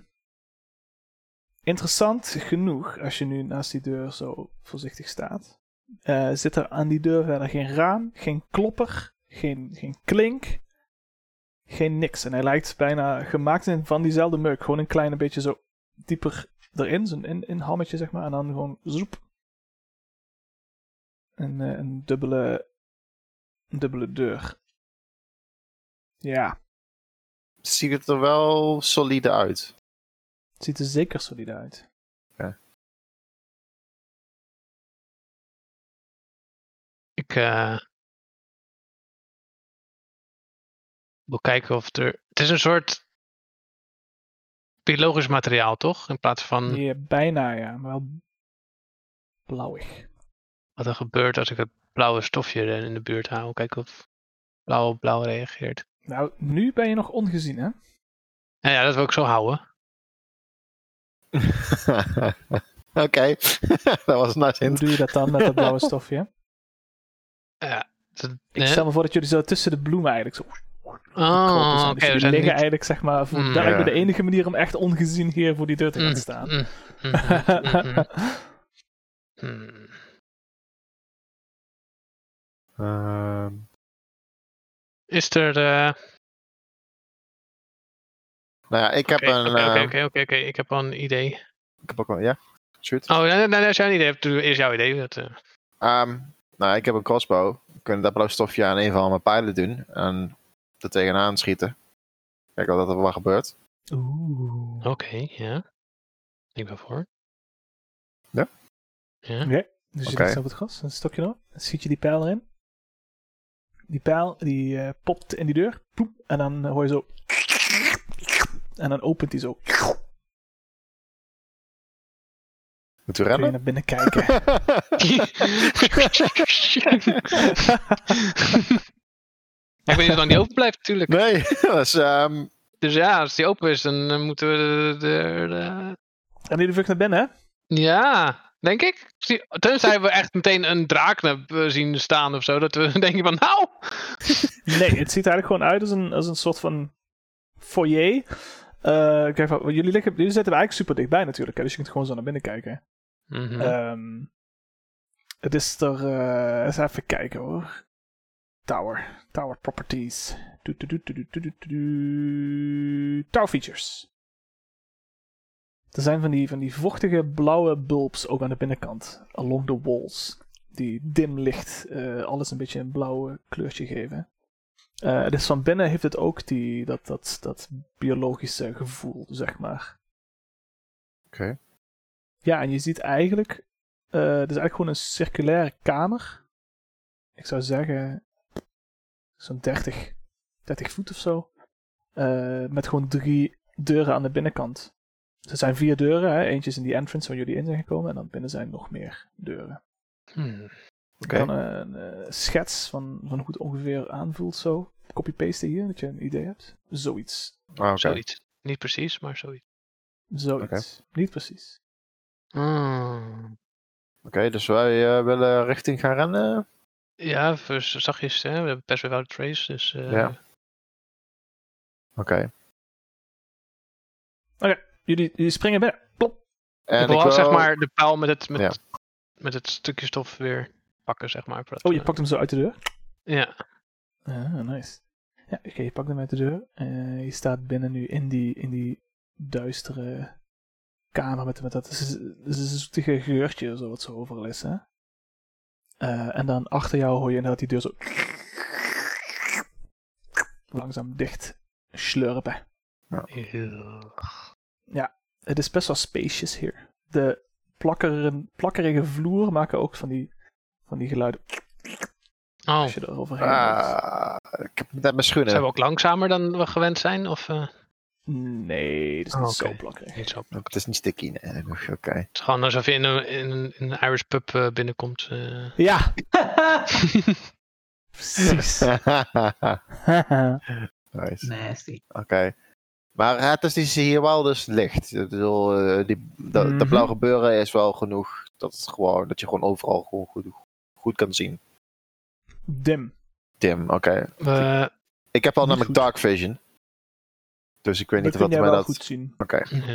Speaker 2: interessant genoeg, als je nu naast die deur zo voorzichtig staat, eh, zit er aan die deur verder geen raam, geen klopper, geen, geen klink, geen niks. En hij lijkt bijna gemaakt in- van diezelfde meuk. Gewoon een klein beetje zo dieper erin, zo'n in, inhammetje zeg maar, en dan gewoon zoep. Een, eh, een dubbele, een dubbele deur. Ja,
Speaker 5: Ziet het er wel solide uit.
Speaker 2: het ziet er zeker solide uit.
Speaker 3: Ik eh, wil kijken of er. Het is een soort biologisch materiaal, toch? In plaats van
Speaker 2: Ja, bijna ja, maar wel blauwig.
Speaker 3: wat er gebeurt als ik het blauwe stofje er in de buurt hou. Kijken of blauw op blauw reageert.
Speaker 2: Nou, nu ben je nog ongezien hè?
Speaker 3: Nou ja, dat wil ik zo houden.
Speaker 5: [laughs] Oké, dat was een nice
Speaker 2: Hoe
Speaker 5: hint.
Speaker 2: doe je dat dan met dat
Speaker 3: [laughs]
Speaker 2: blauwe stofje?
Speaker 3: Dat-
Speaker 2: Ik
Speaker 3: hè?
Speaker 2: stel me voor dat jullie zo tussen de bloemen eigenlijk zo... gekropen
Speaker 3: oh,
Speaker 2: zijn.
Speaker 3: oké.
Speaker 2: Dus
Speaker 3: we
Speaker 2: jullie liggen
Speaker 3: zijn niet...
Speaker 2: eigenlijk zeg maar voor-
Speaker 3: Mm,
Speaker 2: daar
Speaker 5: ja.
Speaker 2: hebben de enige manier om echt ongezien hier voor die deur te gaan
Speaker 3: Mm,
Speaker 2: staan.
Speaker 3: mm, mm, mm, mm,
Speaker 2: [laughs]
Speaker 3: mm, mm.
Speaker 5: Ehm,
Speaker 3: Is er. eh,
Speaker 5: nou ja, ik heb
Speaker 3: Oké,
Speaker 5: een...
Speaker 3: oké, oké,
Speaker 5: eh,
Speaker 3: oké, oké, oké. Ik heb al een idee.
Speaker 5: Ik heb ook wel, ja? Shoot.
Speaker 3: Oh, nee, nee, nee, als jij een idee hebt, doe eerst jouw idee. Dat, eh,
Speaker 5: Ehm, nou, ik heb een crossbow. We kunnen dat blauw stofje aan een van mijn pijlen doen. En er tegenaan schieten. Kijken wat er wat gebeurt.
Speaker 2: Oeh.
Speaker 3: Oké, ja. Ik ben voor.
Speaker 5: Ja? [laughs]
Speaker 3: Ja.
Speaker 2: Dus je
Speaker 5: Oké.
Speaker 2: ligt op het gras, een stokje erop. Dan schiet je die pijl erin. Die pijl die eh, popt in die deur. Ploep, en dan eh, hoor je zo. En dan opent die zo. Kun je
Speaker 5: Moeten we rennen?
Speaker 2: naar binnen
Speaker 5: [laughs]
Speaker 2: kijken.
Speaker 3: ik weet niet of die open blijft natuurlijk.
Speaker 5: nee, [laughs] dat is... ehm,
Speaker 3: Dus ja, als die open is, dan eh, moeten we de, de- de-
Speaker 2: en jullie vlucht naar binnen, hè?
Speaker 3: Ja, denk ik. Zie- Tenzij we echt meteen een draak naar- eh, zien staan of zo. Dat we [laughs] denken van, nou!
Speaker 2: Nee, het ziet er eigenlijk gewoon uit als een, als een soort van foyer. Eh, kijk, wat- jullie, liggen, jullie zitten er eigenlijk super dichtbij natuurlijk. Hè? Dus je kunt gewoon zo naar binnen kijken.
Speaker 5: Eh,
Speaker 3: Mhm.
Speaker 2: Ehm, het is er. eh, eens even kijken hoor. Tower. Tower properties. Doet, doet, doet, doet, doet, doet, doet, doet. Tower features. Er zijn van die, van die vochtige blauwe bulbs ook aan de binnenkant. Along the walls. Die dim licht eh, alles een beetje een blauwe kleurtje geven. Eh, dus van binnen heeft het ook die, dat, dat, dat biologische gevoel, zeg maar. Ja, en je ziet eigenlijk. eh het is eigenlijk gewoon een circulaire kamer. Ik zou zeggen. Zo'n 30, 30 voet of zo. Eh, met gewoon drie deuren aan de binnenkant. Dus er zijn vier deuren. Hè? Eentje is in die entrance waar jullie in zijn gekomen. En dan binnen zijn nog meer deuren.
Speaker 3: Hmm.
Speaker 5: Oké.
Speaker 2: Ik kan eh, een eh, schets van, van hoe het ongeveer aanvoelt zo. Copy-pasten hier, dat je een idee hebt. Zoiets.
Speaker 5: Ah, oké.
Speaker 3: Zoiets. Niet precies, maar zoiets.
Speaker 2: Zoiets. Niet precies.
Speaker 3: Hmm.
Speaker 5: Oké, dus wij eh, willen richting gaan rennen.
Speaker 3: Ja, voor z- zachtjes, hè. We hebben best wel wel trace, dus... eh,
Speaker 5: Ja. Oké.
Speaker 2: Jullie, jullie springen binnen. Plop.
Speaker 5: En
Speaker 3: ik wil wel, zeg maar, de pijl met het, met,
Speaker 5: Ja.
Speaker 3: met het stukje stof weer pakken, zeg maar. voordat
Speaker 2: Oh,
Speaker 3: we-
Speaker 2: je pakt hem zo uit de deur.
Speaker 3: Ja.
Speaker 2: Ah, nice. Ja, oké, je pakt hem uit de deur. Eh, je staat binnen nu in die, in die duistere kamer met, met dat z- z- zoetige geurtje, zo wat zo overal is, hè? Eh, en dan achter jou hoor je inderdaad die deur zo... langzaam dicht slurpen.
Speaker 3: Eeuw.
Speaker 2: Het is best wel spacious hier. De plakkeren, plakkerige vloer maken ook van die, van die geluiden
Speaker 3: Oh,
Speaker 2: als
Speaker 3: zijn
Speaker 2: je eroverheen loopt.
Speaker 5: Ah, ik heb net mijn schoenen.
Speaker 3: we ook langzamer dan we gewend zijn? Of eh,
Speaker 2: Nee, het is niet
Speaker 3: Oh,
Speaker 2: zo
Speaker 3: oké.
Speaker 2: plakkerig.
Speaker 3: niet zo?
Speaker 5: Het is niet sticky, nee. Oké.
Speaker 3: Het is gewoon alsof je in een, in een, in een Irish pub eh, binnenkomt. eh.
Speaker 2: Ja, precies.
Speaker 5: [laughs]
Speaker 3: [laughs]
Speaker 5: nice.
Speaker 1: Nasty. [laughs]
Speaker 5: Oké. Maar het is dus hier wel dus licht. Ik bedoel, eh, die, dat,
Speaker 2: Mhm.
Speaker 5: dat blauw gebeuren is wel genoeg. Dat, het gewoon, dat je gewoon overal gewoon goed, goed kan zien.
Speaker 2: Dim.
Speaker 5: Tim, oké.
Speaker 3: we,
Speaker 5: Ik heb al
Speaker 2: Niet
Speaker 5: namelijk
Speaker 2: goed.
Speaker 5: dark vision. Dus ik weet
Speaker 2: Dat kun
Speaker 5: niet wat
Speaker 2: jij
Speaker 5: mij
Speaker 2: wel
Speaker 5: dat...
Speaker 2: goed zien.
Speaker 5: Oké.
Speaker 3: ja.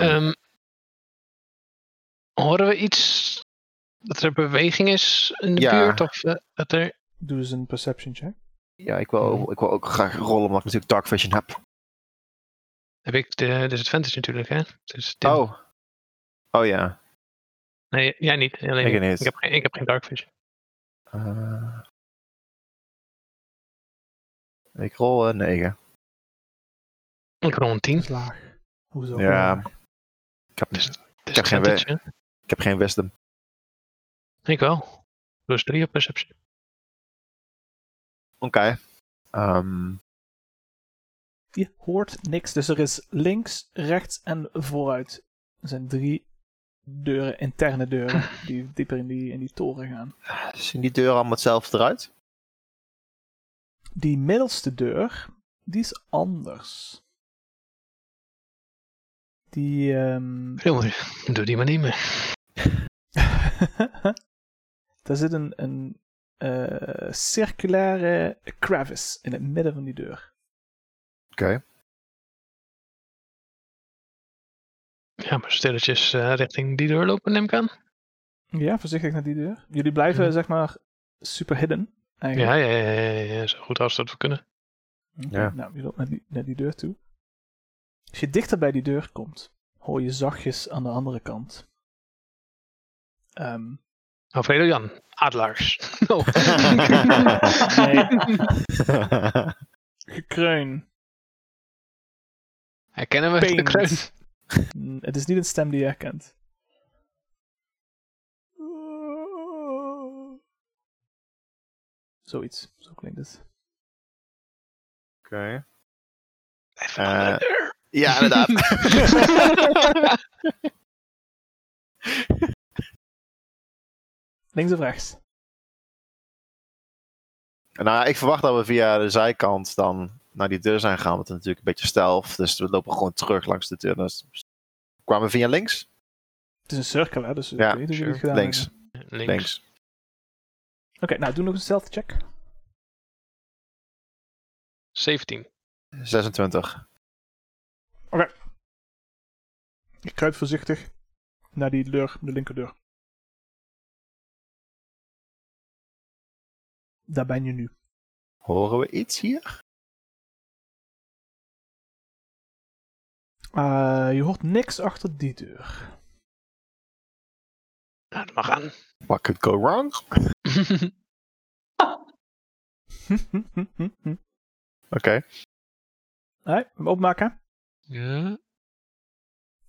Speaker 5: ehm,
Speaker 3: Ehm, horen we iets dat er beweging is in de
Speaker 5: Ja.
Speaker 3: buurt? Of eh, dat er.
Speaker 2: Doe eens een perception check.
Speaker 5: ja, ik
Speaker 2: Mhm.
Speaker 5: wil, ik wil ook graag rollen, omdat ik natuurlijk dark vision heb.
Speaker 3: Heb ik de disadvantage natuurlijk, hè? Dus dit-
Speaker 5: Oh. Oh ja.
Speaker 3: Nee, jij niet. Alleen
Speaker 5: Ik niet.
Speaker 3: Ik heb, geen, ik heb geen dark vision.
Speaker 5: Eh, ik rol eh, negen.
Speaker 3: Ik rol een 10.
Speaker 2: Dat is laag. Hoezo?
Speaker 5: Ja.
Speaker 2: laag?
Speaker 5: Ik heb,
Speaker 3: Dus- Ik
Speaker 5: heb geen ik heb geen wisdom.
Speaker 3: Ik wel. Plus 3 op perceptie.
Speaker 5: Oké. Ehm,
Speaker 2: Je hoort niks. Dus er is links, rechts en vooruit. Er zijn drie deuren, interne deuren, [laughs] die dieper in die, in die toren gaan.
Speaker 5: zien die deuren allemaal hetzelfde eruit?
Speaker 2: Die middelste deur, die is anders. Die, ehm, [laughs]
Speaker 3: Jongen, doe die maar niet meer.
Speaker 2: Daar zit een, een eh, circulaire crevice in het midden van die deur.
Speaker 5: Oké.
Speaker 3: Ja, maar stilletjes eh, richting die deur lopen, neem ik aan.
Speaker 2: Ja, voorzichtig naar die deur. Jullie blijven,
Speaker 3: Mhm.
Speaker 2: zeg maar, super hidden. Eigenlijk.
Speaker 3: Ja, ja, ja, ja, ja, ja, zo goed als dat we kunnen.
Speaker 2: Oké,
Speaker 5: Ja.
Speaker 2: Nou, je loopt naar die, naar die deur toe. Als je dichter bij die deur komt, hoor je zachtjes aan de andere kant. Ehm,
Speaker 3: Alfredo Jan, Adelaars. [laughs] Oh.
Speaker 2: nee, gekreun.
Speaker 3: Herkennen we de
Speaker 2: Paint.
Speaker 3: kruin?
Speaker 2: Mm, Het is niet een stem die je herkent. Zoiets, zo klinkt het.
Speaker 5: Oké.
Speaker 3: Even naar de deur.
Speaker 5: [laughs] Eh, Ja, inderdaad.
Speaker 2: Links of rechts?
Speaker 5: [laughs] nou, ik verwacht dat we via de zijkant dan naar die deur zijn gegaan. Want het is natuurlijk een beetje stealth. Dus we lopen gewoon terug langs de deur. Dus kwamen we via links?
Speaker 2: Het is een cirkel, hè? Dus ik
Speaker 5: Ja,
Speaker 2: weet niet hoe jullie
Speaker 3: sure.
Speaker 2: het gedaan
Speaker 5: Links.
Speaker 2: hebben.
Speaker 3: [laughs] Links.
Speaker 5: Links.
Speaker 2: Oké, nou, doe nog een stealth check.
Speaker 3: 17.
Speaker 5: 26.
Speaker 2: Je kruipt voorzichtig naar die deur, de linkerdeur. Daar ben je nu.
Speaker 5: Horen we iets hier?
Speaker 2: Eh, je hoort niks achter die deur.
Speaker 3: Nou, dat mag [laughs] aan.
Speaker 5: What could go wrong? Oké.
Speaker 2: Hé, hem openmaken.
Speaker 3: ja.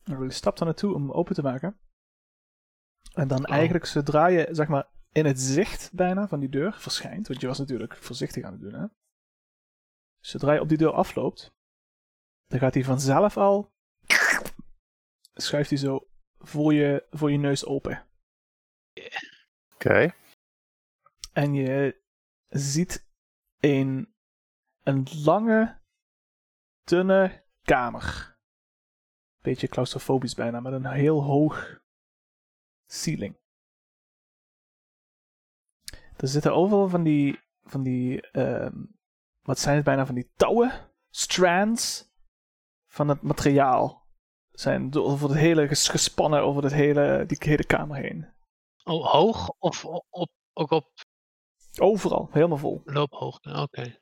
Speaker 2: Nou, Je stapt daar naartoe om hem open te maken. En dan
Speaker 3: Oh.
Speaker 2: eigenlijk zodra je, zeg maar, in het zicht bijna van die deur verschijnt, want je was natuurlijk voorzichtig aan het doen, hè. Zodra je op die deur afloopt, dan gaat hij vanzelf al, schuift hij zo voor je, voor je neus open.
Speaker 5: Oké.
Speaker 2: En je ziet een, een lange, dunne kamer. Beetje claustrofobisch bijna, met een heel hoog ceiling. Er zitten overal van die, van die ehm, wat zijn het bijna, van die touwen, strands van het materiaal. Zijn door- over het hele, ges- gespannen over het hele, die hele kamer heen.
Speaker 3: Oh, hoog of o- op, ook op
Speaker 2: Overal, helemaal vol.
Speaker 3: loophoogte? Oké.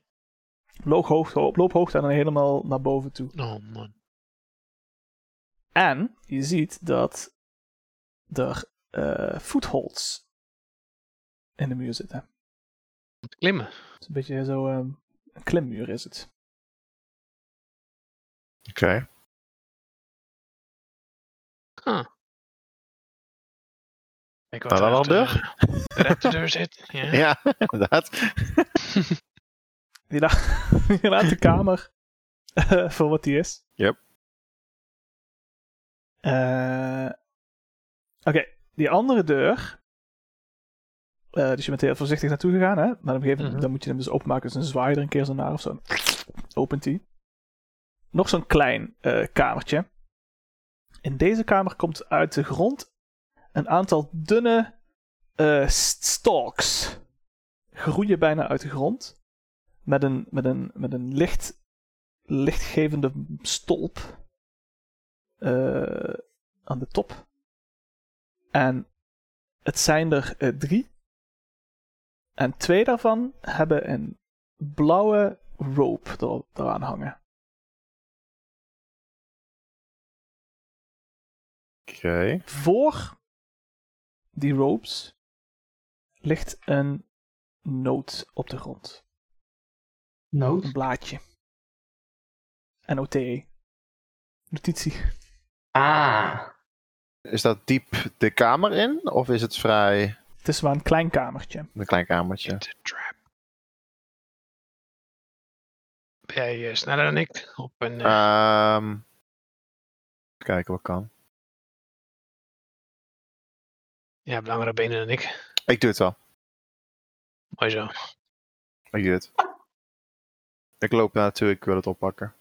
Speaker 2: loophoogte, op loophoogte en dan helemaal naar boven toe.
Speaker 3: Oh man.
Speaker 2: En je ziet dat er eh footholds in de muur zitten.
Speaker 3: Klimmen.
Speaker 2: Het is een beetje zo ehm, een klimmuur is het.
Speaker 5: Oké.
Speaker 3: Huh. Kijk
Speaker 5: Nou, dan wel
Speaker 3: achter de- achter de deur [laughs] zit. Ja.
Speaker 5: Ja, [laughs] inderdaad.
Speaker 2: Je, la- je laat [laughs] de kamer eh, voor wat die is.
Speaker 5: Yep.
Speaker 2: Eh, Oké, die andere deur. eh, dus je bent heel voorzichtig naartoe gegaan, hè? Maar op een gegeven moment
Speaker 3: Mhm.
Speaker 2: dan moet je hem dus openmaken. Dus een zwaai je er een keer zo naar of zo. Opent die. Nog zo'n klein eh, kamertje. In deze kamer komt uit de grond een aantal dunne eh, st- stalks. Groeien bijna uit de grond met een, met een, met een licht, lichtgevende stolp eh, aan de top. En het zijn er eh, drie. En twee daarvan hebben een blauwe rope er, eraan hangen.
Speaker 5: Oké.
Speaker 2: Voor die ropes ligt een noot op de grond. Een
Speaker 1: Nood.
Speaker 2: blaadje. NOTE. E. Notitie.
Speaker 1: Ah.
Speaker 5: Is dat diep de kamer in? Of is het vrij
Speaker 2: Het is maar een klein kamertje.
Speaker 5: een klein kamertje?
Speaker 3: It's a trap. Ben jij eh, sneller dan ik? Op een, eh,
Speaker 5: Ehm kijken wat kan.
Speaker 3: Je hebt langere benen dan ik.
Speaker 5: Ik doe het wel.
Speaker 3: Mooi [laughs] zo.
Speaker 5: Ik doe het. Ik loop naartoe, ik wil het oppakken.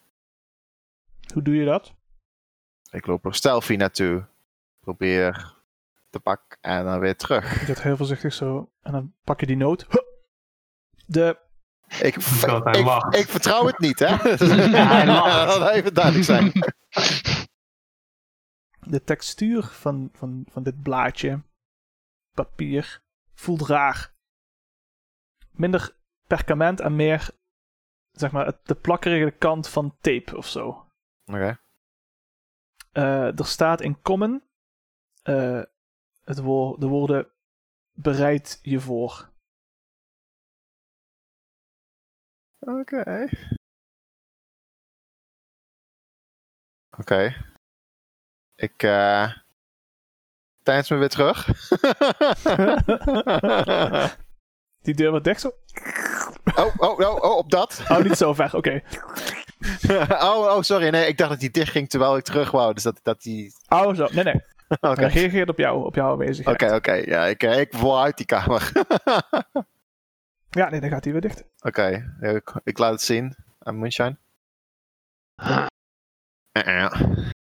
Speaker 2: Hoe doe je dat?
Speaker 5: Ik loop er stealthy naartoe. Probeer te pakken en dan weer terug.
Speaker 2: Je gaat heel voorzichtig zo en dan pak je die noot. Huh! De,
Speaker 5: Ik,
Speaker 1: God, hij
Speaker 5: ik,
Speaker 1: lacht.
Speaker 5: ik vertrouw het niet,
Speaker 1: [laughs]
Speaker 5: hè? [laughs]
Speaker 1: hij lacht.
Speaker 5: Dat even duidelijk zijn.
Speaker 2: de textuur van, van, van dit blaadje, papier, voelt raar. Minder perkament en meer, zeg maar, het- de plakkerige kant van tape of zo.
Speaker 5: Oké.
Speaker 2: Eh, er staat in common eh, het woor- de woorden bereid je
Speaker 5: [laughs]
Speaker 2: voor.
Speaker 5: Oké. Oké. Ik eh tijdens me weer
Speaker 1: [laughs]
Speaker 5: terug. [laughs]
Speaker 2: Die deur wordt dicht zo.
Speaker 5: oh, oh, oh, oh, op dat.
Speaker 2: Oh, niet zo ver, oké.
Speaker 5: [laughs] oh, oh, sorry. Nee, ik dacht dat die dicht ging terwijl ik terug wou. Dus dat, dat die... [laughs]
Speaker 2: Oh, zo. Nee, nee.
Speaker 5: Oké,
Speaker 2: Hij reageert op jou, op jouw aanwezigheid.
Speaker 5: oké. oké. Ja, ik, eh, ik wil uit die kamer. [laughs] oké,
Speaker 2: Ja, nee, dan gaat hij weer dicht.
Speaker 5: ja, ik, ik laat het zien aan Moonshine.
Speaker 3: Ah,
Speaker 5: Eh, eh.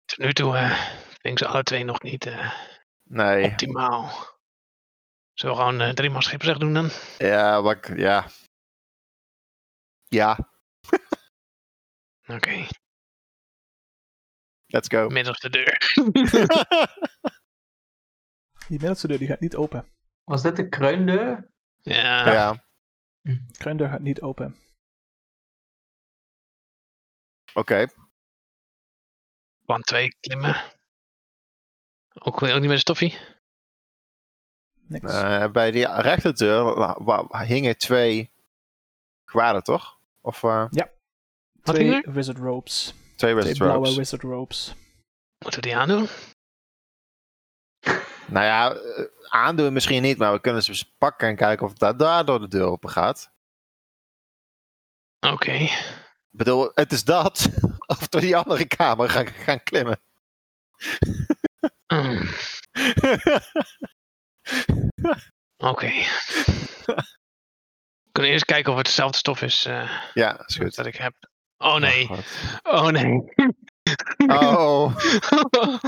Speaker 3: Tot nu toe eh vind ik ze alle twee nog niet eh,
Speaker 5: Nee,
Speaker 3: optimaal. Zullen we gewoon eh drie man schip doen dan?
Speaker 5: ja, wat ik- ja. Ja,
Speaker 3: Oké,
Speaker 5: let's go.
Speaker 3: middels de [laughs] deur.
Speaker 2: Die middelste deur die gaat niet open.
Speaker 1: Was dit de kreundeur?
Speaker 3: Ja,
Speaker 5: ja,
Speaker 2: De kruindeur gaat niet open.
Speaker 5: oké.
Speaker 3: van twee klimmen. Ook, ook niet met een stoffie?
Speaker 2: Niks.
Speaker 5: Eh, bij die rechterdeur wa- wa- hingen twee kwaden, toch? Of eh,
Speaker 3: Wat
Speaker 2: Twee
Speaker 3: ging
Speaker 2: wizard ropes.
Speaker 5: twee
Speaker 2: Twee
Speaker 5: wizard
Speaker 2: blauwe
Speaker 5: ropes.
Speaker 2: wizard ropes.
Speaker 3: Moeten we die aandoen?
Speaker 5: Nou ja, eh, aandoen misschien niet, maar we kunnen ze eens pakken en kijken of dat daardoor de deur open gaat.
Speaker 3: Oké.
Speaker 5: Ik bedoel, het is dat. [laughs] Of door die andere kamer gaan, gaan klimmen.
Speaker 3: Mm, Oké. We kunnen eerst kijken of het dezelfde stof is eh,
Speaker 5: ja, is
Speaker 3: als
Speaker 5: goed.
Speaker 3: dat ik heb. Oh nee,
Speaker 5: Oh,
Speaker 3: oh nee.
Speaker 5: God. Oh, oké.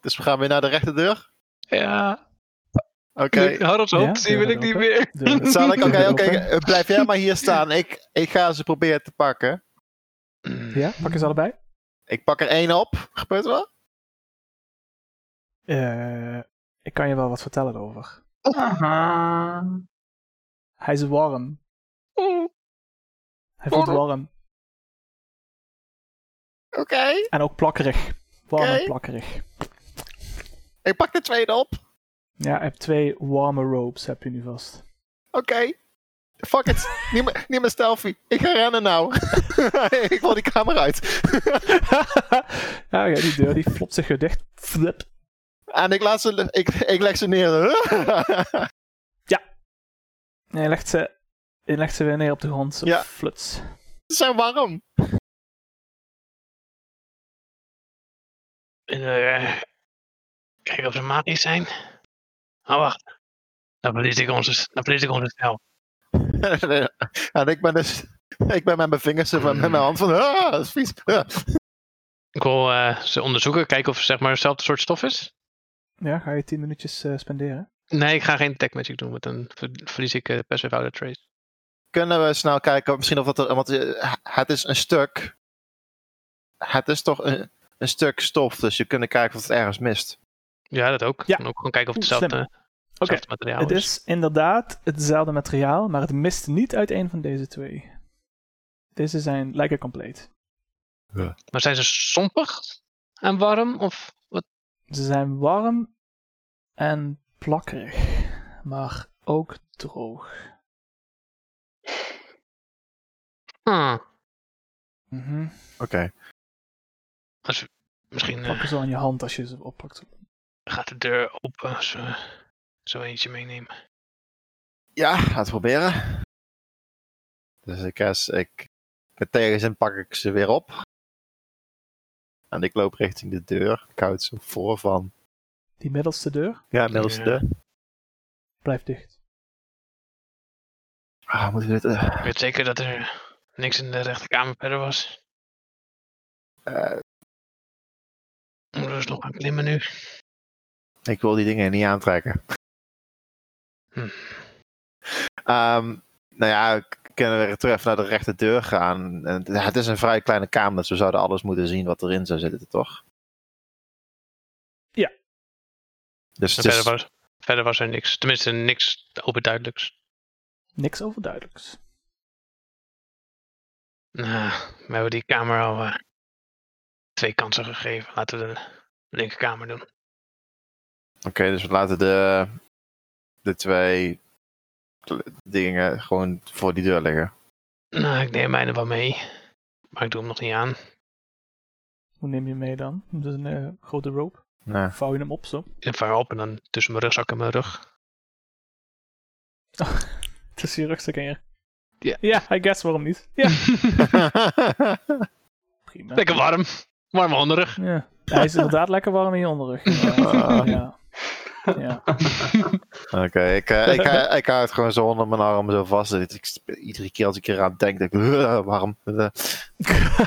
Speaker 5: Dus we gaan weer naar de rechterdeur?
Speaker 3: [laughs] ja,
Speaker 5: Oké.
Speaker 3: okay. Harold,
Speaker 2: Ja,
Speaker 3: die wil ik niet
Speaker 2: open.
Speaker 3: meer.
Speaker 2: Deur.
Speaker 5: [laughs]
Speaker 2: [laughs]
Speaker 5: Zal ik? Oké,
Speaker 2: Deur
Speaker 5: oké.
Speaker 2: open.
Speaker 5: eh, Blijf jij maar hier staan. Ik, ik ga ze proberen te pakken. Mm.
Speaker 2: Ja, pak eens allebei.
Speaker 5: Ik pak er één op. Gebeurt er wel?
Speaker 2: Eh, ik kan je wel wat vertellen over.
Speaker 1: Aha.
Speaker 2: Hij is warm.
Speaker 3: Mm,
Speaker 2: Hij voelt
Speaker 3: Warm.
Speaker 2: warm.
Speaker 5: Oké.
Speaker 2: En ook plakkerig. Warm en
Speaker 5: Oké.
Speaker 2: plakkerig.
Speaker 5: Ik pak de tweede op.
Speaker 2: [laughs] Ja, je hebt twee warme ropes heb je nu vast.
Speaker 5: Oké. Fuck it. Niet meer, niet meer stealthy. Ik ga rennen nou. [laughs] ik val die kamer uit.
Speaker 2: ja, ja, die deur die flopt zich weer dicht. Flip.
Speaker 5: en ik, laat ze, ik, ik leg ze neer. [laughs]
Speaker 2: En je legt ze, je legt ze weer neer op de grond. Zo
Speaker 5: Ja.
Speaker 2: fluts.
Speaker 5: ze zijn warm.
Speaker 3: En, eh, kijken of ze magisch zijn. Oh, wacht. Dan verlies ik onze, dan verlies ik onze snel.
Speaker 5: en ik ben dus... Ik ben met mijn vingers en met mijn hand van... Ah, dat is vies. [laughs]
Speaker 3: Ik wil eh, ze onderzoeken, kijken of het zeg maar hetzelfde soort stof is.
Speaker 2: Ja, ga je tien minuutjes eh, spenderen.
Speaker 3: Nee, ik ga geen tech magic doen, want dan ver- verlies ik eh passive outer trace.
Speaker 5: Kunnen we snel kijken, misschien of dat er... Want eh, het is een stuk... Het is toch een, een stuk stof, dus je kunt kijken of het ergens mist.
Speaker 3: Ja, dat ook.
Speaker 2: Ja.
Speaker 3: En ook gewoon kijken of het
Speaker 2: Slim.
Speaker 3: hetzelfde, hetzelfde materiaal
Speaker 2: het
Speaker 3: is.
Speaker 2: is inderdaad hetzelfde materiaal, maar het mist niet uit een van deze twee. Deze zijn lekker compleet.
Speaker 3: Maar zijn ze sompig en warm? Of wat?
Speaker 2: Ze zijn warm en plakkerig, maar ook droog.
Speaker 3: Ah,
Speaker 2: Mhm.
Speaker 5: Oké.
Speaker 3: misschien eh,
Speaker 2: Plakken ze aan je hand als je ze oppakt.
Speaker 3: gaat de deur open als we zo eentje meenemen.
Speaker 5: Ja, laten we proberen. Dus ik, als ik met tegenzin pak ik ze weer op. En ik loop richting de deur. Ik houd ze voor van.
Speaker 2: Die middelste deur
Speaker 5: Ja, middelste
Speaker 3: Ja.
Speaker 5: deur.
Speaker 2: blijft dicht.
Speaker 5: Ah, moet ik dit. eh,
Speaker 3: Ik weet zeker dat er niks in de rechterkamer verder was.
Speaker 5: eh,
Speaker 3: Moeten we dus nog gaan klimmen nu?
Speaker 5: ik wil die dingen niet aantrekken.
Speaker 3: Hm.
Speaker 5: Ehm, nou ja, k- kunnen we weer terug naar de rechte deur gaan. En, het- het is een vrij kleine kamer, dus we zouden alles moeten zien wat erin zou zitten, toch?
Speaker 2: Ja.
Speaker 5: Dus
Speaker 3: En
Speaker 5: het is-
Speaker 3: verder, was, verder was er niks. Tenminste, niks overduidelijks.
Speaker 2: Niks overduidelijks.
Speaker 3: Nou, we hebben die kamer al eh, twee kansen gegeven. Laten we de linkerkamer doen.
Speaker 5: Oké, dus we laten de, de twee kle- dingen gewoon voor die deur liggen.
Speaker 3: Nou, ik neem mijne wel mee. Maar ik doe hem nog niet aan.
Speaker 2: Hoe neem je hem mee dan? Dat is een eh, grote rope. [laughs]
Speaker 5: Nou,
Speaker 2: Vouw je hem op zo.
Speaker 3: Even op en dan tussen mijn rugzak en mijn rug.
Speaker 2: Tussen je rugstuk en je...
Speaker 3: Ja.
Speaker 2: Ja, I guess, waarom niet? Ja, prima.
Speaker 3: [laughs] Lekker warm. Warme onderrug.
Speaker 2: Ja. Hij is inderdaad lekker warm in je onderrug. Ja.
Speaker 5: Ah.
Speaker 2: ja. Ja.
Speaker 5: Oké, ik, eh, ik, hou- ik hou het gewoon zo onder mijn arm zo vast. Dat ik, sp- iedere keer als ik eraan denk, denk ik, "Ugh, waarom? eh,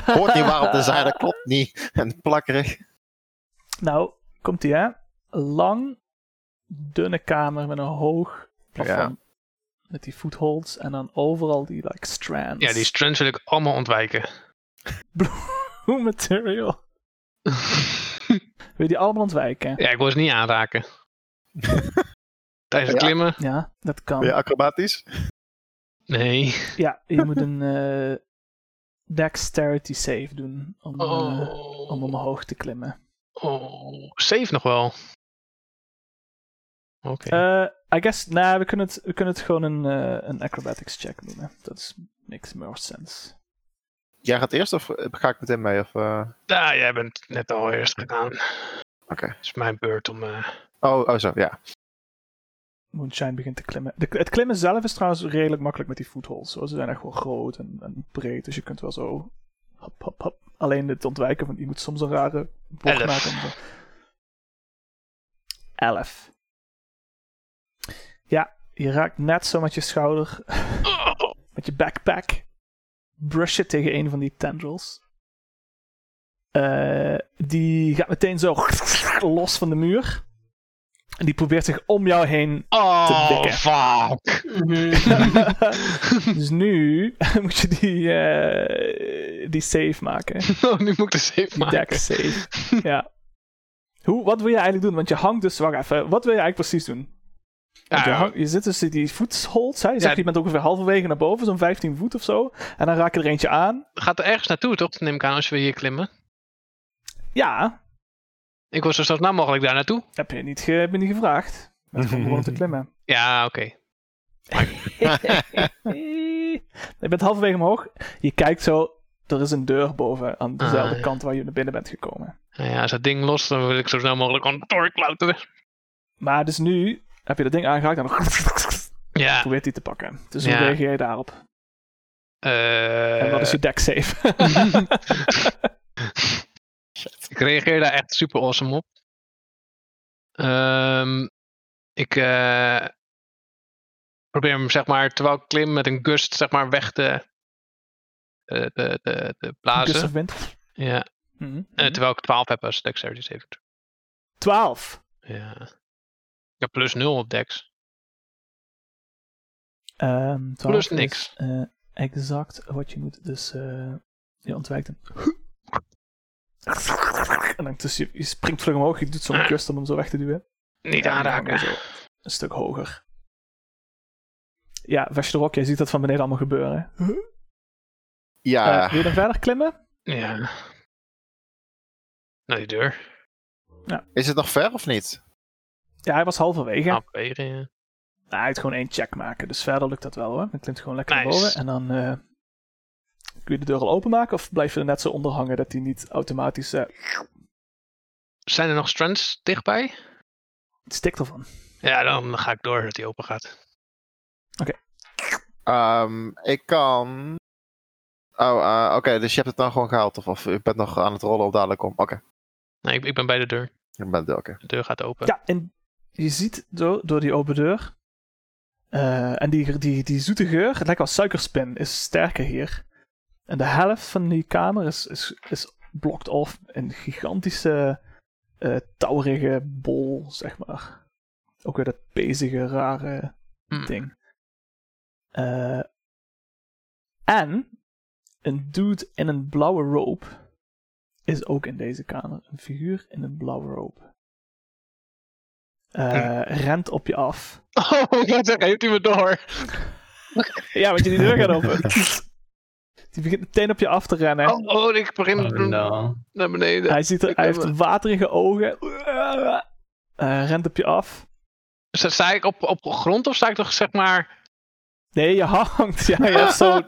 Speaker 5: hoort niet waarom te zijn, dat klopt niet. En plakkerig.
Speaker 2: Nou, komt ie hè. Lang, dunne kamer met een hoog plafond. Met die footholds en dan overal die like strands. [laughs]
Speaker 3: Ja, die strands wil ik allemaal ontwijken.
Speaker 2: Hoe material. Wil je die allemaal ontwijken?
Speaker 3: ja, ik wil ze niet aanraken. Tijdens het
Speaker 5: Ja.
Speaker 3: klimmen?
Speaker 2: Ja, dat kan.
Speaker 5: Ben je
Speaker 2: Ja,
Speaker 5: acrobatisch?
Speaker 3: Nee.
Speaker 2: je moet een eh, dexterity save doen om, eh, om
Speaker 3: Oh.
Speaker 2: omhoog te klimmen.
Speaker 3: oh. Safe nog wel. Oké.
Speaker 2: Eh, I guess, nou, we kunnen het, we kunnen het gewoon een, eh, een acrobatics check noemen. Dat is- makes more sense.
Speaker 5: Jij gaat eerst of eh, ga ik meteen mee? Of, eh?
Speaker 3: Ah, jij bent net al eerst gedaan.
Speaker 5: Oké.
Speaker 3: Het is mijn beurt om. eh,
Speaker 5: oh, oh, zo, ja.
Speaker 2: Moonshine begint te klimmen. De, het klimmen zelf is trouwens redelijk makkelijk met die footholds. hoor. Ze zijn echt wel groot en, en breed, dus je kunt wel zo... Hop, hop, hop. Alleen het ontwijken, want je moet soms een rare bocht
Speaker 3: Elf.
Speaker 2: maken. om zo- Elf. Ja, je raakt net zo met je schouder, [laughs]
Speaker 3: Oh,
Speaker 2: met je backpack. Brush je tegen een van die tendrils. Eh, die gaat meteen zo [laughs] los van de muur. En die probeert zich om jou heen
Speaker 3: oh
Speaker 2: dikke.
Speaker 3: fuck.
Speaker 1: Mhm.
Speaker 5: [laughs]
Speaker 2: [laughs] dus nu moet je die, eh, die save maken.
Speaker 3: [laughs] oh, nu moet ik de safe
Speaker 2: Die
Speaker 3: maken.
Speaker 2: deck save. ja. Hoe, wat wil je eigenlijk doen? Want je hangt dus, wacht even, wat wil je eigenlijk precies doen? Want je,
Speaker 3: Ja,
Speaker 2: hang- je zit dus in die voetsholds, hè? Je, zegt,
Speaker 3: Ja.
Speaker 2: je bent ongeveer halverwege naar boven, zo'n 15 voet of zo. En dan raak je er eentje aan.
Speaker 3: gaat er ergens naartoe, toch? Neem ik aan als we hier klimmen.
Speaker 2: Ja,
Speaker 3: Ik wil zo snel mogelijk daar naartoe. [laughs]
Speaker 2: heb je niet, ge, heb je niet gevraagd. Met gewoon te klimmen.
Speaker 3: Ja, oké. Maar
Speaker 2: je bent halverwege omhoog. Je kijkt zo. Er is een deur boven aan dezelfde
Speaker 3: Ah, ja.
Speaker 2: kant waar je naar binnen bent gekomen.
Speaker 3: Nou ja, als dat ding los, dan wil ik zo snel mogelijk aan de toren klauteren.
Speaker 2: Maar dus nu heb je dat ding aangeraakt en dan
Speaker 3: Ja.
Speaker 2: probeert hij te pakken. Dus hoe
Speaker 3: Ja.
Speaker 2: reageer je daarop?
Speaker 3: eh,
Speaker 2: en wat is je deck safe?
Speaker 3: [laughs] ik reageer daar echt super awesome op. Ehm, ik eh, probeer hem, zeg maar, terwijl ik klim met een gust, zeg maar, weg te, eh, te, te, te blazen.
Speaker 2: Dus er wint.
Speaker 3: Ja.
Speaker 2: Mhm.
Speaker 3: Eh, terwijl ik 12 heb als dexterity saving throw.
Speaker 2: 12.
Speaker 3: Ja. Ik heb plus 0 op dex.
Speaker 2: Ehm, 12
Speaker 3: Plus
Speaker 2: is,
Speaker 3: niks.
Speaker 2: eh, exact wat je moet. Dus eh, je ontwijkt hem. [laughs] En dan tussen, je springt vlug omhoog. Je doet zo'n kust om hem zo weg te duwen.
Speaker 3: Niet
Speaker 2: Ja,
Speaker 3: aanraken.
Speaker 2: dan zo Een stuk hoger. Ja, Vesterok, jij ziet dat van beneden allemaal gebeuren.
Speaker 3: Ah.
Speaker 2: hè?
Speaker 5: Ja,
Speaker 2: Eh, wil je nog verder klimmen?
Speaker 3: Ja. Naar die deur.
Speaker 5: is het nog ver of niet?
Speaker 2: Ja, hij was halverwege.
Speaker 3: Ja. Afwegen, ja.
Speaker 2: Nou, hij heeft gewoon één check maken, dus verder lukt dat wel hoor. Dan klimt hij gewoon lekker naar
Speaker 3: Nice.
Speaker 2: boven en dan eh, kun je de deur al openmaken of blijf je er net zo onder hangen dat hij niet automatisch eh,
Speaker 3: Zijn er nog strands dichtbij?
Speaker 2: het stikt ervan.
Speaker 3: Ja, dan ga ik door dat die open gaat.
Speaker 5: Ehm, ik kan. Oh, eh, oké, dus je hebt het dan gewoon gehaald. Of, of ik ben nog aan het rollen op dadelijk om. Oké,
Speaker 3: Nee, ik, ik ben bij de deur.
Speaker 5: ik ben oké.
Speaker 3: De deur gaat open.
Speaker 2: Ja, en je ziet door, door die open deur eh, en die, die, die zoete geur, het lijkt wel suikerspin, is sterker hier. En de helft van die kamer is, is, is blocked off in gigantische eh, touwrige bol, zeg maar. Ook weer dat bezige, rare
Speaker 3: Hmm.
Speaker 2: ding. Eh, en een dude in een blauwe robe is ook in deze kamer. Een figuur in een blauwe robe. Eh, Rent op je af.
Speaker 3: [laughs] Oh, wat zeg, heeft hij me door?
Speaker 2: Ja, want je die deur gaat open. [laughs] die begint meteen op je af te rennen.
Speaker 3: Oh, oh, ik begin
Speaker 1: Oh no. [laughs]
Speaker 3: naar beneden.
Speaker 2: hij, ziet er,
Speaker 3: ik
Speaker 2: hij
Speaker 3: heb
Speaker 2: heeft
Speaker 3: hem.
Speaker 2: waterige ogen. Eh, rent op je af.
Speaker 3: Sta, sta ik op, op grond of sta ik nog, zeg maar...
Speaker 2: Nee, je hangt. Ja, je hebt zo... [laughs]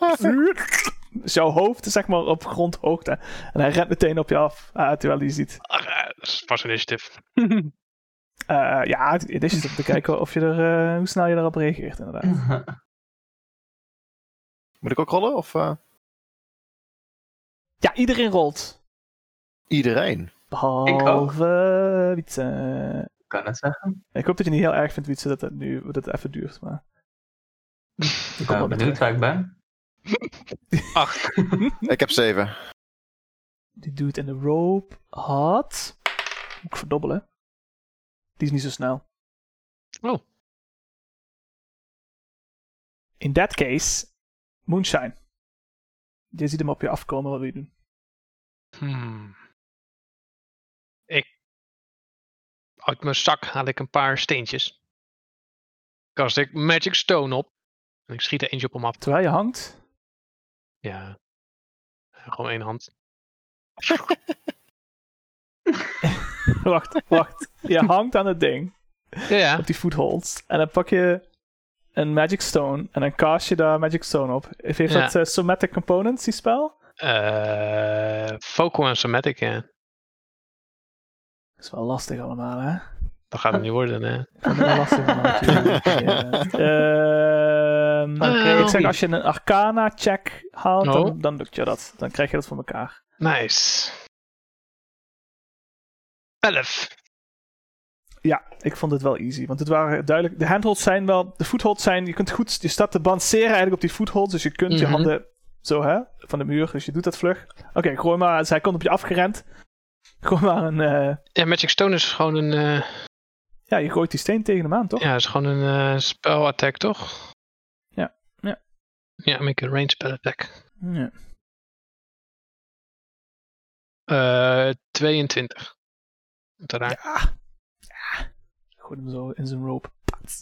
Speaker 2: Dus jouw hoofd is zeg maar op grondhoogte. En hij rent meteen op je af. eh, terwijl hij je ziet.
Speaker 3: Ach, eh, dat is pas initiatief.
Speaker 2: Eh, ja, dit is het om te kijken of je er, eh, hoe snel je erop reageert, inderdaad.
Speaker 1: Mm.
Speaker 5: Moet ik ook rollen? Of eh,
Speaker 2: Ja, iedereen rolt.
Speaker 5: iedereen?
Speaker 2: Behalve Wietse.
Speaker 1: kan het zeggen.
Speaker 2: Ik hoop dat je niet heel erg vindt, Wietse, dat het nu dat het even duurt. Maar...
Speaker 1: Ik
Speaker 2: kom
Speaker 1: ben
Speaker 2: wel
Speaker 1: benieuwd waar ik ben.
Speaker 3: Acht.
Speaker 5: Ik heb zeven.
Speaker 2: Die dude in de rope had... Moet ik verdobbelen? Die is niet zo snel.
Speaker 3: Oh.
Speaker 2: In that case, Moonshine. Je ziet hem op je afkomen, wat wil je doen?
Speaker 3: Hmm. Ik. Uit mijn zak haal ik een paar steentjes. Kast ik Magic Stone op. En ik schiet er eentje op hem af.
Speaker 2: Terwijl je hangt, [laughs]
Speaker 3: Ja. Gewoon één hand.
Speaker 2: Wacht, wacht. Je hangt aan het ding,
Speaker 3: Ja.
Speaker 2: op die footholds. En dan pak je een Magic Stone en dan cast je daar Magic Stone op. Heeft
Speaker 3: Ja.
Speaker 2: dat eh, Somatic Components, die spel?
Speaker 3: Eh Focal en Somatic, ja.
Speaker 2: Dat is wel lastig allemaal, hè?
Speaker 3: Dat gaat het niet worden, hè.
Speaker 2: Ik vind het wel lastig allemaal [laughs] natuurlijk. Ja. Ehm,
Speaker 3: Oké.
Speaker 2: Ik zeg, als je een Arcana-check haalt, dan,
Speaker 3: Oh.
Speaker 2: dan lukt je dat. Dan krijg je dat voor elkaar.
Speaker 3: Nice. Elf.
Speaker 2: Ja, ik vond het wel easy. Want het waren duidelijk... De handholds zijn wel... De footholds zijn... Je kunt goed... Je staat te balanceren eigenlijk op die footholds. Dus je kunt
Speaker 3: Mhm.
Speaker 2: je handen zo, hè? Van de muur. Dus je doet dat vlug. Oké, gooi maar... Dus hij komt op je afgerend. Gooi maar een... eh,
Speaker 3: Ja, Magic Stone is gewoon een. eh,
Speaker 2: ja, je gooit die steen tegen hem aan, toch?
Speaker 3: ja, is gewoon een eh, spell attack, toch?
Speaker 2: Ja, ja.
Speaker 3: Ja, make a range spell attack.
Speaker 2: Ja.
Speaker 3: Eh 22. Om Te raken.
Speaker 2: Ja. Ja. Gooi hem zo in zijn rope. Pats.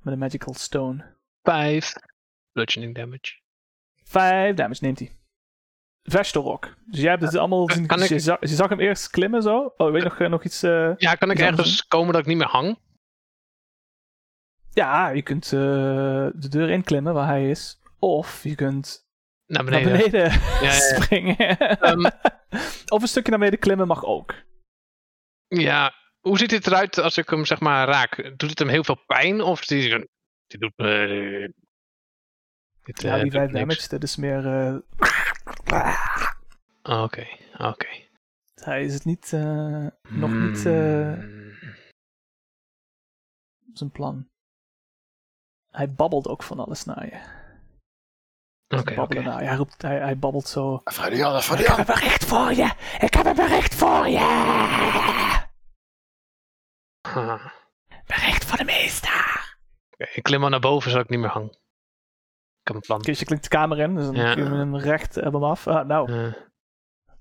Speaker 2: Met een magical stone.
Speaker 3: 5 bludgeoning damage.
Speaker 2: Vijf damage neemt hij. Vestorok. Dus jij hebt het allemaal
Speaker 3: Kan-
Speaker 2: zien.
Speaker 3: kan
Speaker 2: dus je,
Speaker 3: ik-
Speaker 2: zag, je zag hem eerst klimmen zo. Oh, weet je nog, eh, nog iets... eh,
Speaker 3: Ja, kan ik
Speaker 2: Is dat
Speaker 3: ergens komen dat ik niet meer hang?
Speaker 2: Ja, je kunt eh, de deur inklimmen waar hij is. Of je kunt
Speaker 3: Naar beneden.
Speaker 2: naar beneden
Speaker 3: ja, ja.
Speaker 2: [laughs] springen.
Speaker 3: Ehm,
Speaker 2: of een stukje naar beneden klimmen mag ook.
Speaker 3: ja, hoe ziet dit eruit als ik hem zeg maar raak? Doet het hem heel veel pijn? Of is die, die doet me... dit,
Speaker 2: Ja,
Speaker 3: eh,
Speaker 2: die 5
Speaker 3: doet niks.
Speaker 2: damage, dat is meer... eh,
Speaker 3: Ah, Oké, oké.
Speaker 2: hij is het niet... eh, nog niet eh,
Speaker 3: Hmm.
Speaker 2: op zijn plan. Hij babbelt ook van alles naar je.
Speaker 3: Oké,
Speaker 2: Babbelen
Speaker 3: oké.
Speaker 2: naar je. Hij, roept, hij, hij babbelt zo...
Speaker 5: Fredian,
Speaker 2: Ik heb een bericht voor je! Ik heb een bericht voor je!
Speaker 3: Ah,
Speaker 2: Bericht van de meester!
Speaker 3: oké, Ik klim maar naar boven, zodat ik niet meer hang. Ik heb een plan.
Speaker 2: Dus je klinkt de kamer in, dus dan
Speaker 3: Ja.
Speaker 2: kun je hem recht hebben hem af. Ah, nou,
Speaker 3: Eh,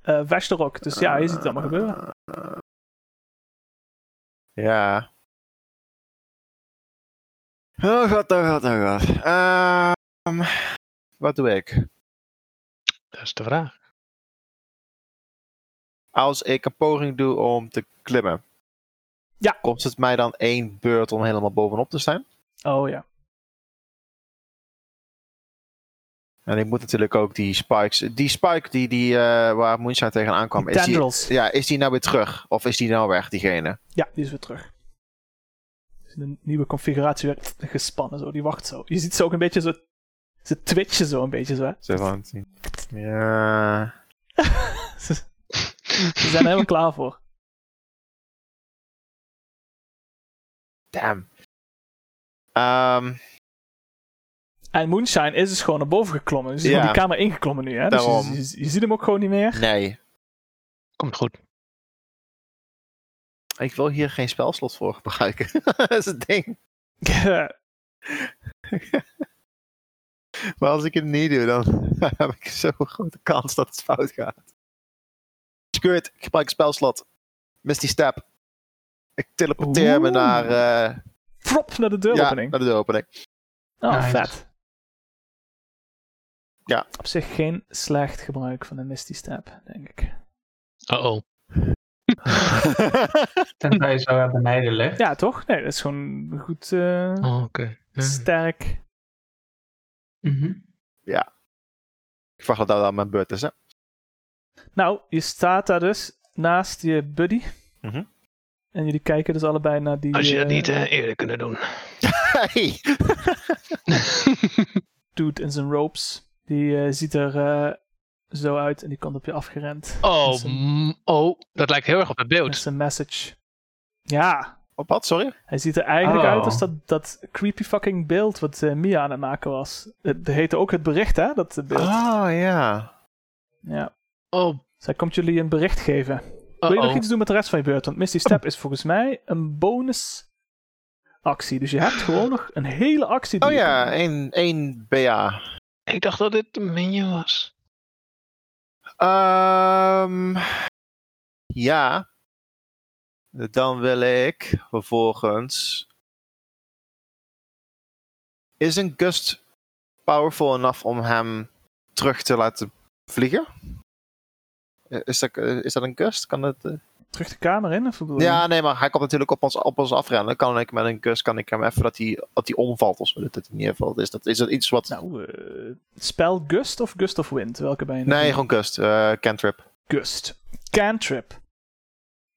Speaker 2: eh Vash er ook, dus ja, je ziet het allemaal gebeuren.
Speaker 5: Ja. Oh god, oh god, oh god. Ehm, wat doe ik?
Speaker 3: dat is de vraag.
Speaker 5: Als ik een poging doe om te klimmen.
Speaker 2: Ja.
Speaker 5: Kost het mij dan één beurt om helemaal bovenop te staan?
Speaker 2: Oh ja.
Speaker 5: En ik moet natuurlijk ook die spikes. Die spike die, die, eh, waar Moonshine tegenaan kwam.
Speaker 2: Die
Speaker 5: Is die,
Speaker 2: tendrils.
Speaker 5: ja, is die nou weer terug? Of is die nou weg, diegene?
Speaker 2: Ja, die is weer terug. Dus in een nieuwe configuratie weer gespannen, zo. Die wacht zo. Je ziet ze ook een beetje zo... Ze twitchen zo een beetje, zo. hè. [laughs]
Speaker 5: Zo van- Ja.
Speaker 2: Ze zijn er helemaal klaar voor.
Speaker 5: Damn. Ehm,
Speaker 2: En Moonshine is dus gewoon naar boven geklommen. Dus is
Speaker 5: Ja.
Speaker 2: gewoon die kamer ingeklommen nu, hè. Dus je,
Speaker 5: Daarom.
Speaker 2: je- je ziet hem ook gewoon niet meer.
Speaker 5: nee.
Speaker 3: [laughs] Komt goed.
Speaker 5: Ik wil hier geen spelslot voor gebruiken. [laughs] dat is het ding. Maar als ik het niet doe, dan [laughs] heb ik zo'n grote kans dat het fout gaat. Screw it. Ik gebruik een spelslot. Misty step. Ik teleporteer me
Speaker 2: Oeh.
Speaker 5: naar, eh
Speaker 2: [laughs] Flop naar de
Speaker 5: ja,
Speaker 2: deuropening.
Speaker 5: naar de
Speaker 2: [laughs]
Speaker 5: deuropening.
Speaker 2: Oh,
Speaker 1: Nice.
Speaker 2: vet.
Speaker 5: Ja.
Speaker 2: Op zich geen slecht gebruik van de Misty Step, denk ik.
Speaker 3: Uh-oh.
Speaker 1: [laughs] Tenzij je zo naar beneden ligt.
Speaker 2: Ja, toch? Nee, dat is gewoon een goed, eh,
Speaker 3: Oh, oké. Eh,
Speaker 2: sterk.
Speaker 1: Mhm.
Speaker 5: ik verwacht dat dat aan mijn beurt is, hè?
Speaker 2: Nou, je staat daar dus naast je buddy.
Speaker 5: Mhm.
Speaker 2: En jullie kijken dus allebei naar die...
Speaker 3: Als je dat
Speaker 2: eh,
Speaker 3: niet eh, eerder kunnen
Speaker 2: [laughs]
Speaker 3: doen.
Speaker 5: Hey!
Speaker 2: dude in zijn ropes. Die eh, ziet er eh, zo uit en die komt op je afgerend. Met
Speaker 3: oh,
Speaker 2: zijn-
Speaker 3: mm, oh, dat lijkt heel erg op het
Speaker 2: Met
Speaker 3: beeld.
Speaker 2: zijn message. Ja,
Speaker 5: Op wat, sorry?
Speaker 2: hij ziet er eigenlijk
Speaker 1: Oh.
Speaker 2: uit als dat, dat creepy fucking beeld wat eh, Mia aan het maken was. Het heette ook het bericht, hè? Dat eh, beeld.
Speaker 5: Oh, ja.
Speaker 2: Ja.
Speaker 3: Oh,
Speaker 2: Zij komt jullie een bericht geven. Wil je nog
Speaker 3: uh-oh.
Speaker 2: iets doen met de rest van je beurt? Want Misty Step is volgens mij een bonus actie. Dus je hebt gewoon nog een hele actie. die
Speaker 5: Oh
Speaker 2: je
Speaker 5: ja,
Speaker 2: kan-
Speaker 5: één, één BA.
Speaker 3: Ik dacht dat dit een menu was.
Speaker 5: Ehm ja. Dan wil ik vervolgens. Is een gust powerful enough om hem terug te laten vliegen? Eh, Is dat, eh, is dat een gust? Kan dat, eh?
Speaker 2: Terug de kamer in? Of bedoel je?
Speaker 5: Ja, nee, maar hij komt natuurlijk op ons, op ons afrennen. Dan kan ik met een gust kan ik hem even dat hij, dat hij omvalt. Of zo, dat het in ieder geval is. Dat, is dat iets wat.
Speaker 2: Nou, eh, spel Gust of Gust of Wind? Welke bij je?
Speaker 5: Nee, gewoon gust. eh cantrip.
Speaker 2: Gust. Cantrip.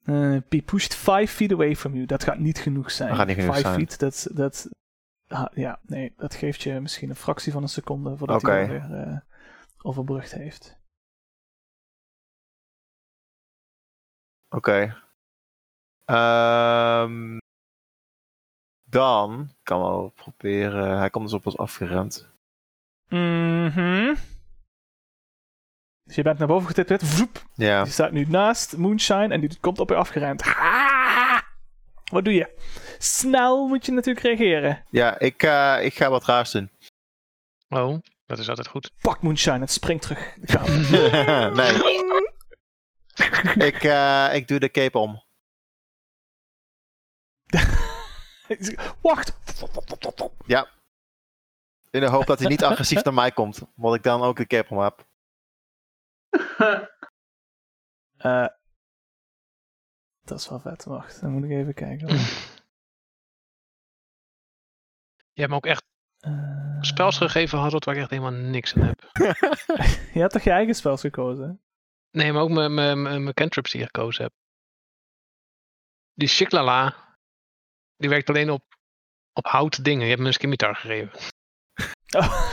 Speaker 2: Eh be pushed 5 feet away from you. Dat gaat niet genoeg zijn.
Speaker 5: Dat gaat niet genoeg
Speaker 2: Five
Speaker 5: zijn.
Speaker 2: feet, dat... dat ah, ja, nee. Dat geeft je misschien een fractie van een seconde voordat
Speaker 5: Oké.
Speaker 2: hij dat weer eh, overbrugd heeft.
Speaker 5: Oké. Ehm, dan kan wel proberen. Hij komt dus op ons afgerend.
Speaker 2: Mhm. Dus je bent naar boven getipt. werd, Vroep.
Speaker 5: Ja.
Speaker 2: Die staat nu naast Moonshine en die komt op je afgerend. Ah! Wat doe je? Snel moet je natuurlijk reageren.
Speaker 5: Ja, ik, eh, ik ga wat raars doen. [laughs]
Speaker 3: Oh, dat is altijd goed. [clears throat]
Speaker 2: Pak Moonshine en spring terug. de
Speaker 5: [laughs]
Speaker 2: kamer.
Speaker 5: nee, ik, eh, ik doe de cape om.
Speaker 2: Wacht!
Speaker 5: In de hoop dat hij niet agressief naar mij komt. Omdat ik dan ook de cape om heb.
Speaker 2: Eh, dat is wel vet. Wacht, dan moet ik even kijken.
Speaker 3: Je hebt me ook echt
Speaker 2: Eh,
Speaker 3: spels gegeven, Harold, waar ik echt helemaal niks aan heb.
Speaker 2: Je had toch je eigen spels gekozen? hè?
Speaker 3: Nee, maar ook mijn- mijn mijn- mijn cantrips die ik gekozen heb. Die Shiklala, die werkt alleen op, op hout dingen. Je hebt me een skimitar gegeven.
Speaker 2: Oh.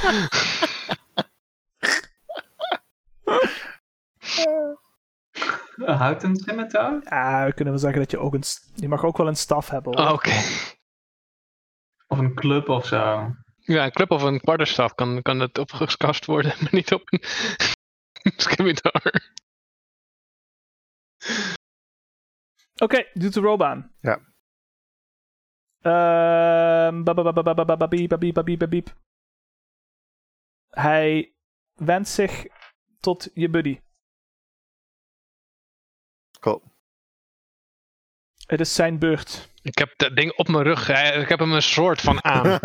Speaker 1: Eh, Een houten scimitar?
Speaker 2: Ja, Ah, we kunnen wel zeggen dat je ook een... st- Je mag ook wel een staf hebben. hoor.
Speaker 3: Oké.
Speaker 1: Of een club of zo.
Speaker 3: [laughs] Ja, een club of een quarterstaf kan, kan het opgekast worden, [laughs] maar niet op een skimitar.
Speaker 2: Oké, doet de robe aan.
Speaker 5: Ja.
Speaker 2: Ehm, ba- ba- ba- ba- ba- ba- ba- ba- biep, ba- biep, ba- biep, ba- biep. Hij wendt zich tot je buddy.
Speaker 5: Cool.
Speaker 2: Het is zijn beurt.
Speaker 3: Ik heb dat ding op mijn rug. hè. Ik heb hem een soort van aan.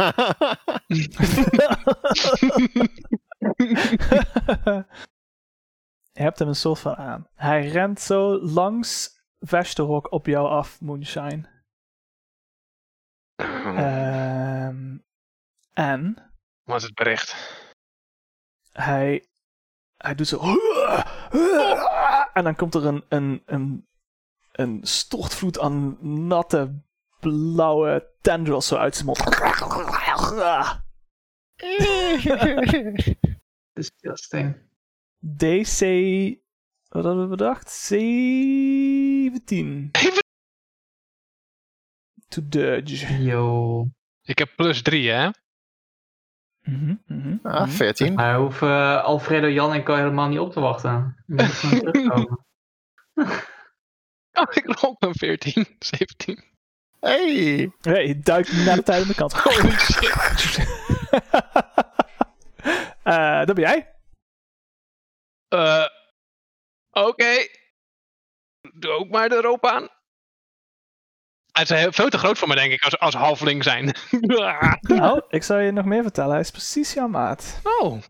Speaker 2: je hebt hem een soort van aan. Hij rent zo langs Vesterhok op jou af, Moonshine. Ehm, en
Speaker 3: Was het bericht?
Speaker 2: hij, hij doet zo. En dan komt er een, een, een, een stortvloed aan natte blauwe tendrils zo uit zijn mond.
Speaker 1: Dus Disgusting.
Speaker 2: DC. Wat hadden we bedacht? 17. To dodge.
Speaker 1: Yo.
Speaker 3: Ik heb plus drie, hè?
Speaker 2: Mhm, mhm,
Speaker 5: [laughs] ah,
Speaker 2: mhm.
Speaker 5: 14.
Speaker 1: Maar hoef eh, Alfredo Jan en ik al helemaal niet op te wachten. Die moeten gewoon terugkomen.
Speaker 3: Oh, ik rol een 14, 17.
Speaker 5: Hey!
Speaker 2: Nee, je duikt naar de tijd aan de
Speaker 5: [laughs]
Speaker 2: kant.
Speaker 5: Oh.
Speaker 3: Holy shit.
Speaker 2: [laughs] Eh, dat ben jij.
Speaker 3: Eh, Oké. Doe ook maar de roop aan. Hij is heel- veel te groot voor me, denk ik, als, als halfling zijn. [laughs]
Speaker 2: Nou, ik zal je nog meer vertellen. Hij is precies jouw maat.
Speaker 3: oh.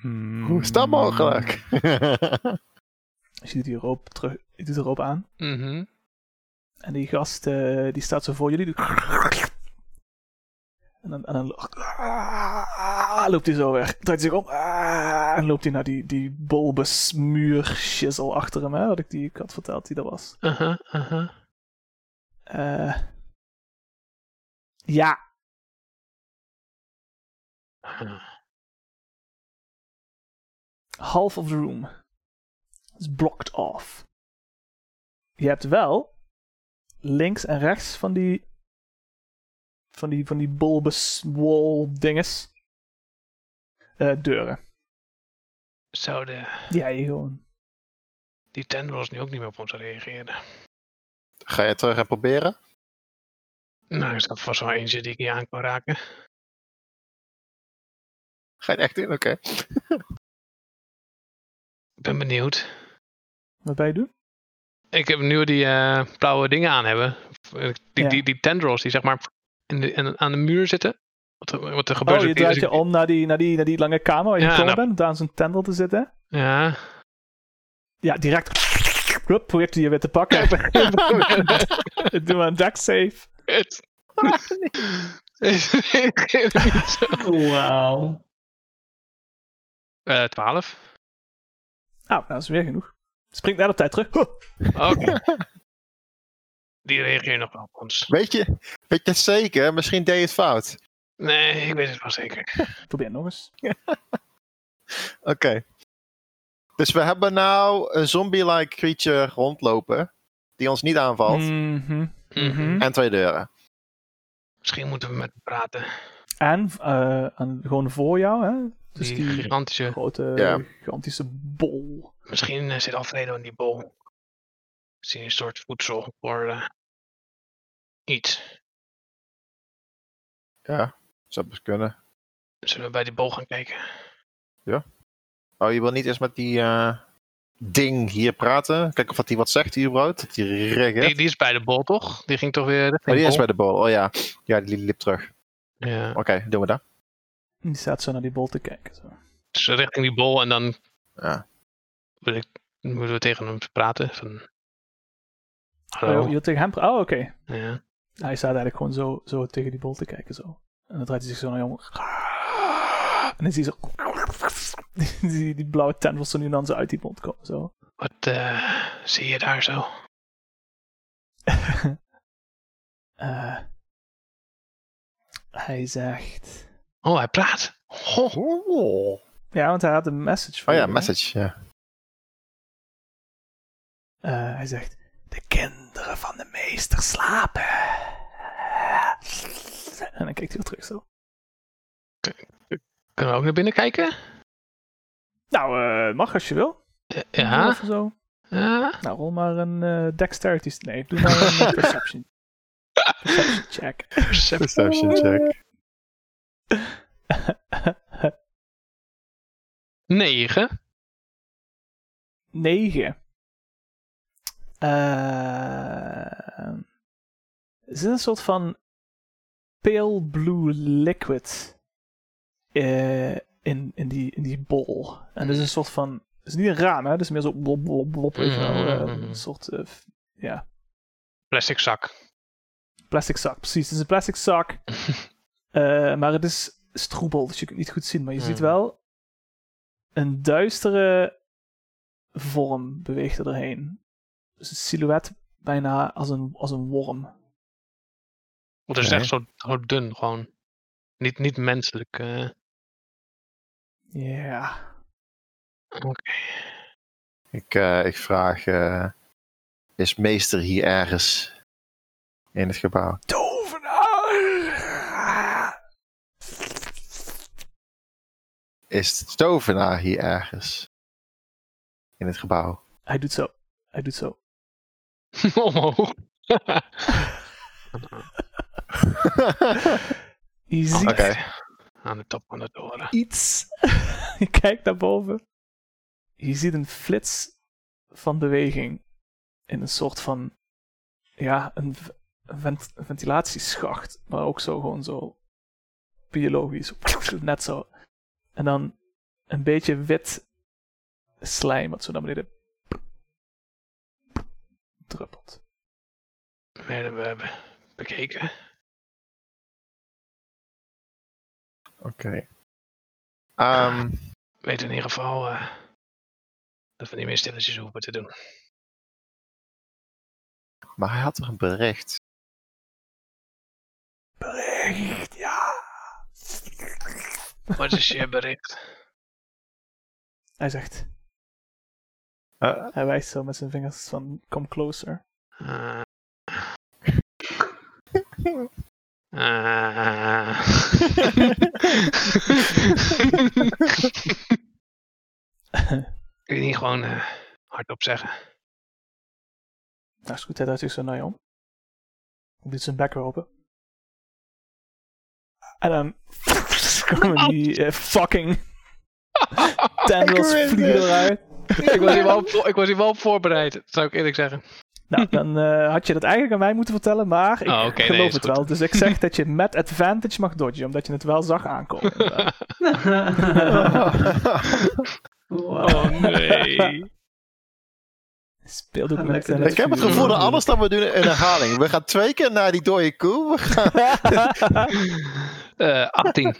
Speaker 2: Hmm.
Speaker 5: Hoe is
Speaker 2: Mm.
Speaker 5: dat mogelijk? [laughs]
Speaker 2: Dus je doet die roop, terug, je doet de roop aan.
Speaker 3: Mhm.
Speaker 2: En die gast eh, die staat zo voor jullie. Doet... En dan, en dan ah, loopt hij zo weg. Draait hij zich om. ah, en loopt hij naar die, die bulbesmuur shizzle achter hem. Hè, dat ik die ik had verteld die er was.
Speaker 3: Aha,
Speaker 2: uh-huh.
Speaker 3: aha.
Speaker 2: Eh, ja, half of the room is blocked off. Je hebt wel links en rechts van die van die van die bulbous wall dinges eh, deuren.
Speaker 3: Zou de,
Speaker 2: Ja, je gewoon.
Speaker 3: die tendrils nu ook niet meer op ons reageren?
Speaker 5: Ga je terug en proberen?
Speaker 3: Nou, is dat vast wel eentje die ik hier aan kan raken.
Speaker 5: Ga je het echt doen? Oké.
Speaker 3: Ik ben benieuwd.
Speaker 2: Wat ben je doen?
Speaker 3: Ik heb nu die eh, blauwe dingen aan hebben. Eh, Die,
Speaker 2: Ja.
Speaker 3: die, die tendrils die zeg maar in de, in- aan de muur zitten. Wat, er- wat er gebeurt.
Speaker 2: Oh, je
Speaker 3: is-
Speaker 2: draait
Speaker 3: is-
Speaker 2: je om naar die, naar die, naar die lange kamer waar je
Speaker 3: Ja,
Speaker 2: gekomen
Speaker 3: nou.
Speaker 2: bent, om daar in zo'n tendel te zitten.
Speaker 3: Ja.
Speaker 2: Ja, direct. Hup, probeert hij je weer te pakken. [laughs] Doe maar een duck save.
Speaker 3: Het. Het- niet zo.
Speaker 1: [laughs] Wauw. [laughs]
Speaker 3: Eh, 12.
Speaker 2: Nou, dat is weer genoeg. Springt net op tijd terug. Huh.
Speaker 3: Oké. Die reageert nog wel op ons.
Speaker 5: Weet je, weet je het zeker? Misschien deed je het fout.
Speaker 3: Nee, ik weet het wel zeker.
Speaker 2: Probeer nog eens.
Speaker 5: Oké. Dus we hebben nou een zombie-like creature rondlopen. Die ons niet aanvalt.
Speaker 2: Mhm. Mhm.
Speaker 5: En twee deuren.
Speaker 3: Misschien moeten we met hem praten.
Speaker 2: En, eh, en gewoon voor jou, hè? Dus
Speaker 3: die,
Speaker 2: die
Speaker 3: gigantische.
Speaker 2: grote,
Speaker 5: Ja.
Speaker 2: gigantische bol.
Speaker 3: Misschien eh, zit Alfredo in die bol. Misschien een soort voedsel voor eh, iets.
Speaker 5: Ja, zou best kunnen.
Speaker 3: Zullen we bij die bol gaan kijken?
Speaker 5: Oh, je wil niet eens met die eh, ding hier praten? Kijken of dat die wat zegt hier, überhaupt? Dat die reageert?
Speaker 3: Die, die is bij de bol, toch? Die ging toch weer.
Speaker 5: Oh, die is
Speaker 3: bol?
Speaker 5: bij de bol. Oh ja. Ja, die liep terug.
Speaker 3: Ja.
Speaker 5: Oké, doen we dat.
Speaker 2: En Die staat zo naar die bol te kijken. Zo.
Speaker 3: Dus richting die bol en dan
Speaker 5: Ja.
Speaker 3: wil ik- moeten we tegen hem praten. Van,
Speaker 2: Oh,
Speaker 3: Hallo.
Speaker 2: je wilt tegen hem pra- Oh, oké.
Speaker 3: Ja.
Speaker 2: Hij staat eigenlijk gewoon zo, zo tegen die bol te kijken. Zo. En dan draait hij zich zo naar jongen. En dan zie je zo. [laughs] Die, die, die blauwe tent was er nu dan zo uit die mond komen. Zo.
Speaker 3: Wat eh, zie je daar zo?
Speaker 2: [laughs] Eh, hij zegt.
Speaker 3: Oh, hij praat. Goh.
Speaker 5: Oh,
Speaker 2: Ja, want hij had een message voor
Speaker 5: oh ja,
Speaker 2: je, hè?
Speaker 5: message. Ja.
Speaker 2: Eh, hij zegt: De kinderen van de meester slapen. En dan kijkt hij weer terug zo.
Speaker 3: Kunnen we ook naar binnen kijken?
Speaker 2: Nou, eh, mag als je wil.
Speaker 3: Eh,
Speaker 2: Of
Speaker 3: Ja.
Speaker 2: zo.
Speaker 3: ja.
Speaker 2: Nou, rol maar een eh dexterity. Nee, doe maar een eh,
Speaker 5: [laughs]
Speaker 2: perception. perception check.
Speaker 3: Percep- [laughs]
Speaker 5: Perception
Speaker 2: [laughs]
Speaker 5: check.
Speaker 3: Negen.
Speaker 2: 9. Eh, er zit een soort van pale blue liquid eh, in, in, die, in die bol. En dat is een soort van. Het is niet een raam, hè? Het is meer zo blop, blop, blop. Weet je wel, eh, een soort eh, f- ja,
Speaker 3: Plastic zak. [laughs]
Speaker 2: plastic zak. Precies, het is een plastic zak. Eh, maar het is stroebel, dus je kunt het niet goed zien. Maar je ziet
Speaker 3: Mhm.
Speaker 2: wel een duistere vorm beweegt er doorheen. Dus een silhouet bijna als een, als een worm.
Speaker 3: Want het is
Speaker 5: Oké.
Speaker 3: echt zo, zo dun gewoon. Niet, niet menselijk. eh. [laughs]
Speaker 2: Ja.
Speaker 3: Oké.
Speaker 5: Ik, eh, ik vraag: eh, Is meester hier ergens in het gebouw?
Speaker 2: Tovenaar!
Speaker 5: Is de tovenaar hier ergens in het gebouw?
Speaker 2: Hij doet zo. Hij doet zo.
Speaker 3: Omhoog.
Speaker 2: Je ziet
Speaker 5: Oké.
Speaker 3: Aan de top van de toren.
Speaker 2: iets. [laughs] je kijkt naar boven. Je ziet een flits van beweging in een soort van ja, een, v- een vent- een ventilatieschacht, maar ook zo gewoon zo biologisch, [laughs] net zo. En dan een beetje wit slijm wat zo naar beneden druppelt.
Speaker 3: Werden we hebben bekeken.
Speaker 5: Oké. [laughs] Ehm,
Speaker 3: Weet in ieder geval eh, dat we niet meer stilletjes hoeven te doen.
Speaker 5: maar hij had er een bericht. [laughs]
Speaker 2: Bericht, ja.
Speaker 3: Wat is je bericht?
Speaker 2: Hij zegt,
Speaker 5: Eh,
Speaker 2: hij wijst zo met zijn vingers van kom closer. [laughs]
Speaker 3: Eh. Eh. Kun je niet gewoon eh, hardop zeggen?
Speaker 2: Nou, is goed, hij draait zich zo naar je om. Hij doet zijn bek weer open. En dan [laughs] komen die eh,
Speaker 5: [laughs]
Speaker 2: fucking tendrils
Speaker 5: Ik dus. wist
Speaker 2: vliegen
Speaker 5: het.
Speaker 2: eruit.
Speaker 3: ik, was hier wel op, ik was hier wel op voorbereid, zou ik eerlijk zeggen.
Speaker 2: Nou, dan eh, had je dat eigenlijk aan mij moeten vertellen, maar ik
Speaker 3: Oh, oké, nee,
Speaker 2: geloof
Speaker 3: is
Speaker 2: het
Speaker 3: goed.
Speaker 2: wel. Dus ik
Speaker 3: [laughs]
Speaker 2: zeg dat je met advantage mag dodgen, omdat je het wel zag aankomen. inderdaad.
Speaker 1: Wow.
Speaker 3: Oh nee.
Speaker 2: Speelt ook
Speaker 1: Ah,
Speaker 2: met
Speaker 1: lekker.
Speaker 2: advantage.
Speaker 5: ik heb het gevoel dat alles dat we doen een herhaling. We gaan twee keer naar die dode koe. [laughs] We gaan-
Speaker 3: Eh 18.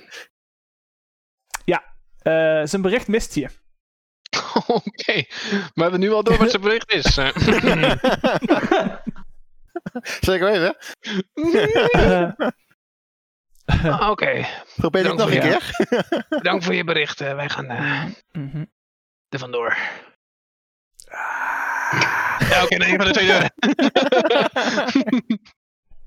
Speaker 2: Eh, zijn bericht mist je.
Speaker 3: [laughs] Oké, maar we hebben nu al door wat zijn bericht is. Eh,
Speaker 5: Zeker weten.
Speaker 2: Eh, [laughs]
Speaker 3: Oké,
Speaker 5: Probeer het
Speaker 3: Dank
Speaker 5: nog een
Speaker 3: voor jou.
Speaker 5: keer.
Speaker 3: bedankt voor je bericht. eh, wij gaan eh,
Speaker 2: mhm.
Speaker 3: er vandoor. Ja, oké, dan een van de twee deuren.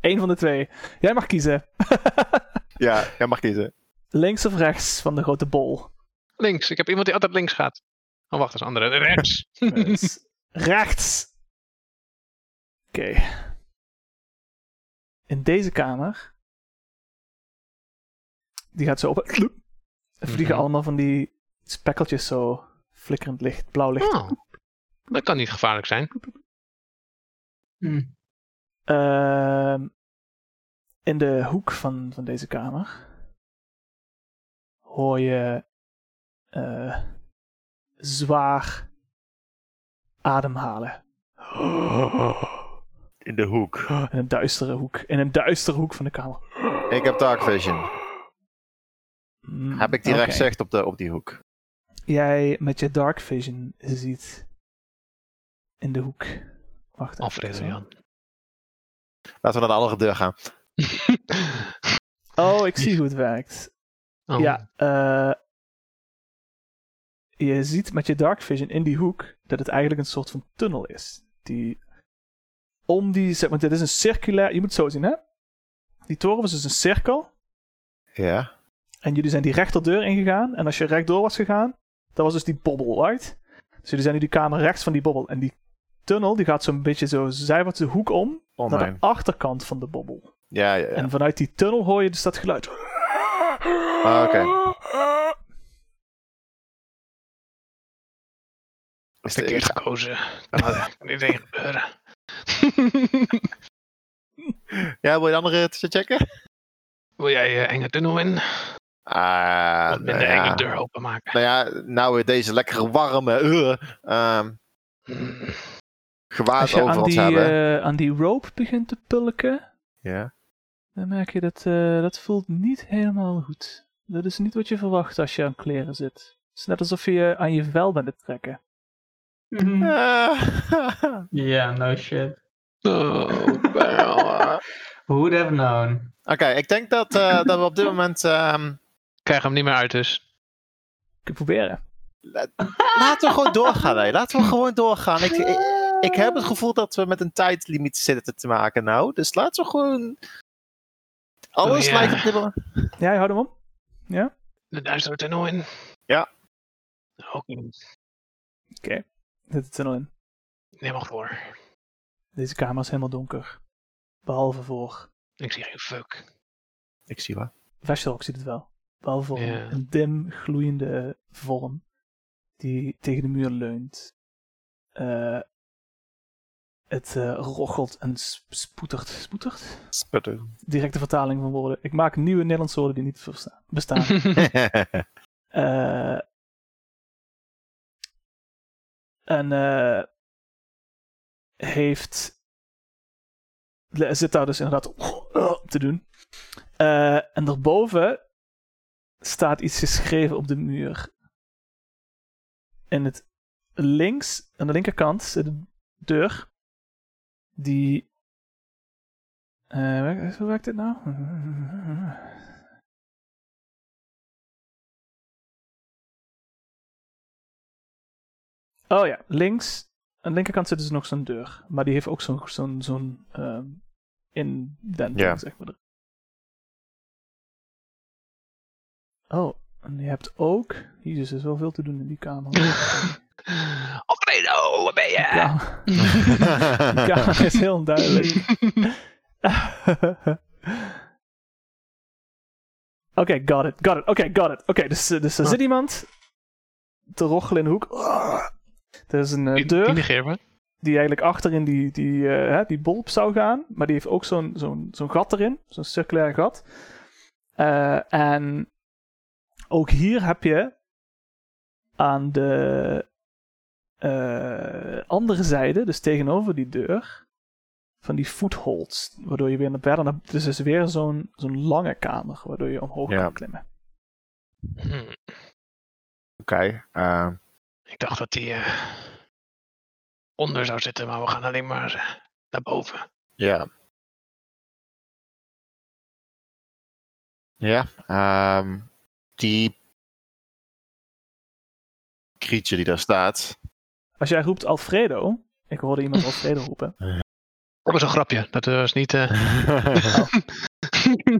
Speaker 2: Eén van de twee. Jij mag kiezen. [laughs]
Speaker 5: Ja, jij mag kiezen.
Speaker 2: Links of rechts van de grote bol?
Speaker 3: [laughs] Links, ik heb iemand die altijd links gaat. Oh, wacht, dat is een andere. Rechts.
Speaker 2: Dus rechts. Oké. In deze kamer. Die gaat zo open. Er vliegen
Speaker 3: Mhm.
Speaker 2: allemaal van die spekkeltjes zo. Flikkerend licht, blauw licht.
Speaker 3: Oh, dat kan niet gevaarlijk zijn.
Speaker 1: Hm.
Speaker 2: Ehm, in de hoek van, van deze kamer hoor je eh, zwaar ademhalen.
Speaker 5: in de hoek.
Speaker 2: In een duistere hoek. In een duistere hoek van de kamer.
Speaker 5: Ik heb dark vision.
Speaker 2: Mm,
Speaker 5: Heb ik direct
Speaker 2: oké.
Speaker 5: zicht op, de, op die hoek?
Speaker 2: Jij met je dark vision ziet in de hoek. Wacht
Speaker 3: Alfredo
Speaker 2: even.
Speaker 3: Jan.
Speaker 5: Laten we naar de andere deur gaan.
Speaker 2: Oh, ik zie hoe het werkt.
Speaker 3: Oh,
Speaker 2: Ja, eh, je ziet met je dark vision in die hoek dat het eigenlijk een soort van tunnel is. Die om die, zeg maar, dit is een circulair, je moet het zo zien hè. Die toren was dus een cirkel
Speaker 5: Ja.
Speaker 2: en jullie zijn die rechterdeur ingegaan en als je rechtdoor was gegaan, dan was dus die bobbel uit. Dus jullie zijn nu die kamer rechts van die bobbel en die tunnel die gaat zo'n beetje zo zijwaarts de hoek om
Speaker 5: Oh
Speaker 2: naar de
Speaker 5: mijn.
Speaker 2: achterkant van de bobbel.
Speaker 5: Ja, ja, ja.
Speaker 2: En vanuit die tunnel hoor je dus dat geluid.
Speaker 5: Ah, Oké.
Speaker 2: [laughs]
Speaker 5: Is
Speaker 3: Ik
Speaker 5: de-
Speaker 3: heb
Speaker 5: ik-
Speaker 3: gekozen. Ah, kan dit ding gebeuren?
Speaker 5: Ja, wil je de andere te checken?
Speaker 3: [laughs] Wil jij je enge tunnel in?
Speaker 5: Ah,
Speaker 3: Wat minder
Speaker 5: nou ja.
Speaker 3: enge deur openmaken.
Speaker 5: Nou ja, nou weer deze lekkere warme, eh, ehm,
Speaker 3: Mm.
Speaker 5: gewaad
Speaker 2: Als je
Speaker 5: over
Speaker 2: aan
Speaker 5: ons
Speaker 2: die,
Speaker 5: hebben.
Speaker 2: eh, aan die rope begint te pulken,
Speaker 5: Ja.
Speaker 2: dan merk je dat eh, dat voelt niet helemaal goed. Dat is niet wat je verwacht als je aan kleren zit. Het is net alsof je eh, aan je vel bent te trekken.
Speaker 1: Mhm.
Speaker 5: Ah,
Speaker 1: Ja, no shit.
Speaker 3: Oh, wel.
Speaker 1: Who'd have known?
Speaker 5: [laughs]
Speaker 1: [laughs]
Speaker 5: Oké, ik denk dat, eh, dat we op dit moment. ehm,
Speaker 3: Krijg hem niet meer uit dus.
Speaker 2: Ik proberen.
Speaker 5: laten we gewoon doorgaan, hè. Laten we gewoon doorgaan. Ik, ik, ik heb het gevoel dat we met een tijdlimiet zitten te maken, nou. Dus laten we gewoon. Alles
Speaker 3: Oh, ja.
Speaker 5: lijkt op dit moment.
Speaker 2: Ja, je houdt hem om.
Speaker 3: De duistere tunnel in.
Speaker 5: Ja.
Speaker 3: Ook niet.
Speaker 2: Zit het er nog in.
Speaker 3: Helemaal voor.
Speaker 2: Deze kamer is helemaal donker. Behalve voor...
Speaker 3: Ik zie geen fuck.
Speaker 5: Ik zie [laughs] wat.
Speaker 2: Vestelok ziet het wel. Behalve voor
Speaker 3: Ja.
Speaker 2: een dim gloeiende vorm die tegen de muur leunt. Eh, het eh, rochelt en sp- spoetert. Spoetert?
Speaker 5: Sputter.
Speaker 2: Directe vertaling van woorden. Ik maak nieuwe Nederlandse woorden die niet versta- bestaan.
Speaker 3: [laughs]
Speaker 2: Eh, en eh, heeft. le- Zit daar dus inderdaad [coughs] op te doen. Eh, en daarboven staat iets geschreven op de muur. En het links, aan de linkerkant, zit een deur. Die. eh, wer- hoe werkt dit nou? Oh ja, links. Aan de linkerkant zit dus nog zo'n deur. Maar die heeft ook zo'n zo'n zo'n ehm, indenting,
Speaker 5: Ja.
Speaker 2: zeg maar. Oh, en je hebt ook... Jezus, er is wel veel te doen in die kamer.
Speaker 3: Alfredo, waar ben je?
Speaker 2: Die [laughs] kamer, die kamer is heel duidelijk. [laughs] Oké, got it, got it. Oké, got it. Oké, dus, eh, dus er
Speaker 3: Ah.
Speaker 2: zit iemand te rochelen in de hoek. Er is een eh,
Speaker 3: Die- Die
Speaker 2: deur
Speaker 3: negeer me.
Speaker 2: die eigenlijk achterin die, die, eh, hè, die bolp zou gaan. Maar die heeft ook zo'n zo'n zo'n gat erin. Zo'n circulair gat. Eh, en ook hier heb je aan de eh, andere zijde, dus tegenover die deur, van die footholds. Waardoor je weer naar verder... naar- Dus het is weer zo'n zo'n lange kamer, waardoor je omhoog
Speaker 5: Ja.
Speaker 2: kan klimmen.
Speaker 3: Hm.
Speaker 5: Oké. ehm,
Speaker 3: Ik dacht dat die eh, onder zou zitten, maar we gaan alleen maar eh, naar boven.
Speaker 5: Ja. Ja, ehm, die creature die daar staat.
Speaker 2: Als jij roept Alfredo... Ik hoorde iemand Alfredo roepen.
Speaker 3: Oh, Dat was een grapje. Dat was niet. eh,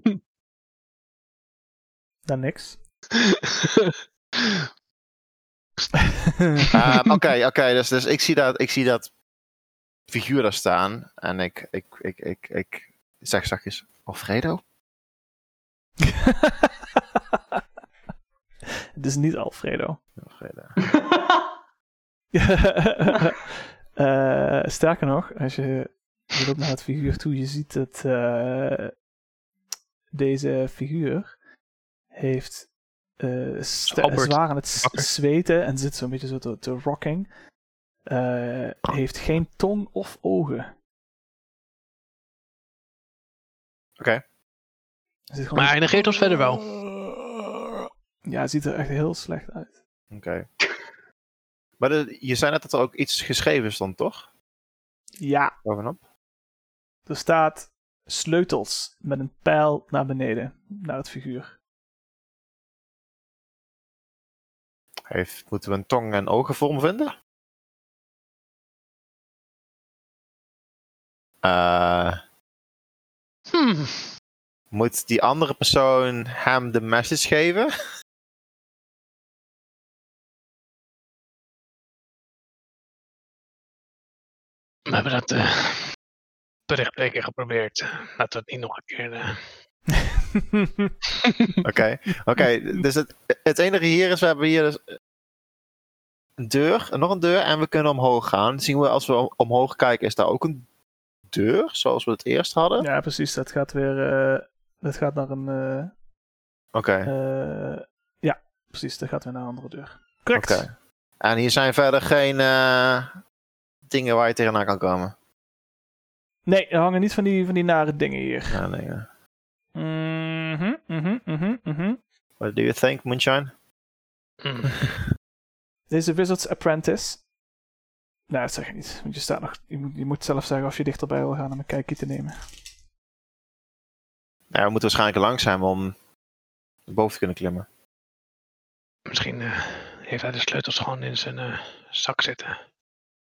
Speaker 5: [laughs]
Speaker 2: Dan niks.
Speaker 5: Ehm, Oké, oké, dus, dus ik zie dat, ik zie dat figuur daar staan en ik, ik, ik, ik, ik zeg zachtjes, Alfredo?
Speaker 2: Het is niet Alfredo. [laughs]
Speaker 5: Alfredo.
Speaker 2: Eh, sterker nog, als je, je loopt naar het figuur toe, je ziet dat eh, deze figuur heeft eh st-
Speaker 3: Albert.
Speaker 2: zwaar aan het s-
Speaker 3: Oké.
Speaker 2: zweten en zit zo'n beetje zo te,
Speaker 3: Ah.
Speaker 2: te rocking. Eh, heeft geen tong of ogen. Er zit gewoon
Speaker 3: Maar
Speaker 2: een-
Speaker 3: hij negeert ons verder wel.
Speaker 2: Ja, het ziet er echt heel slecht uit.
Speaker 5: Oké. Maar de- je zei net dat er ook iets geschreven stond, toch?
Speaker 2: Ja,
Speaker 5: Bovenop.
Speaker 2: er staat sleutels met een pijl naar beneden, naar het [laughs] figuur.
Speaker 5: Heeft, moeten we een tong- en ogenvorm vinden? Eh,
Speaker 3: Hmm.
Speaker 5: moet die andere persoon hem de message
Speaker 2: [laughs]
Speaker 5: geven?
Speaker 3: We hebben dat eh terecht twee keer geprobeerd. Laten we het niet nog een keer. eh.
Speaker 5: Oké, oké. dus het, het enige hier is, we hebben hier dus een deur, nog een deur en we kunnen omhoog gaan. Zien we als we om- omhoog kijken, is daar ook een deur, zoals we het eerst hadden?
Speaker 2: ja, precies. Dat gaat weer. eh, dat gaat naar een. eh,
Speaker 5: Oké,
Speaker 2: eh, ja, precies. Dat gaat weer naar een andere deur. Correct.
Speaker 5: Oké. en hier zijn verder geen eh, dingen waar je tegenaan kan komen.
Speaker 2: Nee, er hangen niet van die, van die nare dingen hier.
Speaker 5: Ja, nee, eh. ja.
Speaker 2: Mhm, mhm, mhm, mhm.
Speaker 5: What do you think, Moonshine?
Speaker 3: Hmm.
Speaker 2: Dit is de Wizard's Apprentice. Nou, dat zeg ik niet. Want je, staat nog, je, moet, je moet zelf zeggen of je dichterbij wil gaan om een kijkje te nemen.
Speaker 5: Nou, we moeten waarschijnlijk langzaam om boven te kunnen klimmen.
Speaker 3: Misschien eh, heeft hij de sleutels gewoon in zijn eh, zak zitten.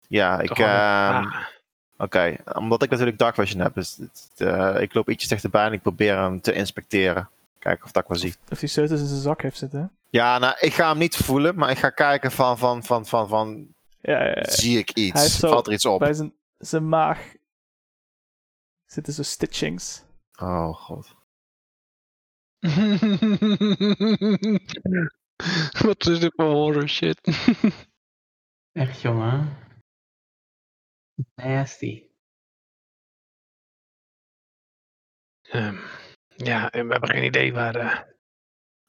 Speaker 5: Ja, ik...
Speaker 3: Toch wel een
Speaker 5: ehm,
Speaker 3: vraag.
Speaker 5: Oké, omdat ik natuurlijk dark vision heb, dus het- eh, ik loop ietsjes dichterbij en ik probeer hem te inspecteren. Kijken of dat ik wel zie.
Speaker 2: Of die sleutels in zijn zak heeft zitten.
Speaker 5: Ja, nou, ik ga hem niet voelen, maar ik ga kijken van, van, van, van, van
Speaker 2: Ja, ja, ja.
Speaker 5: zie ik
Speaker 2: Eh, hij heeft
Speaker 5: iets?
Speaker 2: zo-
Speaker 5: Valt er iets op?
Speaker 2: bij zijn, zijn maag zitten zo stitchings.
Speaker 5: Oh god.
Speaker 3: [laughs] Wat is dit voor horror shit?
Speaker 1: Echt jongen. Nasty.
Speaker 3: [laughs] Ehm, ja, en we hebben geen idee waar eh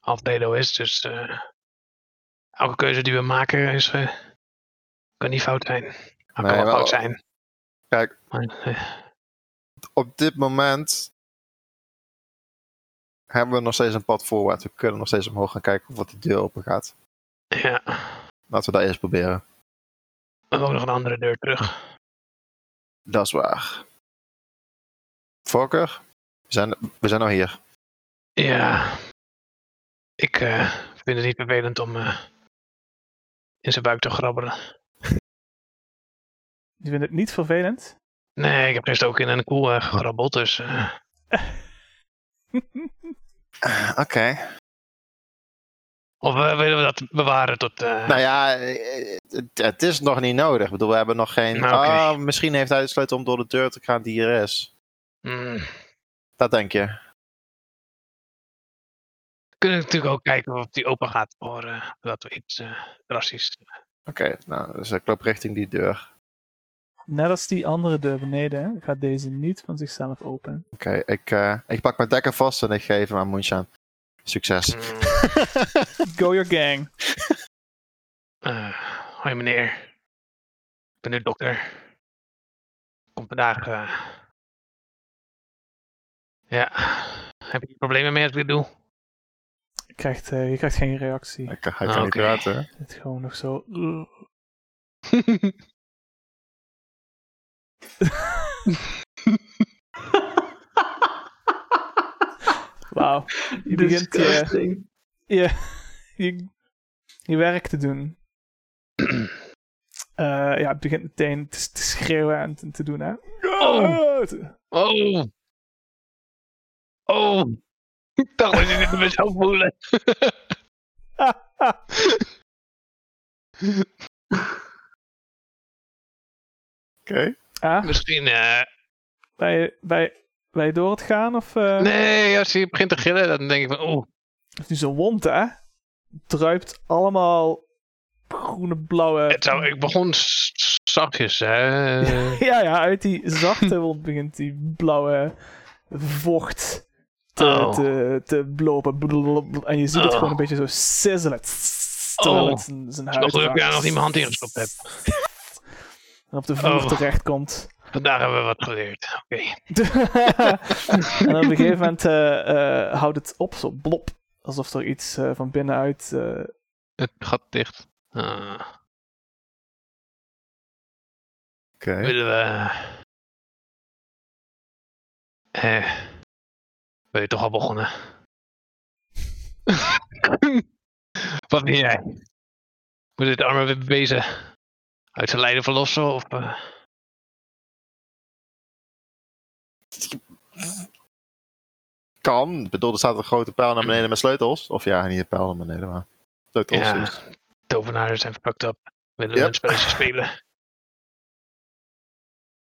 Speaker 3: Alfredo is, dus eh, elke keuze die we maken is, eh, kan niet fout zijn. Maar
Speaker 5: Nee,
Speaker 3: kan wel
Speaker 5: wel-
Speaker 3: fout zijn.
Speaker 5: Kijk.
Speaker 3: Maar, eh,
Speaker 5: Op dit moment hebben we nog steeds een pad voorwaarts. We kunnen nog steeds omhoog gaan kijken of wat die deur open gaat.
Speaker 3: ja, we
Speaker 5: Laten we dat eerst proberen.
Speaker 3: hebben ook nog een andere deur terug.
Speaker 5: Dat is waar. Fokker, we zijn, we zijn al hier.
Speaker 3: Ja, ik eh, vind het niet vervelend om eh, in zijn buik te grabbelen.
Speaker 2: Die vinden het niet vervelend. [laughs]
Speaker 3: Nee, ik heb gisteren ook in een koe eh, gegrabbeld, dus eh,
Speaker 5: Oké.
Speaker 3: of eh, willen we dat bewaren tot... eh,
Speaker 5: Nou ja, eh, het, het is nog niet nodig. Ik bedoel, we hebben nog geen.
Speaker 3: Nou, oké.
Speaker 5: Ah, misschien heeft hij de sleutel om door de deur te gaan die er is.
Speaker 3: mm,
Speaker 5: Dat denk je.
Speaker 3: We kunnen natuurlijk ook kijken of die open gaat voordat dat we iets eh, drastisch.
Speaker 5: Oké, nou, dus ik loop richting die deur.
Speaker 2: Net als die andere deur beneden gaat deze niet van zichzelf open.
Speaker 5: Oké, ik, eh, ik pak mijn dekker vast en ik geef hem aan Moonshine. Succes.
Speaker 3: Mm,
Speaker 2: Go your gang.
Speaker 3: eh, hoi meneer, ik ben de dokter. Kom vandaag. eh, Ja, heb je problemen mee als ik dit doe?
Speaker 2: Je krijgt, eh, je krijgt geen reactie.
Speaker 5: Ik, eh, hij kan
Speaker 3: Ah,
Speaker 5: niet
Speaker 3: oké.
Speaker 5: praten. hè?
Speaker 2: Het is gewoon nog zo. Wauw. Je begint je,
Speaker 1: Disgusting.
Speaker 2: je, [laughs] je, je werk te doen. [clears throat] Eh, ja, het begint meteen te, te schreeuwen en te, te doen. Hè? Ah,
Speaker 3: Oh. oh! Oh! Ik dacht dat je dit me zou voelen.
Speaker 5: Oké.
Speaker 2: Ah,
Speaker 3: Misschien. eh,
Speaker 2: bij, bij, bij door het gaan of, eh,
Speaker 3: nee, als hij begint te gillen, dan denk ik van. Oeh.
Speaker 2: of nu zo'n wond, hè? Druipt allemaal groene, blauwe.
Speaker 3: Het zou, ik begon s- s- zachtjes, [laughs] hè.
Speaker 2: [laughs] Ja, ja, uit die zachte wond begint die blauwe vocht te,
Speaker 3: Oh.
Speaker 2: te, te blopen. Blablabla. En je ziet het
Speaker 3: Oh.
Speaker 2: gewoon een beetje zo sizzelen. Tss, Terwijl
Speaker 3: Oh.
Speaker 2: het zijn, zijn
Speaker 3: Nog
Speaker 2: huid
Speaker 3: dat ik
Speaker 2: raakt.
Speaker 3: daar nog niet mijn hand in gestopt heb.
Speaker 2: [laughs] En op de vloer
Speaker 3: Oh.
Speaker 2: [laughs] terechtkomt.
Speaker 3: Vandaag hebben we wat geleerd. Oké.
Speaker 2: en op een gegeven moment eh, eh, houdt het op, zo blop. Alsof er iets eh, van binnenuit. eh,
Speaker 3: Het gat dicht. Ah,
Speaker 5: Oké.
Speaker 3: Willen we... Eh, ben je toch al begonnen? [laughs] Wat ben jij? Moet dit arme wezen uit zijn lijden verlossen? Of, eh,
Speaker 5: Kan. Ik bedoel, er staat een grote pijl naar beneden met sleutels. Of ja, niet een pijl naar beneden, maar sleutels.
Speaker 3: Ja.
Speaker 5: dus.
Speaker 3: tovenaars zijn verpakt op. Willen we
Speaker 5: Ja.
Speaker 3: een spelletje spelen?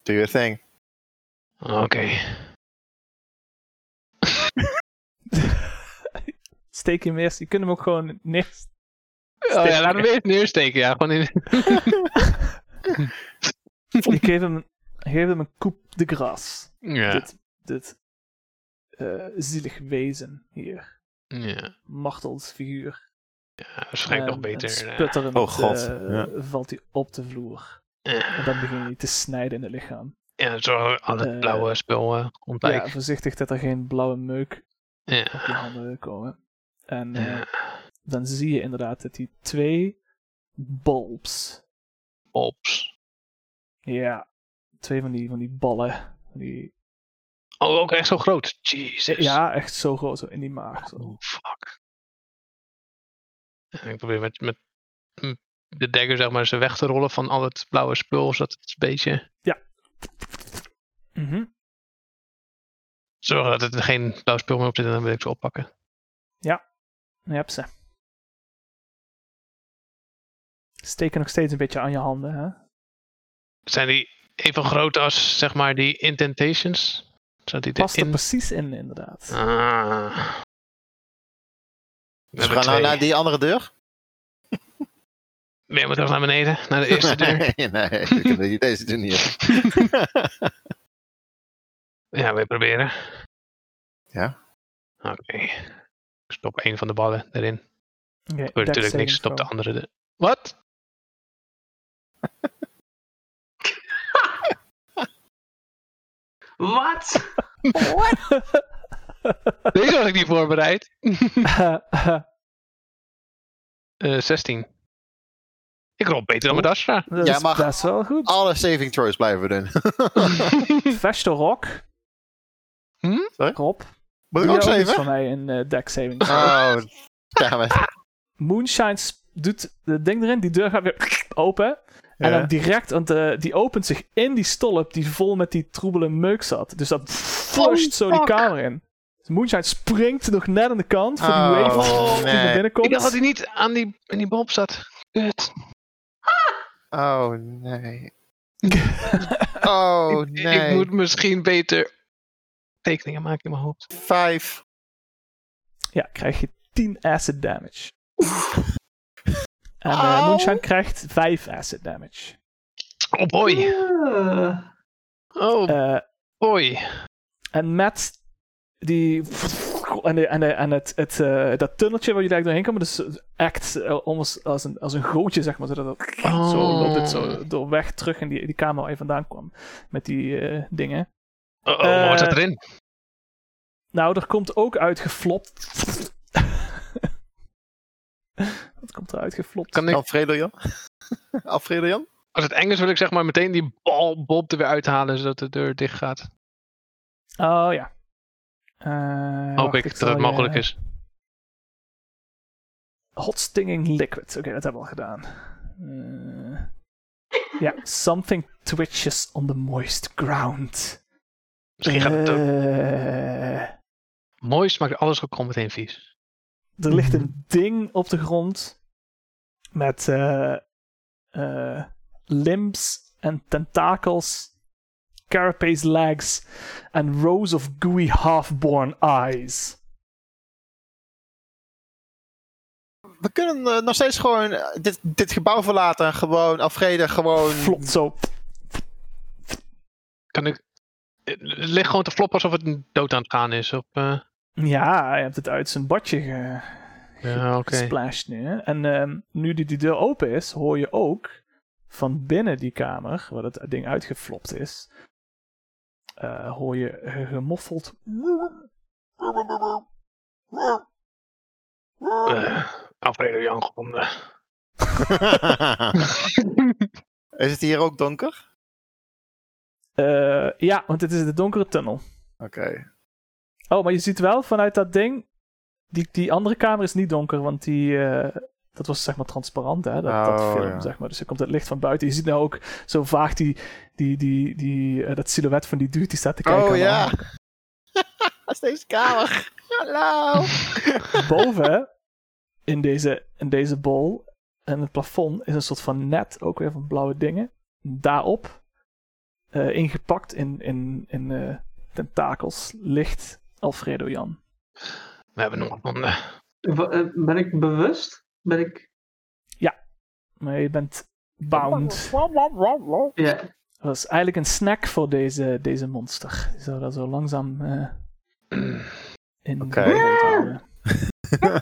Speaker 5: Do your thing.
Speaker 3: Oké.
Speaker 2: steek hem eerst. Je kunt hem ook gewoon neer.
Speaker 3: Oh ja, laat hem eerst neersteken. Ja, gewoon in...
Speaker 2: [laughs] Ik geef hem, geef hem een coupe de gras.
Speaker 3: [laughs] Ja.
Speaker 2: Dit, dit eh, zielig wezen hier.
Speaker 3: ja.
Speaker 2: Martelsfiguur.
Speaker 3: Ja, waarschijnlijk nog
Speaker 2: En- en
Speaker 3: beter. eh,
Speaker 2: Sputterend
Speaker 5: Oh, god.
Speaker 2: eh,
Speaker 5: Ja.
Speaker 2: valt hij op de vloer. En
Speaker 3: eh,
Speaker 2: dan begin je te snijden in het lichaam.
Speaker 3: ja, zorg dat al het
Speaker 2: Eh,
Speaker 3: blauwe spul eh
Speaker 2: Ja,
Speaker 3: ontwijkt.
Speaker 2: voorzichtig dat er geen blauwe meuk op je
Speaker 3: Ja.
Speaker 2: handen komen. En eh,
Speaker 3: ja.
Speaker 2: dan zie je inderdaad dat die twee bulbs.
Speaker 3: Ops.
Speaker 2: Ja, twee van die, van die ballen. Die,
Speaker 3: Oh, ook echt zo groot. Jezus.
Speaker 2: ja, echt zo groot zo in die maag. Zo.
Speaker 3: Oh, fuck. En ik probeer met, met met de dagger zeg maar ze weg te rollen van al het blauwe spul, zodat het een beetje...
Speaker 2: Mhm.
Speaker 3: Zorgen dat er geen blauw spul meer op zit en dan wil ik ze oppakken.
Speaker 2: Je hebt ze. Steken nog steeds een beetje aan je handen, hè?
Speaker 3: Zijn die even groot als, zeg maar, die intentations? Zat die
Speaker 2: Past er
Speaker 3: erin?
Speaker 2: precies in, inderdaad.
Speaker 3: Ah.
Speaker 5: Dus we
Speaker 3: hebben
Speaker 5: gaan nou
Speaker 3: twee.
Speaker 5: naar die andere deur?
Speaker 3: Weer maar terug naar beneden, naar de eerste deur.
Speaker 5: [laughs] nee, nee, ik heb niet deze deur niet.
Speaker 3: [laughs]
Speaker 5: op.
Speaker 3: Ja, weer proberen.
Speaker 5: Ja.
Speaker 3: Oké. Ik stop één van de ballen erin. Er
Speaker 2: Oké,
Speaker 3: gebeurt
Speaker 2: dex
Speaker 3: Oh, natuurlijk niks.
Speaker 2: saving
Speaker 3: Stop de
Speaker 2: throw.
Speaker 3: andere. de-
Speaker 2: [laughs]
Speaker 3: Wat?
Speaker 1: Wat?
Speaker 3: Deze was ik niet voorbereid. [laughs] Eh 16. Ik rol beter dan mijn
Speaker 2: [laughs]
Speaker 3: Dasra.
Speaker 2: [laughs] Dat
Speaker 5: Jij
Speaker 2: is
Speaker 5: mag-
Speaker 2: best wel goed.
Speaker 5: Alle saving throws blijven we doen. [laughs]
Speaker 2: Vash the Rock.
Speaker 5: Sorry?
Speaker 2: Rob.
Speaker 5: Moet
Speaker 2: Doe jij
Speaker 5: ik Hm? ook
Speaker 2: ook iets
Speaker 5: zeven?
Speaker 2: van mij in eh deck saving. throw.
Speaker 5: Oh, damn it.
Speaker 2: Moonshine sp- doet het ding erin. Die deur gaat weer [laughs] open. En
Speaker 5: Ja.
Speaker 2: dan direct, want eh, die opent zich in die stolp die vol met die troebele meuk zat. Dus dat flusht zo die
Speaker 3: fuck.
Speaker 2: kamer in. Dus Moonshine springt nog net aan de kant voor die
Speaker 5: Oh,
Speaker 2: wave die
Speaker 5: nee.
Speaker 2: naar binnen komt.
Speaker 3: Ik dacht dat hij niet aan die, in die bob zat. Kut.
Speaker 5: Oh, [laughs] nee. Oh,
Speaker 3: Ik- Ik
Speaker 5: nee.
Speaker 3: moet misschien beter tekeningen maken in mijn hoofd.
Speaker 5: Vijf.
Speaker 2: Ja, krijg je 10 acid damage. en eh,
Speaker 5: Au.
Speaker 2: Moonshine krijgt 5 acid damage.
Speaker 3: Oh boy.
Speaker 1: Eh,
Speaker 3: Oh
Speaker 2: Eh,
Speaker 3: boy.
Speaker 2: En met die. En, de, en, de, en het, het, eh, dat tunneltje waar jullie eigenlijk doorheen komen, dus act eh, almost als een, als een gootje, zeg maar. Zodat het,
Speaker 3: Oh.
Speaker 2: Zo loopt het zo door weg terug in die, die kamer waar je vandaan kwam. Met die eh, dingen.
Speaker 3: Oh, oh, maar wat
Speaker 2: Eh,
Speaker 3: zat erin?
Speaker 2: Nou, er komt ook uitgeflopt. [laughs] Wat komt er uitgeflopt?
Speaker 3: Kan ik,
Speaker 5: Alfredo Jan? [laughs] Alfredo Jan?
Speaker 3: als het eng is, wil ik zeg maar meteen die bal bob er weer uithalen, zodat de deur dicht gaat.
Speaker 2: Oh ja. Eh,
Speaker 3: Hoop
Speaker 2: wacht,
Speaker 3: ik, dat
Speaker 2: zal
Speaker 3: het
Speaker 2: je-
Speaker 3: mogelijk is.
Speaker 2: Hot Stinging Liquid. Oké, dat hebben we al gedaan. Eh, Ja, something twitches on the moist ground.
Speaker 3: Misschien gaat het ook.
Speaker 2: Eh,
Speaker 3: Moois maakt alles ook gewoon meteen vies.
Speaker 2: er ligt een ding op de grond met eh eh, limbs en tentakels, carapace legs en rows of gooey half-born eyes.
Speaker 5: We kunnen eh, nog steeds gewoon eh, dit, dit gebouw verlaten. en Gewoon Alfredo, gewoon... [laughs]
Speaker 2: Flopt zo.
Speaker 3: Kan ik. Het ligt gewoon te floppen alsof het dood aan het gaan is. Op, eh,
Speaker 2: Ja, hij heeft het uit zijn badje ge...
Speaker 3: Ja, oké.
Speaker 2: gesplashed nu. hè. En ehm, nu die, die deur open is, hoor je ook van binnen die kamer, waar dat ding uitgeflopt is, eh, hoor je eh, gemoffeld.
Speaker 3: Eh, Alfredo Jan gevonden.
Speaker 5: Is het hier ook donker?
Speaker 2: Eh, ja, want dit is de donkere tunnel.
Speaker 5: Oké.
Speaker 2: Oh, maar je ziet wel vanuit dat ding. Die, die andere kamer is niet donker, want die. eh, dat was zeg maar transparant, hè? Dat, dat
Speaker 5: Oh,
Speaker 2: film,
Speaker 5: ja.
Speaker 2: zeg maar. Dus er komt het licht van buiten. Je ziet nou ook zo vaag die, die, die, die, eh, dat silhouet van die dude die staat te kijken.
Speaker 5: Oh
Speaker 2: aan de
Speaker 5: ja.
Speaker 2: haak.
Speaker 5: Dat is deze kamer. Hallo.
Speaker 2: Oh. Boven, hè, in deze, in deze bol en het plafond, is een soort van net, ook weer van blauwe dingen. Daarop, eh, ingepakt in, in, in eh, tentakels, ligt Alfredo Jan.
Speaker 3: We hebben hem gevonden.
Speaker 1: Wa- eh, Ben ik bewust? Ben ik...
Speaker 2: Maar je bent bound.
Speaker 1: Ja.
Speaker 2: Dat was eigenlijk een snack voor deze, deze monster. Die zou daar zo langzaam eh, in de
Speaker 5: Oké.
Speaker 2: wereld houden.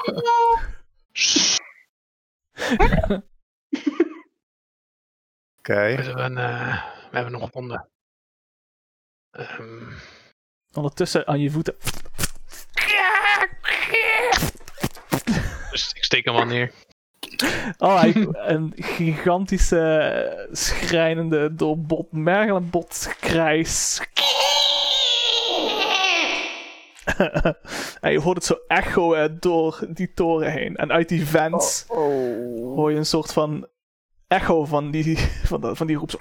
Speaker 2: [laughs]
Speaker 5: Oké.
Speaker 3: We hebben, eh, we hebben hem gevonden. Ehm,
Speaker 2: Ondertussen aan je voeten.
Speaker 3: dus ik steek hem wel neer.
Speaker 2: Oh, hij, een gigantische, eh, schrijnende, door bot, mergel en bot krijs. [laughs] en je hoort het zo echoen eh, door die toren heen. En uit die vents hoor je een soort van echo van die, [laughs] van, dat- van die roep. Zo.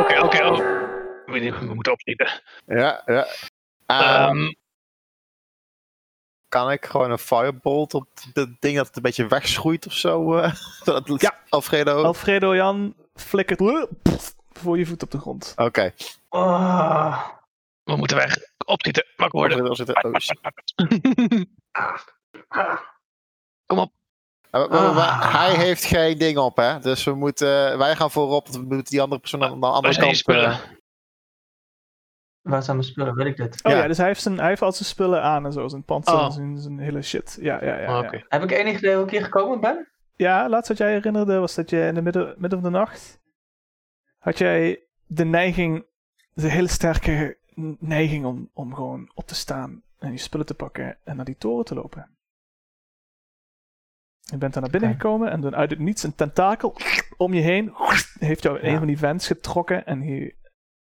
Speaker 3: Oké, oké. oh. We we moeten opschieten.
Speaker 5: Ja, ja.
Speaker 2: Ah.
Speaker 5: Ehm,
Speaker 3: Ehm,
Speaker 5: kan ik gewoon een firebolt op dat ding dat het een beetje wegschroeit of zo? eh, [laughs] zodat het-
Speaker 2: Ja.
Speaker 5: Alfredo.
Speaker 2: Alfredo Jan flikkert pff, [laughs] voor je voet op de grond.
Speaker 5: Oké.
Speaker 1: Oh.
Speaker 3: we moeten weg. Opschieten. Pak worden.
Speaker 5: Alfredo zit er- oh, shit.
Speaker 2: [laughs]
Speaker 1: Ah. Ah.
Speaker 3: Kom op.
Speaker 5: Eh, maar- maar- maar
Speaker 1: Ah.
Speaker 5: Hij heeft geen ding op, hè? Dus we moeten, wij gaan voorop. want We moeten die andere persoon aan de
Speaker 3: Waar
Speaker 5: andere
Speaker 3: zijn die
Speaker 5: kant. eh,
Speaker 3: spullen?
Speaker 1: Waar zijn mijn spullen? Weet ik dit?
Speaker 2: Oh
Speaker 5: Ja.
Speaker 2: ja, dus hij heeft, zijn, hij heeft al zijn spullen aan en zo. Zijn pantser
Speaker 3: Oh.
Speaker 2: en zijn, zijn hele shit. Ja, ja, ja.
Speaker 3: Oh,
Speaker 2: Ja,
Speaker 3: Oké.
Speaker 1: Heb ik enig idee hoe ik hier gekomen ben?
Speaker 2: ja laatst wat jij herinnerde was dat je in de midden, midden van de nacht... had jij de neiging, de hele sterke neiging om, om gewoon op te staan... en je spullen te pakken en naar die toren te lopen. Je bent daar naar binnen
Speaker 1: Oké.
Speaker 2: gekomen en toen uit het niets een tentakel om je heen... heeft jou in
Speaker 1: Ja.
Speaker 2: een van die vents getrokken en hier,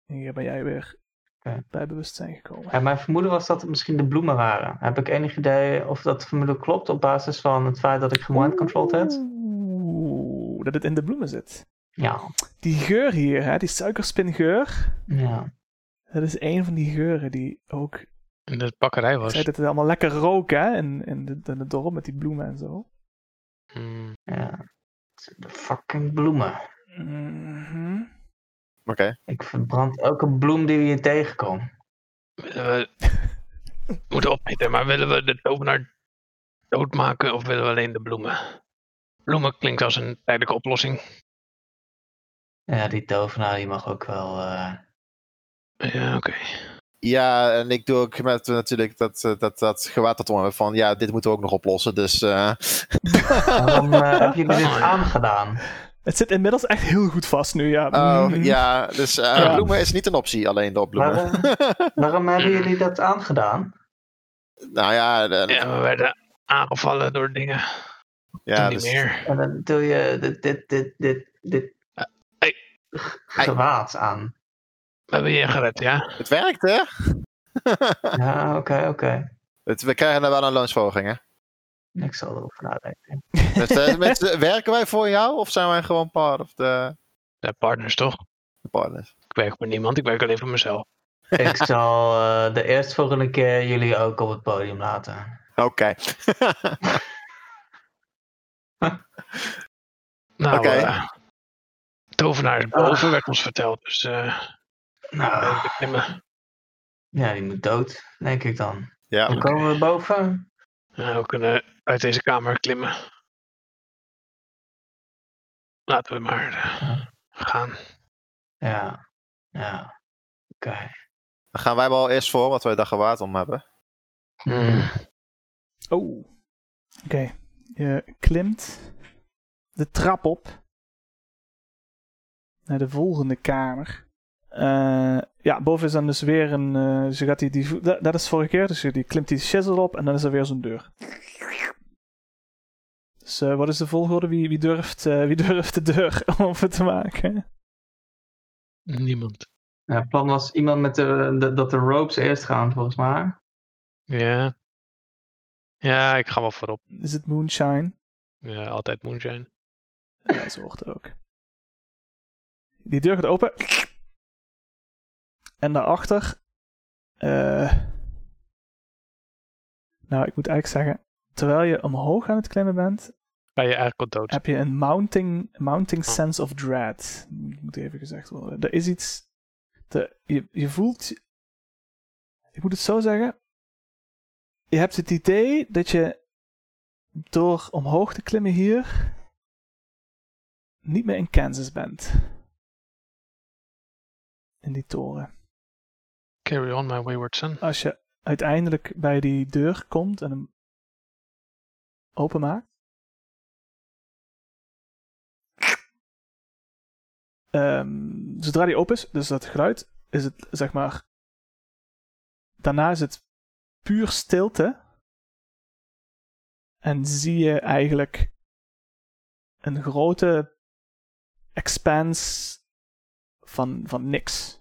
Speaker 2: hier ben jij weer
Speaker 1: Oké.
Speaker 2: bij bewustzijn gekomen.
Speaker 1: Ja, mijn vermoeden was dat het misschien de bloemen waren. Heb ik enig idee of dat vermoeden klopt op basis van het feit dat ik mind controlled heb?
Speaker 2: Oeh, dat het in de bloemen zit.
Speaker 1: Ja.
Speaker 2: Die geur hier, hè, die suikerspingeur.
Speaker 1: ja.
Speaker 2: Dat is een van die geuren die ook.
Speaker 3: In de bakkerij
Speaker 2: Ik
Speaker 3: was.
Speaker 2: zei dat het allemaal lekker rook, hè? In, in, de, in het dorp met die bloemen en zo.
Speaker 3: Hmm.
Speaker 1: ja. De fucking bloemen.
Speaker 2: Mhm.
Speaker 5: Oké.
Speaker 1: Ik verbrand elke bloem die we hier tegenkomen.
Speaker 3: Willen we... we moeten opschieten, maar willen we de tovenaar doodmaken of willen we alleen de bloemen? Bloemen klinkt als een tijdelijke oplossing.
Speaker 1: Ja, die tovenaar die mag ook wel. eh,
Speaker 3: Ja, oké.
Speaker 5: Ja, en ik doe ook met eh, natuurlijk dat, eh, dat, dat gewaad dat we hebben van ja, dit moeten we ook nog oplossen. Dus eh,
Speaker 1: Waarom eh, heb je me dit aangedaan?
Speaker 2: Het zit inmiddels echt heel goed vast nu, ja.
Speaker 5: oh,
Speaker 2: Mhm.
Speaker 5: ja, dus eh,
Speaker 2: Ja.
Speaker 5: bloemen is niet een optie, alleen de opbloemen.
Speaker 1: Waarom, waarom hebben jullie dat aangedaan?
Speaker 5: [laughs] nou ja, de-
Speaker 3: Ja, we werden aangevallen door dingen.
Speaker 5: ja,
Speaker 3: niet
Speaker 5: dus-
Speaker 3: meer.
Speaker 1: En dan doe je dit, dit, dit, dit, dit
Speaker 3: Eh, hey.
Speaker 1: g- gewaad aan.
Speaker 3: We hebben je gered, ja?
Speaker 5: het werkt hè? [laughs]
Speaker 1: Ja, oké, oké.
Speaker 5: Het- we krijgen er wel een loonsverhoging hè?
Speaker 1: Ik zal erover nadenken.
Speaker 5: Dus, eh, mensen, werken wij voor jou of zijn wij gewoon part of de
Speaker 3: We zijn partners, toch?
Speaker 5: de partners?
Speaker 3: Ik werk voor niemand, ik werk alleen voor mezelf.
Speaker 1: Ik zal eh, de eerstvolgende keer jullie ook op het podium laten.
Speaker 5: Oké.
Speaker 3: Nou,
Speaker 5: Oké.
Speaker 3: eh, tovenaar is boven, werd ons verteld. Dus eh
Speaker 1: Nou,
Speaker 3: we klimmen.
Speaker 1: ja, die moet dood, denk ik dan.
Speaker 5: [laughs] ja.
Speaker 1: Dan komen we boven.
Speaker 3: Nou, we kunnen uit deze kamer klimmen. Laten we maar eh, gaan.
Speaker 1: Ja, ja. Oké.
Speaker 5: Dan gaan wij wel eerst voor wat wij daar gewaad om hebben.
Speaker 1: Hmm.
Speaker 3: Hmm.
Speaker 2: Oh. Oké. Je klimt de trap op. Naar de volgende kamer. Eh, Eh, ja, boven is dan dus weer een. eh, ze gaat die, die vo- dat, dat is vorige keer, dus die klimt die shizzle op en dan is er weer zo'n deur. Dus eh, wat is de volgorde? Wie, wie, durft, eh, wie durft de deur [laughs] open te maken?
Speaker 3: Niemand.
Speaker 1: Ja, het plan was iemand met de, de- dat de ropes eerst gaan, volgens mij.
Speaker 3: Ja. Ja, ik ga wel voorop.
Speaker 2: Is het moonshine?
Speaker 3: Ja, altijd moonshine.
Speaker 2: Ja, zo hoort het ook. Die deur gaat open. En daarachter. eh, nou, ik moet eigenlijk zeggen. Terwijl je omhoog aan het klimmen bent,
Speaker 3: Ben je eigenlijk al dood?
Speaker 2: heb je een mounting, mounting sense of dread. Moet even gezegd worden. Er is iets. te- je, je voelt. Ik moet het zo zeggen. Je hebt het idee dat je door omhoog te klimmen hier niet meer in Kansas bent. In die toren.
Speaker 3: Carry on, my wayward son.
Speaker 2: Als je uiteindelijk bij die deur komt en hem openmaakt. Ehm, zodra die open is, dus dat geluid, is het zeg maar. Daarna is het puur stilte. En zie je eigenlijk een grote expanse van, van niks.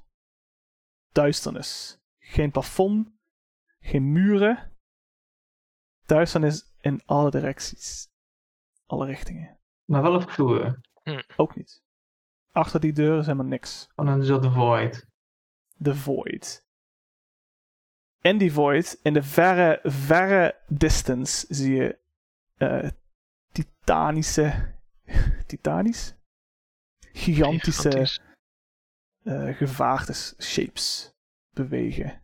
Speaker 2: Duisternis. Geen plafond, geen muren. Duisternis in alle directies. Alle richtingen.
Speaker 1: Maar wel op vloer.
Speaker 2: Ook niet. Achter die deur is helemaal niks.
Speaker 1: Van een soort void.
Speaker 2: The void. In die void, in de verre, verre distance, zie je eh, titanische. Titanisch? Gigantische
Speaker 3: Gigantisch.
Speaker 2: eh, gevaartes, shapes bewegen.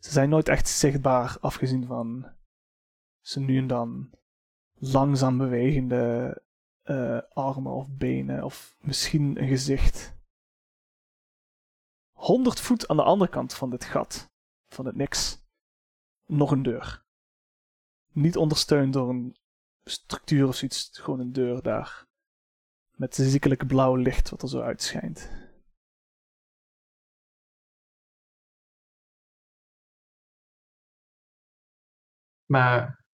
Speaker 2: Ze zijn nooit echt zichtbaar, afgezien van ze nu en dan langzaam bewegende eh, armen of benen of misschien een gezicht. 100 voet aan de andere kant van dit gat, van het niks, nog een deur. Niet ondersteund door een structuur of zoiets, gewoon een deur daar. Met ziekelijk blauw licht wat er zo uitschijnt.
Speaker 1: Maar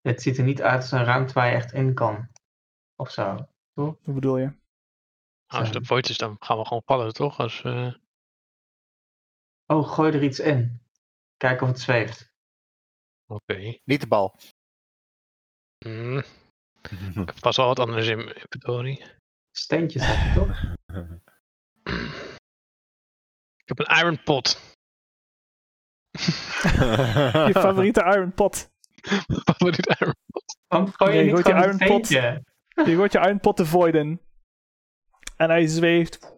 Speaker 1: het ziet er niet uit als een ruimte waar je echt in kan. Of zo.
Speaker 2: Hoe bedoel je?
Speaker 3: Oh, Als de void is, dan gaan we gewoon vallen, toch? Als, eh,
Speaker 1: Oh, gooi er iets in. Kijk of het zweeft.
Speaker 3: Oké.
Speaker 5: Niet de bal.
Speaker 3: Hmm, ik heb vast wel wat anders in mijn inventory.
Speaker 1: Steentjes heb je
Speaker 2: [laughs]
Speaker 1: toch?
Speaker 3: Ik heb een iron pot. [laughs]
Speaker 5: [laughs]
Speaker 2: Je favoriete Iron Pot.
Speaker 3: Wat wordt dit iron?
Speaker 1: Waarom gooi je
Speaker 2: Nee,
Speaker 1: niet
Speaker 2: gooit die
Speaker 1: gewoon een
Speaker 2: iron pot.
Speaker 1: steentje?
Speaker 2: Je gooit je Iron Pot de void in. En hij zweeft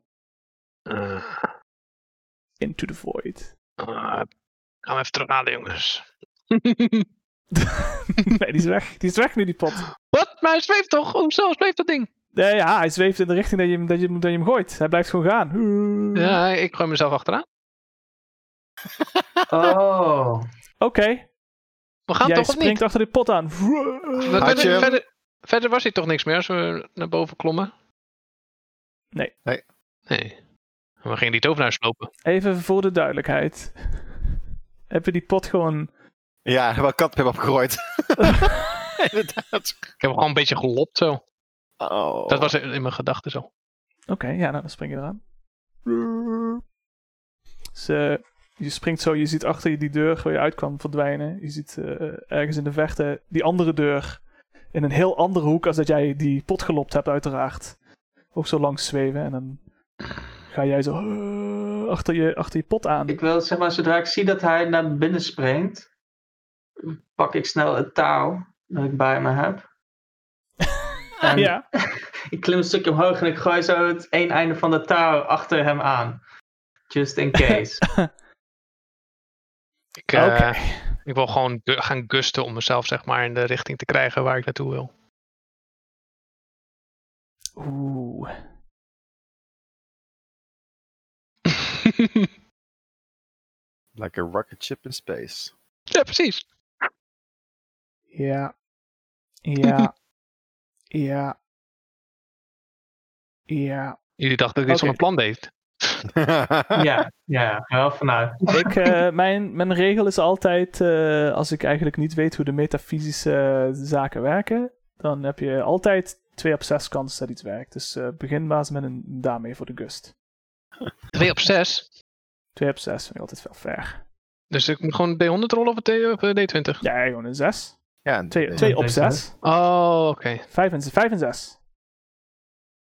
Speaker 3: Ah,
Speaker 2: into the void. [laughs]
Speaker 3: ah, gaan we even terug halen, jongens. [laughs]
Speaker 2: nee, die is weg. Die is weg nu, die pot.
Speaker 3: Wat? Maar hij zweeft toch? Hoezo zweeft dat ding?
Speaker 2: Nee, ja, hij zweeft in de richting dat je, hem- dat, je, hem- dat je hem gooit. Hij blijft gewoon gaan.
Speaker 3: Ja, ik gooi mezelf achteraan.
Speaker 1: Oh.
Speaker 2: Oké,
Speaker 3: We gaan
Speaker 2: jij
Speaker 3: toch of
Speaker 2: springt
Speaker 3: niet?
Speaker 2: achter die pot aan.
Speaker 3: We-
Speaker 5: Had je
Speaker 3: Verder,
Speaker 5: hem?
Speaker 3: verder, verder was hij toch niks meer als we naar boven klommen?
Speaker 2: Nee.
Speaker 5: Nee.
Speaker 3: Nee. We gingen die tovenaar slopen.
Speaker 2: Even voor de duidelijkheid. Heb je die pot gewoon...
Speaker 5: ja, wel kat heb opgerooid. [laughs] Inderdaad.
Speaker 3: Ik heb hem gewoon een beetje gelopt zo.
Speaker 5: Oh.
Speaker 3: Dat was in in mijn gedachten zo.
Speaker 2: Oké, ja, nou, dan spring je eraan. Dus, eh, je springt zo, je ziet achter je die deur waar je uitkwam verdwijnen. Je ziet eh, ergens in de verte die andere deur in een heel andere hoek als dat jij die pot gelopt hebt, uiteraard. Ook zo langs zweven en dan ga jij zo eh, achter, je, achter je pot aan.
Speaker 1: Ik wil zeg maar, zodra ik zie dat hij naar binnen springt, pak ik snel het touw dat ik bij me
Speaker 2: [laughs]
Speaker 1: heb. En
Speaker 2: Ja,
Speaker 1: ik klim een stukje omhoog en ik gooi zo het één einde van de touw achter hem aan. Just in
Speaker 2: [laughs]
Speaker 1: case.
Speaker 3: Ik, eh,
Speaker 2: Oké.
Speaker 3: ik wil gewoon gu- gaan gusten om mezelf zeg maar in de richting te krijgen waar ik naartoe wil.
Speaker 2: Oeh.
Speaker 5: Like a rocket ship in
Speaker 2: [laughs]
Speaker 5: space.
Speaker 3: [laughs] ja, precies.
Speaker 2: Ja. Ja. Ja. Ja.
Speaker 3: Jullie dachten dat ik dit
Speaker 2: Oké.
Speaker 3: zo'n plan deed.
Speaker 1: ja, ja, wel vanuit.
Speaker 2: Ik, eh, mijn, mijn regel is altijd, eh, als ik eigenlijk niet weet hoe de metafysische eh, zaken werken, dan heb je altijd 2 op 6 kans dat iets werkt. Dus eh, begin maar eens met een daarmee voor de gust.
Speaker 3: 2 op 6.
Speaker 2: 2 op 6 vind ik altijd wel ver.
Speaker 3: Dus ik moet gewoon D100 rollen of een D- of een D20?
Speaker 2: Ja, gewoon een 6.
Speaker 5: ja,
Speaker 2: 2,
Speaker 1: Ja,
Speaker 2: op
Speaker 1: deze,
Speaker 2: 6.
Speaker 3: Oh, oké.
Speaker 2: 5 en 5 en 6.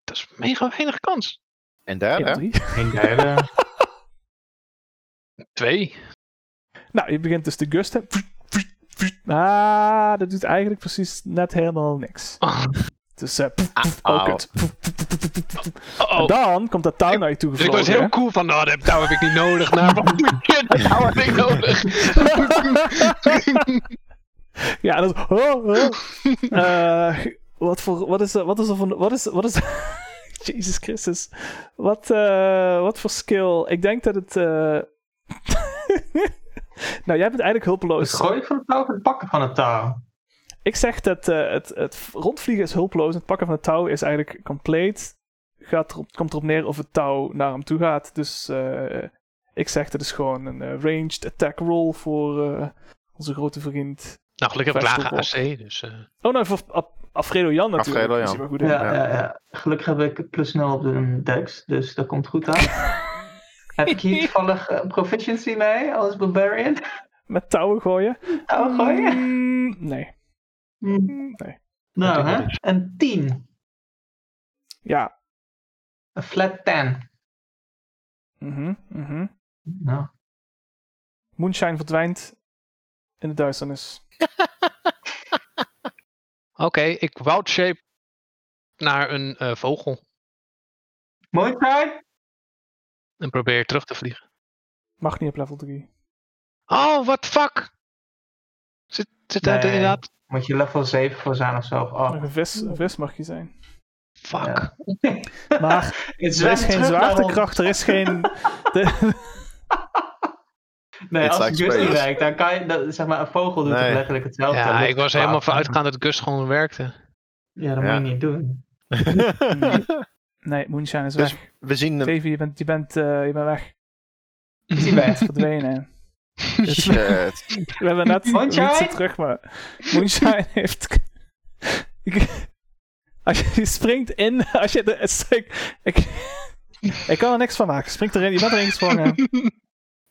Speaker 3: Dat is mega weinig kans.
Speaker 5: en
Speaker 2: 1
Speaker 5: daar,
Speaker 2: op
Speaker 5: hè?
Speaker 2: 3.
Speaker 1: Geen duilen.
Speaker 3: 2.
Speaker 2: [laughs] Nou, je begint dus de gust. hè. Ah, dat doet eigenlijk precies net helemaal niks.
Speaker 3: Oh,
Speaker 2: Dus eh pff,
Speaker 5: Ah,
Speaker 2: oh,
Speaker 5: au.
Speaker 2: kut.
Speaker 3: oh.
Speaker 2: En dan komt dat touw naar je toe
Speaker 3: Dus ik was
Speaker 2: gevlogen, hè.
Speaker 3: heel cool van, nou, dat touw heb ik niet nodig. Nou, wat dat
Speaker 1: [laughs]
Speaker 3: touw heb ik nodig.
Speaker 2: [laughs] Ja, dat is. Oh, oh. Eh, wat voor. Wat is er. Wat is er van. Wat is. Wat is [laughs] Jezus Christus. Wat, eh, wat voor skill. Ik denk dat het. eh, [laughs] nou, jij bent eigenlijk
Speaker 1: Het
Speaker 2: hulpeloos.
Speaker 1: gooien van het touw of het pakken van het touw?
Speaker 2: Ik zeg dat eh, het, het rondvliegen is hulpeloos. en Het pakken van het touw is eigenlijk compleet. Gaat erop, komt erop neer of het touw naar hem toe gaat. Dus eh, ik zeg dat is gewoon een eh, ranged attack roll voor eh, onze grote vriend.
Speaker 3: nou, gelukkig heb ik
Speaker 2: Vast
Speaker 3: lage
Speaker 2: op.
Speaker 3: AC, dus... eh,
Speaker 2: Oh, nou, voor Af- Alfredo Jan natuurlijk.
Speaker 5: Alfredo Jan.
Speaker 2: Is hij wel goed in.
Speaker 1: Ja, ja.
Speaker 5: Ja.
Speaker 1: Ja, Gelukkig heb ik plus 0 op de dex, dus dat komt goed uit. heb ik hier toevallig eh, proficiency mee als barbarian? [laughs] Oh,
Speaker 2: Met touwen gooien.
Speaker 1: Touw gooien?
Speaker 2: Mm, nee. Mm.
Speaker 1: Hm.
Speaker 2: nee.
Speaker 1: Nou,
Speaker 3: Dat doet
Speaker 1: hè? Een 10.
Speaker 2: Ja.
Speaker 1: Een flat 10.
Speaker 2: Mhm, mhm.
Speaker 1: Nou,
Speaker 2: Moonshine verdwijnt in de duisternis.
Speaker 3: Oké, ik wildshape naar een eh, vogel
Speaker 1: mooi tijd.
Speaker 3: en probeer terug te vliegen.
Speaker 2: Mag niet op level 3.
Speaker 3: Oh, what the fuck? Zit, zit dat
Speaker 1: Nee.
Speaker 3: inderdaad?
Speaker 1: Moet je level 7 voor zijn of zo? Of oh. acht.
Speaker 2: Een vis, een vis mag je zijn.
Speaker 3: Fuck.
Speaker 1: Ja.
Speaker 2: Maar
Speaker 1: Het
Speaker 2: er is geen zwaartekracht, er is geen... De,
Speaker 1: Nee,
Speaker 5: It's
Speaker 1: als
Speaker 5: like
Speaker 1: Gus niet
Speaker 5: space.
Speaker 1: werkt, dan kan je, dat- zeg maar, een vogel doet
Speaker 5: Nee.
Speaker 1: het letterlijk hetzelfde.
Speaker 3: Ja,
Speaker 1: Oh, Dat
Speaker 3: ik
Speaker 1: is
Speaker 3: was er helemaal
Speaker 1: fout.
Speaker 3: vanuitgaan dat Gus gewoon werkte.
Speaker 1: Ja, dat
Speaker 5: Ja.
Speaker 1: moet je niet doen.
Speaker 2: nee, Moonshine is
Speaker 5: Dus-
Speaker 2: weg.
Speaker 5: [laughs] We zien [laughs] hem.
Speaker 2: Davy, je bent, je, bent, eh, je bent
Speaker 1: [laughs]
Speaker 2: weg.
Speaker 1: Is hij
Speaker 2: Je bent
Speaker 1: weg?
Speaker 2: verdwenen. Dus we
Speaker 5: Shit.
Speaker 2: hebben net
Speaker 1: Moonshine?
Speaker 2: Wietse terug, maar Moonshine [laughs] heeft... Ik- Als je die springt in, als je de, het stuk- ik, ik kan er niks van maken. Springt erin, je bent erin gesprongen.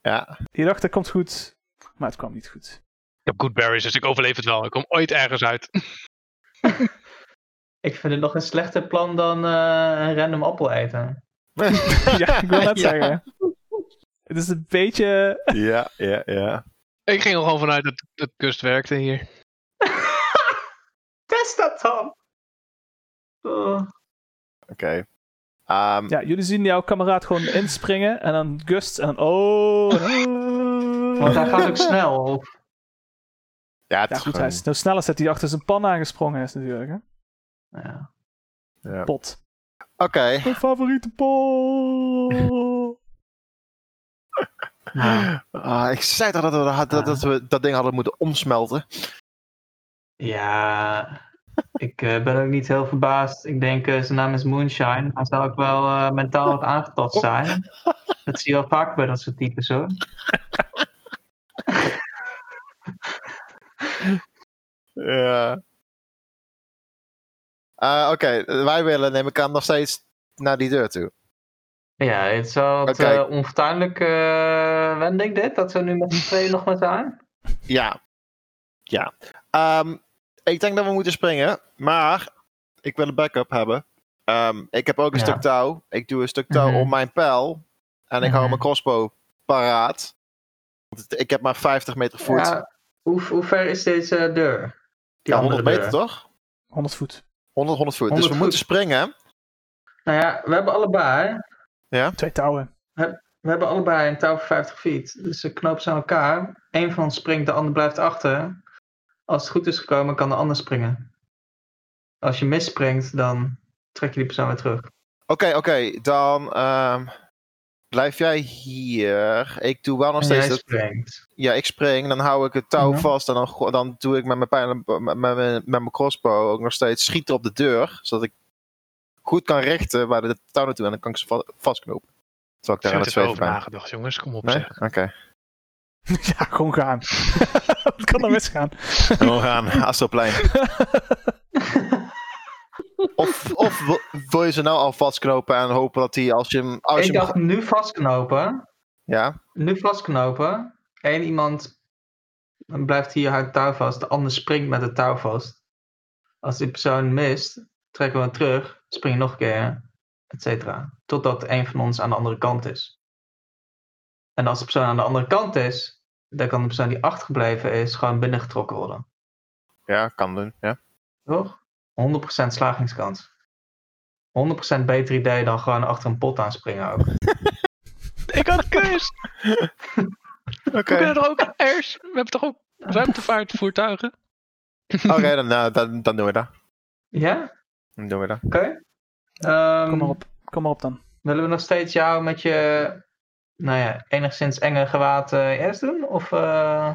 Speaker 5: Ja.
Speaker 2: Je dacht dat komt goed, maar het kwam niet goed.
Speaker 3: Ik heb good berries, dus ik overleef het wel. Ik kom ooit ergens uit.
Speaker 1: Ik vind het nog een slechter plan dan eh, een random appel eten.
Speaker 2: [laughs] Ja, ik wil net
Speaker 5: Ja.
Speaker 2: zeggen. Het is een beetje.
Speaker 5: [laughs] Ja, ja, ja.
Speaker 3: Ik ging er gewoon vanuit dat, dat Gus werkte hier.
Speaker 1: [laughs] Test dat dan! Oh,
Speaker 5: Oké. Ehm,
Speaker 2: Ja, jullie zien jouw kameraad gewoon inspringen en dan Gust en dan. Oh. en-
Speaker 1: want hij
Speaker 2: [laughs]
Speaker 1: gaat ook snel. Of...
Speaker 5: ja, het
Speaker 2: Ja,
Speaker 5: is
Speaker 2: goed, hij
Speaker 5: gewoon-
Speaker 2: is nou sneller dat hij achter zijn pan aangesprongen is, natuurlijk. Hè?
Speaker 1: Ja.
Speaker 5: ja.
Speaker 2: Pot.
Speaker 5: Oké.
Speaker 2: Mijn favoriete pot.
Speaker 1: Nou,
Speaker 5: Ah, ik zei toch dat we dat, dat,
Speaker 1: Ah.
Speaker 5: dat we dat ding hadden moeten omsmelten.
Speaker 1: ja, ik eh, ben ook niet heel verbaasd. Ik denk, eh, zijn naam is Moonshine. Hij zal ook wel eh, mentaal wat aangetast zijn. Dat zie je wel vaak bij dat soort types hoor.
Speaker 5: Ja. Eh, Oké, wij willen, neem ik aan, nog steeds naar die deur toe.
Speaker 1: Ja, het zal wat
Speaker 5: Oké.
Speaker 1: eh, onfortuinlijk eh, wending dit, dat ze nu met z'n tweeën nog maar zijn.
Speaker 5: Ja. Ja. Ehm, ik denk dat we moeten springen, maar ik wil een backup hebben. Ehm, ik heb ook een
Speaker 1: Ja.
Speaker 5: stuk touw. Ik doe een stuk touw
Speaker 1: Mhm.
Speaker 5: om mijn pijl. En ik hou
Speaker 1: Mhm.
Speaker 5: mijn crossbow paraat. Want het- Ik heb maar 50 meter voet. Ja,
Speaker 1: Ja, hoe, hoe ver is deze deur? Die
Speaker 5: 100
Speaker 1: andere
Speaker 5: meter
Speaker 1: deur.
Speaker 5: toch?
Speaker 2: 100 voet.
Speaker 5: 100, 100 voet.
Speaker 1: 100
Speaker 5: dus we
Speaker 1: voet.
Speaker 5: moeten springen.
Speaker 1: Nou ja, we hebben allebei.
Speaker 2: Twee touwen. [laughs]
Speaker 1: We hebben allebei een touw van 50 feet. Dus ze knopen ze aan elkaar. Eén van ons springt, de ander blijft achter. Als het goed is gekomen, kan de ander springen. Als je misspringt, dan trek je die persoon weer
Speaker 5: Oh,
Speaker 1: terug.
Speaker 5: Oké, oké. Dan ehm, blijf jij hier. Ik doe wel nog
Speaker 1: En jij
Speaker 5: steeds dat-
Speaker 1: springt.
Speaker 5: Ja, ik spring, dan hou ik het touw
Speaker 1: Ja.
Speaker 5: vast en dan, go- dan doe ik met mijn, pijl, en- met, met, met mijn crossbow ook nog steeds schieten op de deur, zodat ik goed kan richten waar het touw naartoe en dan kan ik ze va- vastknopen. Terwijl ik daar aan het
Speaker 3: Zit er wel
Speaker 5: zweven
Speaker 3: over
Speaker 5: ben.
Speaker 3: nagedacht, jongens. Kom op,
Speaker 5: Nee?
Speaker 3: zeg.
Speaker 5: Oké.
Speaker 3: [laughs]
Speaker 2: ja, gewoon gaan. [laughs] Het kan dan
Speaker 1: [laughs]
Speaker 2: misgaan.
Speaker 5: Gewoon gaan, Astroplein. Of, of wil- wil je ze nou al vastknopen en hopen dat hij als je hem... Oh, Als je
Speaker 1: Ik
Speaker 5: hem-
Speaker 1: dacht nu vastknopen.
Speaker 5: Ja?
Speaker 1: Nu vastknopen. Eén iemand blijft hier haar touw vast. De ander springt met het touw vast. Als die persoon mist, trekken we hem terug. Springen nog een keer. Et cetera. Totdat een van ons aan de andere kant is. En als de persoon aan de andere kant is, dan kan de persoon die achtergebleven is gewoon binnengetrokken worden.
Speaker 5: Ja, kan doen. Ja.
Speaker 1: Toch? 100% slagingskans. 100% beter idee dan gewoon achter een pot aanspringen ook.
Speaker 3: Ik had
Speaker 5: [laughs]
Speaker 3: keus.
Speaker 5: Oké,
Speaker 3: We kunnen er ook airs. We hebben toch ook ruimtevaartvoertuigen?
Speaker 5: Oké, dan, eh, dan, dan doen we dat.
Speaker 1: Ja?
Speaker 5: Dan doen we dat.
Speaker 1: Oké. Ehm,
Speaker 2: Kom maar op. Kom maar op dan.
Speaker 1: Willen we nog steeds jou met je, nou ja, enigszins enge gewaad eh, eerst doen? Of, eh,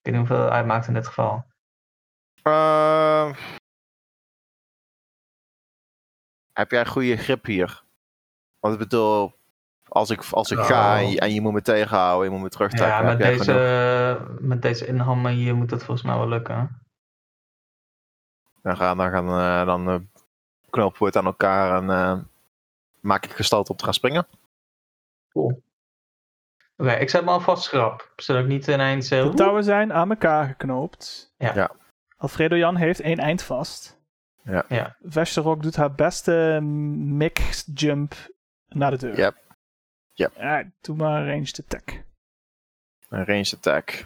Speaker 1: ik weet niet hoeveel het uitmaakt in dit geval.
Speaker 5: Ehm, heb jij goede grip hier? Want ik bedoel, als ik, als ik ga
Speaker 2: Nou.
Speaker 5: en je, en je moet me tegenhouden, je moet me terugtrekken.
Speaker 1: Ja, met
Speaker 5: heb jij genoeg-
Speaker 1: deze, eh, met deze inhammen hier moet dat volgens mij wel lukken.
Speaker 5: Dan gaan dan, gaan, eh, dan eh, knopen we het aan elkaar en eh, maak ik gestalte om te gaan springen.
Speaker 1: Oké, ik zet me alvast schrap. Zodat ik niet ineens... eh,
Speaker 2: De touwen zijn aan elkaar geknoopt.
Speaker 1: Ja.
Speaker 5: Ja.
Speaker 2: Alfredo Jan heeft één eind vast.
Speaker 5: Ja.
Speaker 1: Ja.
Speaker 2: Vesterok doet haar beste mix jump naar de deur.
Speaker 5: Yep. Yep.
Speaker 2: Ja, doe maar ranged attack.
Speaker 5: Een range attack.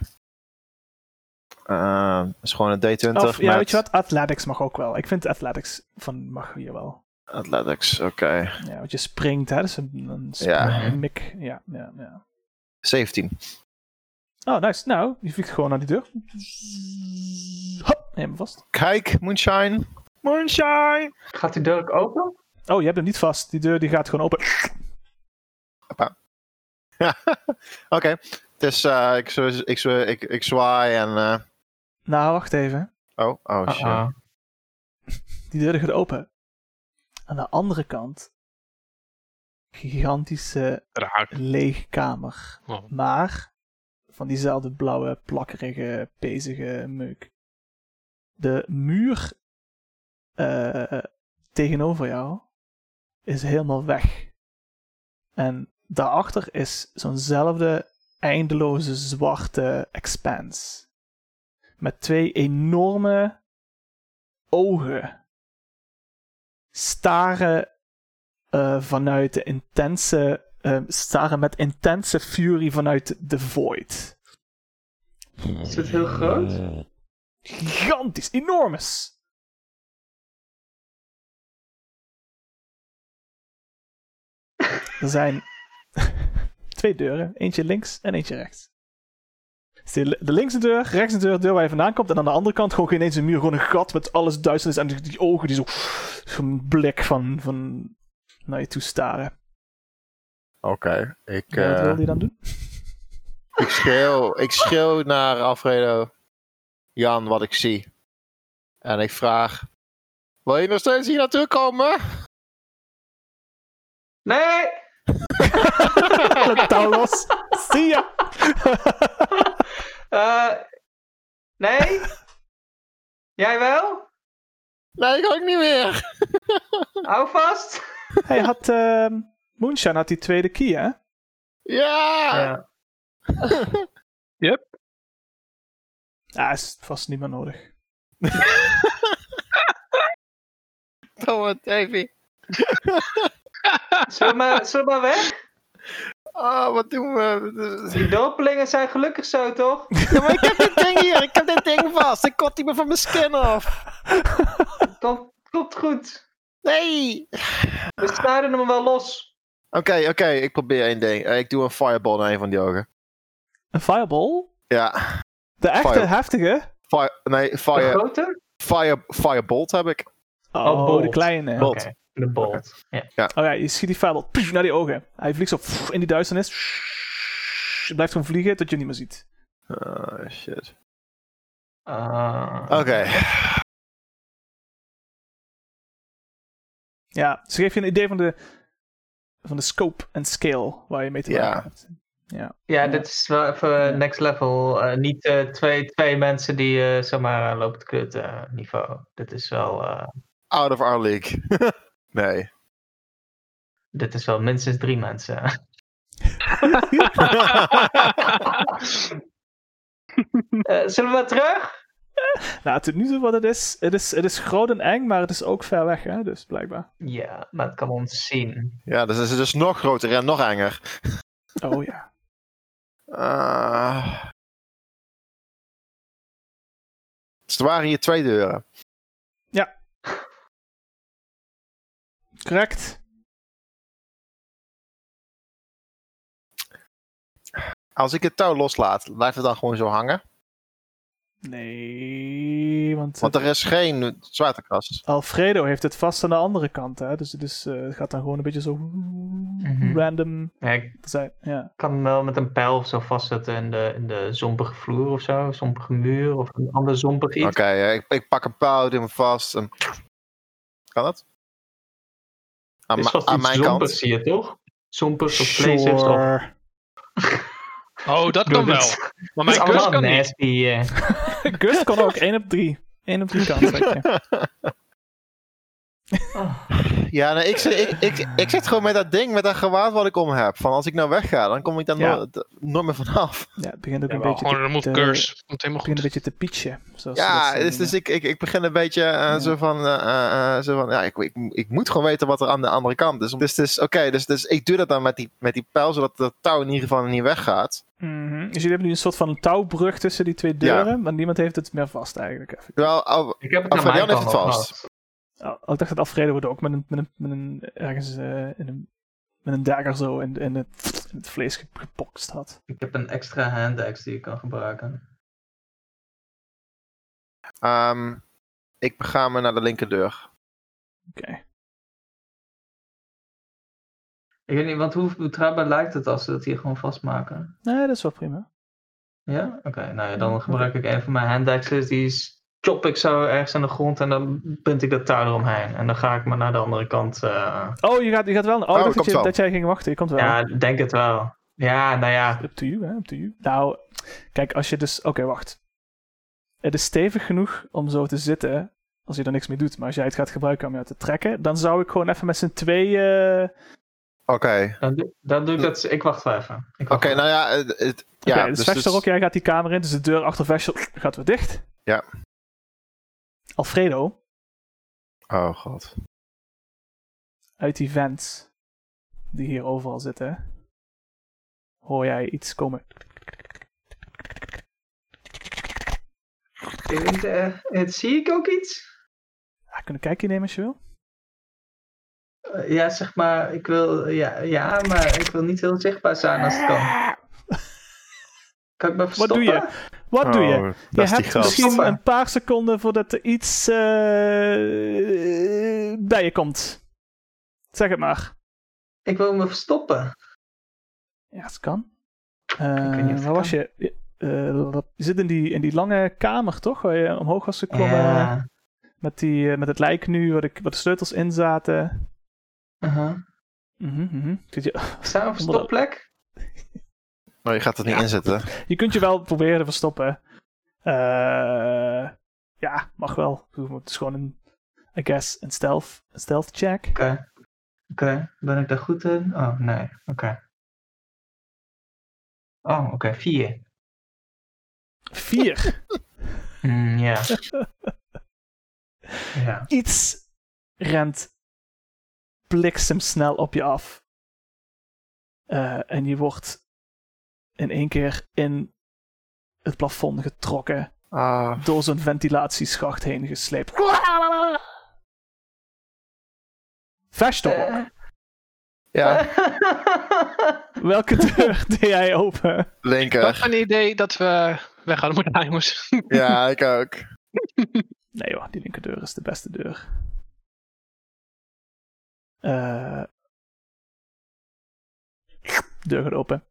Speaker 5: Ehm is gewoon een D20
Speaker 2: Of, ja,
Speaker 5: met
Speaker 2: weet je wat? Athletics mag ook wel. Ik vind athletics van mag hier wel.
Speaker 5: athletics. Oké,
Speaker 2: Ja, want je springt, hè? Dat is een, een sp-
Speaker 5: Ja.
Speaker 2: een mik. Ja, ja, ja.
Speaker 5: 17.
Speaker 2: Oh, nice. Nou, je vliegt gewoon naar die deur. Hop, helemaal vast.
Speaker 5: Kijk, Moonshine. Moonshine!
Speaker 1: Gaat die deur ook open?
Speaker 2: Oh, je hebt hem niet vast. Die deur die gaat gewoon open.
Speaker 5: [laughs] Oké, dus eh, ik, zwa- ik, zwa- ik, ik zwaai en... eh,
Speaker 2: Nou, wacht even.
Speaker 5: Oh, oh shit.
Speaker 1: Uh-oh.
Speaker 2: Die deur gaat open. Aan de andere kant. Gigantische
Speaker 3: Raar.
Speaker 2: lege kamer.
Speaker 3: Oh.
Speaker 2: Maar van diezelfde blauwe, plakkerige, pezige meuk. De muur eh, tegenover jou is helemaal weg. En daarachter is zo'nzelfde eindeloze zwarte expanse. Met twee enorme ogen. Staren eh, vanuit de intense. eh, staren met intense fury vanuit de void.
Speaker 1: Is het heel groot?
Speaker 2: Gigantisch, enormes. Er zijn [laughs] twee deuren. Eentje links en eentje rechts. Dus De de linkse deur, rechts de deur, de deur waar je vandaan komt. En aan de andere kant gewoon geen eens een muur, gewoon een gat met alles duisternis. En die, die ogen die zo, zo'n blik van, van naar je toe staren.
Speaker 5: Oké, ik,
Speaker 2: Ja, wat
Speaker 5: eh,
Speaker 2: wilde je dan doen?
Speaker 5: ik, schreeuw, ik schreeuw naar Alfredo, Jan, wat ik zie. En ik vraag, wil je nog steeds hier naartoe komen?
Speaker 1: Nee!
Speaker 2: [laughs] Laat touw los. Zie je?
Speaker 1: Eh, [laughs] nee? Jij wel?
Speaker 5: Nee, ik ook niet meer.
Speaker 1: Hou vast!
Speaker 2: [laughs] Hij had, ehm Moonshine had die tweede key, hè?
Speaker 5: Ja!
Speaker 1: Ja.
Speaker 2: Ja, Ah, is vast niet meer nodig. [laughs]
Speaker 5: Domme Davy.
Speaker 1: Zullen we maar, zullen we maar weg?
Speaker 5: Ah, wat doen we?
Speaker 1: Die dorpelingen zijn gelukkig zo, [laughs] toch?
Speaker 5: Ja, maar ik heb dit ding hier. Ik heb dit ding vast. Ik kot die me van mijn skin af.
Speaker 1: Komt, komt goed.
Speaker 5: Nee.
Speaker 1: We snijden hem wel los.
Speaker 5: Oké, oké. ik probeer één ding. Eh, ik doe een fireball naar een van die ogen.
Speaker 2: Een fireball?
Speaker 5: Ja.
Speaker 2: De echte
Speaker 5: Fire.
Speaker 2: heftige?
Speaker 5: Fire, nee,
Speaker 1: De
Speaker 5: fire,
Speaker 1: grote?
Speaker 5: fire, firebolt heb ik.
Speaker 2: Oh,
Speaker 1: bolt.
Speaker 2: de kleine.
Speaker 5: Bolt.
Speaker 1: Oké, De bolt. Ja.
Speaker 2: Oh ja, je schiet die fireball pff, naar die ogen. Hij vliegt zo pff, in die duisternis. Je blijft gewoon vliegen tot je hem niet meer ziet.
Speaker 5: Oh, shit.
Speaker 1: Eh,
Speaker 5: Oké.
Speaker 2: Ja, ze geeft je een idee van de van de scope en scale waar je mee te
Speaker 5: Ja.
Speaker 2: maken hebt. Ja.
Speaker 1: Ja, dit is wel even
Speaker 2: Ja.
Speaker 1: next level. Eh, niet eh, twee, twee mensen die eh, zeg maar eh, lopen te kutten eh, niveau. Dit is wel, eh,
Speaker 5: Out of our league. [laughs] nee. [laughs]
Speaker 1: dit is wel minstens drie mensen. [laughs] Eh, zullen we terug?
Speaker 2: Nou, tot nu toe wat het is, het is, het is groot en eng, maar het is ook ver weg, hè? dus blijkbaar.
Speaker 1: Ja, maar het kan ons zien.
Speaker 5: Ja, dus het is dus nog groter en nog enger.
Speaker 2: Oh ja.
Speaker 5: Eh. dus er waren hier twee deuren.
Speaker 2: Correct.
Speaker 5: Als ik het touw loslaat, blijft het dan gewoon zo hangen?
Speaker 2: Nee, want,
Speaker 5: Want er is geen zwaartekrast.
Speaker 2: Alfredo heeft het vast aan de andere kant, hè? dus het is, eh, het gaat dan gewoon een beetje zo
Speaker 3: Mhm.
Speaker 2: random
Speaker 1: Ja, ik
Speaker 2: zijn. Ja.
Speaker 1: kan hem wel met een pijl of zo vastzetten in de, in de zompige vloer of zo. Zompige muur of een ander zompig iets.
Speaker 5: Oké, eh, ik, ik pak een pauw, doe hem vast. En... Kan dat? Aan,
Speaker 1: Het is
Speaker 5: ma-
Speaker 1: vast
Speaker 5: aan
Speaker 1: iets
Speaker 5: mijn
Speaker 1: zompigs,
Speaker 5: kant.
Speaker 1: zie je toch? Zompigs of vleesers of...
Speaker 3: Oh, dat kan wel. Maar
Speaker 1: Maar
Speaker 3: mijn kus kan niet.
Speaker 1: nasty. eh.
Speaker 2: Gust kan ook 1 op 3. 1 op
Speaker 3: [laughs]
Speaker 2: 3 kant, zeg je.
Speaker 5: Ja, nee, ik, zit- ik, ik, ik zit gewoon met dat ding, met dat gewaad wat ik om heb. Van als ik nou wegga, dan kom ik daar
Speaker 2: Ja.
Speaker 5: nooit- nooit meer vanaf.
Speaker 2: Ja, het begint ook
Speaker 3: Ja,
Speaker 2: een,
Speaker 3: wel,
Speaker 2: beetje
Speaker 3: gewoon
Speaker 2: te,
Speaker 3: een
Speaker 2: te-
Speaker 3: remove curse. Komt helemaal
Speaker 2: het begint
Speaker 3: goed.
Speaker 2: een beetje te pitchen. zoals ze dat
Speaker 5: Ja,
Speaker 2: zo
Speaker 5: dus,
Speaker 2: noemen.
Speaker 5: dus ik, ik, ik begin een beetje eh,
Speaker 2: Ja.
Speaker 5: zo van, eh, eh, eh, zo van ja, ik, ik, ik moet gewoon weten wat er aan de andere kant is. Dus, dus oké, dus, dus ik doe dat dan met die, met die pijl, zodat dat touw in ieder geval niet weggaat.
Speaker 2: Mhm. Dus jullie hebben nu een soort van touwbrug tussen die twee
Speaker 5: Ja.
Speaker 2: deuren, maar niemand heeft het meer vast eigenlijk. Even.
Speaker 5: Terwijl, al-
Speaker 1: Ik heb het
Speaker 5: Maar
Speaker 1: naar mijn
Speaker 5: Fabian Oh,
Speaker 1: kant
Speaker 5: heeft het
Speaker 1: al
Speaker 5: vast.
Speaker 1: gehad.
Speaker 2: Oh, ik dacht dat Alfredo wordt ook met een, met een, met een ergens eh, in een, met een dagger zo in, in, het, in het vlees ge- gepokst had.
Speaker 1: Ik heb een extra hand axe die ik kan gebruiken.
Speaker 5: ehm, ik ga me naar de linkerdeur.
Speaker 2: Oké.
Speaker 1: Ik weet niet, want hoe betrouwbaar lijkt het als ze dat hier gewoon vastmaken?
Speaker 2: Nee, dat is wel prima.
Speaker 1: Ja? Oké, nou ja, dan gebruik ik een van mijn hand axes. Die is- chop ik zo ergens aan de grond en dan punt ik dat touw eromheen. En dan ga ik maar naar de andere kant. eh.
Speaker 2: Oh, je gaat, je gaat wel. Oh, ik dacht dat,
Speaker 5: komt
Speaker 2: je,
Speaker 5: wel.
Speaker 2: dat jij ging wachten. Je komt wel.
Speaker 1: Ja, ik denk het wel. Ja, nou ja.
Speaker 2: Up to you, hè? Up to you. Nou, kijk, als je dus. Oké, wacht. Het is stevig genoeg om zo te zitten. Als je er niks mee doet. Maar als jij het gaat gebruiken om jou te trekken. dan zou ik gewoon even met z'n tweeën.
Speaker 5: Oké,
Speaker 1: Dan doe, dan doe ik dat. Ik wacht wel even. Ik wacht
Speaker 5: oké,
Speaker 1: wel.
Speaker 5: nou ja, het, het- ja
Speaker 2: Oké, dus Vester ook, jij gaat die kamer in. Dus de deur achter Vester gaat weer dicht.
Speaker 5: Ja.
Speaker 2: Alfredo,
Speaker 5: Oh god.
Speaker 2: uit die vents. die hier overal zitten. hoor jij iets komen.
Speaker 5: nou-
Speaker 1: Ik weet, eh, het, zie ik ook iets?
Speaker 2: Ja, kunnen kijkje nemen als je wil.
Speaker 1: Eh, ja, zeg maar. Ik wil. Ja, ja, maar ik wil niet heel zichtbaar zijn als het kan. Kan ik me
Speaker 2: Wat
Speaker 1: verstoppen?
Speaker 2: doe je? Wat
Speaker 5: Oh.
Speaker 2: doe je? Je
Speaker 5: Dat is die
Speaker 2: hebt
Speaker 5: gast.
Speaker 2: misschien
Speaker 1: Stoppen.
Speaker 2: een paar seconden voordat er iets eh, bij je komt. Zeg het maar.
Speaker 1: Ik wil me verstoppen.
Speaker 2: Ja, het kan. Eh,
Speaker 1: weet niet of het
Speaker 2: waar
Speaker 1: kan.
Speaker 2: was je? Je- eh, je zit in die, in die lange kamer, toch? Waar je omhoog was geklommen.
Speaker 1: Ja.
Speaker 2: Met, die, eh, met het lijk nu, waar de, waar de sleutels in zaten.
Speaker 1: Uh-huh.
Speaker 2: Mhm, mhm. Zit Je,
Speaker 1: Is daar een verstopplek?
Speaker 5: Nou, je gaat het niet inzetten.
Speaker 2: je kunt je wel [laughs] proberen te verstoppen. Eh, ja, mag wel. Het is gewoon een, I guess, een stealth, een stealth check.
Speaker 1: Oké. Oké, ben ik daar goed in? Oh, nee. Oké. Oh, oké, vier.
Speaker 2: Vier.
Speaker 1: Mm,
Speaker 2: [laughs]
Speaker 1: ja. ja.
Speaker 2: iets rent bliksemsnel op je af. Eh, en je wordt in één keer in het plafond getrokken,
Speaker 5: Ah,
Speaker 2: door zo'n ventilatieschacht heen gesleept. Vashtok,
Speaker 1: Eh,
Speaker 5: ja,
Speaker 2: welke deur [laughs] deed jij open?
Speaker 3: Wat
Speaker 5: linker.
Speaker 3: een idee dat we weg hadden moeten gaan, jongens.
Speaker 5: Ja, ik ook.
Speaker 2: Nee joh, die linkerdeur is de beste deur. Eh, deur gaat open.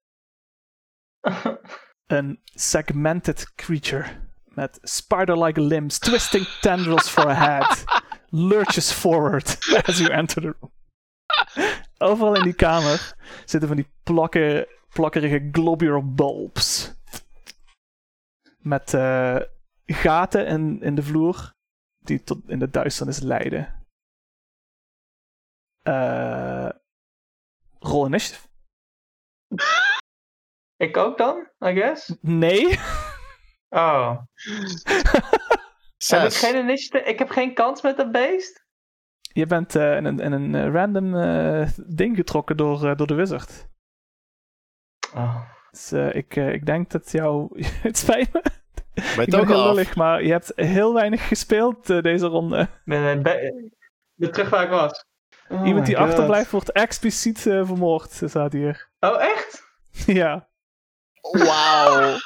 Speaker 2: Een segmented creature met spider-like limbs, twisting tendrils for a head, lurches forward as you enter the room. Overal in die kamer zitten van die plakken, plakkerige globular bulbs. Met eh, gaten in, in de vloer die tot in de duisternis leiden. Eh rol initiative.
Speaker 1: [laughs] Ik ook dan, I guess?
Speaker 2: Nee.
Speaker 1: Oh. Heb ik,
Speaker 5: Zes.
Speaker 1: geen initiative, ik heb geen kans met dat beest?
Speaker 2: Je bent eh, in een, in een eh, random eh, ding getrokken door, eh, door de wizard.
Speaker 1: Oh.
Speaker 2: Dus eh, ik, eh, ik denk dat jou... [laughs] het spijt me.
Speaker 5: Weet
Speaker 2: Ik
Speaker 5: ook
Speaker 2: ben heel
Speaker 5: al.
Speaker 2: lullig, maar je hebt heel weinig gespeeld eh, deze ronde.
Speaker 1: Ik ben, eh, be- weer terug waar ik was. Oh my
Speaker 2: Iemand die
Speaker 1: God.
Speaker 2: achterblijft wordt expliciet eh, vermoord, eh, staat hier. [laughs]
Speaker 1: Oh, echt?
Speaker 2: ja.
Speaker 5: Wauw.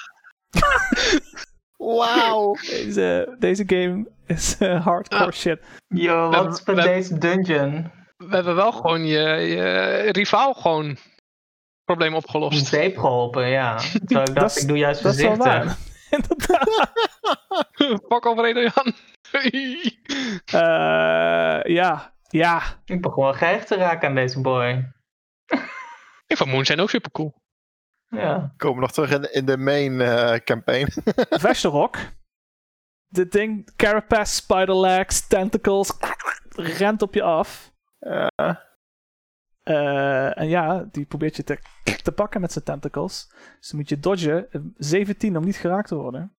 Speaker 5: [laughs] Wauw.
Speaker 2: Deze, deze game is eh, hardcore
Speaker 3: Ah.
Speaker 2: shit.
Speaker 1: Yo,
Speaker 3: We-
Speaker 1: wat is met
Speaker 3: we-
Speaker 1: deze dungeon?
Speaker 3: [laughs] We hebben wel gewoon je, je rivaal gewoon probleem
Speaker 1: Om
Speaker 3: opgelost.
Speaker 1: zeep geholpen, ja. Terwijl ik
Speaker 2: Dat is-
Speaker 1: dacht, ik doe juist
Speaker 2: Dat is wel
Speaker 1: voorzichtig.
Speaker 2: waar. [laughs] Inderdaad.
Speaker 3: [laughs] Pak op, Redo Jan.
Speaker 2: Eh, ja. Ja.
Speaker 1: Ik begon wel gehecht te raken aan deze boy.
Speaker 3: Ik vond Moon zijn ook super cool.
Speaker 1: Ja.
Speaker 5: Komen we nog terug in, in de main eh, campaign.
Speaker 2: [laughs] Vesterok. Dit ding, carapace, spider legs, tentacles, rent op je af.
Speaker 5: Eh,
Speaker 2: Eh, en ja, die probeert je te, te pakken met zijn tentacles. Dus dan moet je dodgen. eh, 17 om niet geraakt te worden.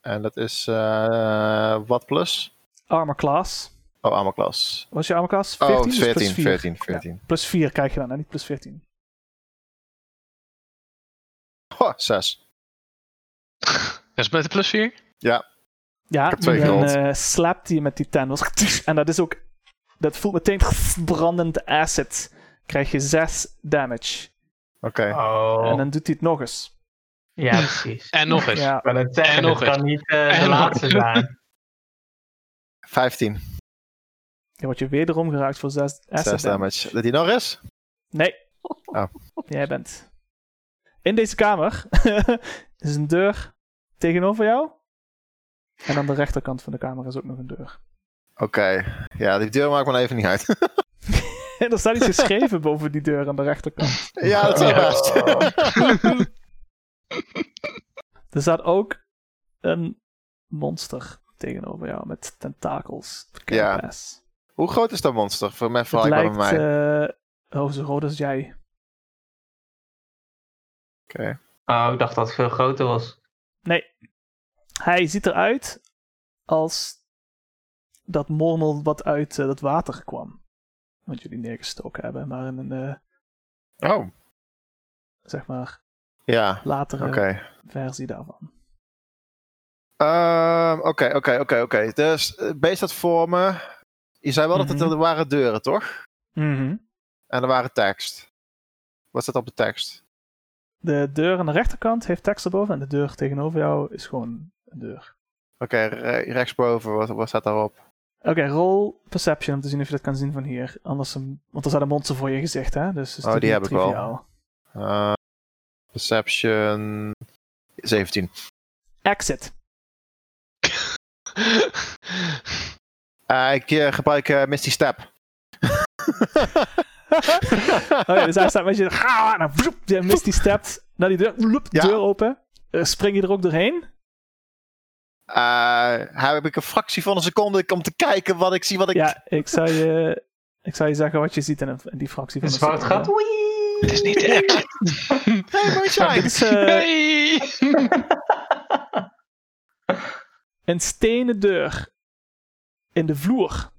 Speaker 5: en dat is eh, wat plus?
Speaker 2: Armor class.
Speaker 5: Oh, armor class.
Speaker 2: Wat is je armor class? 14?
Speaker 5: Oh,
Speaker 2: dus
Speaker 5: 14,
Speaker 2: plus 4.
Speaker 5: 14, 14.
Speaker 2: Plus 4 krijg je dan, hè? niet plus 14.
Speaker 5: Oh, 6.
Speaker 3: [laughs] Dat is met de plus 4.
Speaker 2: Ja,
Speaker 5: heb twee
Speaker 2: dan
Speaker 5: gerold.
Speaker 2: eh slapt hij met die tentacles. En dat is ook... Dat voelt meteen brandend acid. Krijg je 6 damage.
Speaker 5: Oké.
Speaker 1: Oh.
Speaker 2: En dan doet hij het nog eens.
Speaker 1: Ja, precies.
Speaker 3: En nog eens. [laughs]
Speaker 2: Ja,
Speaker 1: Ik wil het zeggen,
Speaker 3: En nog
Speaker 1: dat kan niet eh,
Speaker 3: En
Speaker 1: de
Speaker 3: nog
Speaker 1: laatste
Speaker 3: eens.
Speaker 1: zijn.
Speaker 5: 15.
Speaker 2: Dan word je wederom geraakt voor 6
Speaker 5: 6 damage. Dat die nog is?
Speaker 2: Nee.
Speaker 5: Oh.
Speaker 2: Jij bent. In deze kamer [laughs] is een deur tegenover jou. En aan de rechterkant van de kamer is ook nog een deur. [laughs]
Speaker 5: Oké. Ja, die deur maakt me even niet uit.
Speaker 2: En er staat iets
Speaker 5: [laughs]
Speaker 2: geschreven boven die deur aan de rechterkant.
Speaker 5: ja, dat is
Speaker 1: Oh.
Speaker 5: best.
Speaker 2: Er staat ook een monster tegenover jou met tentakels.
Speaker 5: Ja.
Speaker 2: carapace.
Speaker 5: [laughs] Hoe groot is dat monster? Voor mij
Speaker 2: Het
Speaker 5: vraag ik wel bij
Speaker 2: lijkt
Speaker 5: mij.
Speaker 2: eh, oh, zo rood als jij.
Speaker 5: Oké.
Speaker 1: Oh, ik dacht dat het veel groter was.
Speaker 2: Hij ziet eruit als dat mormel wat uit eh, dat water kwam. Wat jullie neergestoken hebben, maar in een, eh,
Speaker 5: Oh.
Speaker 2: zeg maar,
Speaker 5: Ja.
Speaker 2: latere
Speaker 5: Oké.
Speaker 2: versie daarvan.
Speaker 5: Ehm, Oké, oké, oké, oké. Dus eh, beest dat voor me. Je zei wel dat het
Speaker 2: Mhm.
Speaker 5: er waren deuren, toch?
Speaker 1: Mhm.
Speaker 5: En er waren tekst. Wat staat op de tekst?
Speaker 2: De deur aan de rechterkant heeft tekst erboven en de deur tegenover jou is gewoon een deur.
Speaker 5: Oké, re- rechtsboven, wat, wat staat daarop?
Speaker 2: Oké, roll perception om te zien of je dat kan zien van hier. Anders, een- want er staat een monster voor je gezicht, hè? Dus is
Speaker 5: Oh,
Speaker 2: dit
Speaker 5: die
Speaker 2: niet
Speaker 5: heb ik wel.
Speaker 2: triviaal.
Speaker 5: Eh, perception 17.
Speaker 2: Exit.
Speaker 5: Eh, ik eh, gebruik eh, Misty Step.
Speaker 2: [laughs]
Speaker 5: [laughs]
Speaker 2: Oh ja, dus hij staat met
Speaker 5: [laughs]
Speaker 2: je. Ah, nou, vloep, je mist die stept naar die deur. Vloep,
Speaker 5: Ja.
Speaker 2: Deur open. Eh, spring je er ook doorheen?
Speaker 5: Eh, heb ik een fractie van een seconde om te kijken wat ik zie, wat ik... [laughs]
Speaker 2: Ja, ik zou, je, ik zou je zeggen wat je ziet in, een- in die fractie van
Speaker 1: Dus
Speaker 2: een
Speaker 1: waar het
Speaker 2: seconde.
Speaker 1: gaat, oei!
Speaker 3: Het is
Speaker 1: [laughs]
Speaker 3: niet de exit.
Speaker 5: Hey,
Speaker 2: Dit
Speaker 5: Moonshine!
Speaker 2: is eh,
Speaker 3: Hey!
Speaker 2: een stenen deur in de vloer.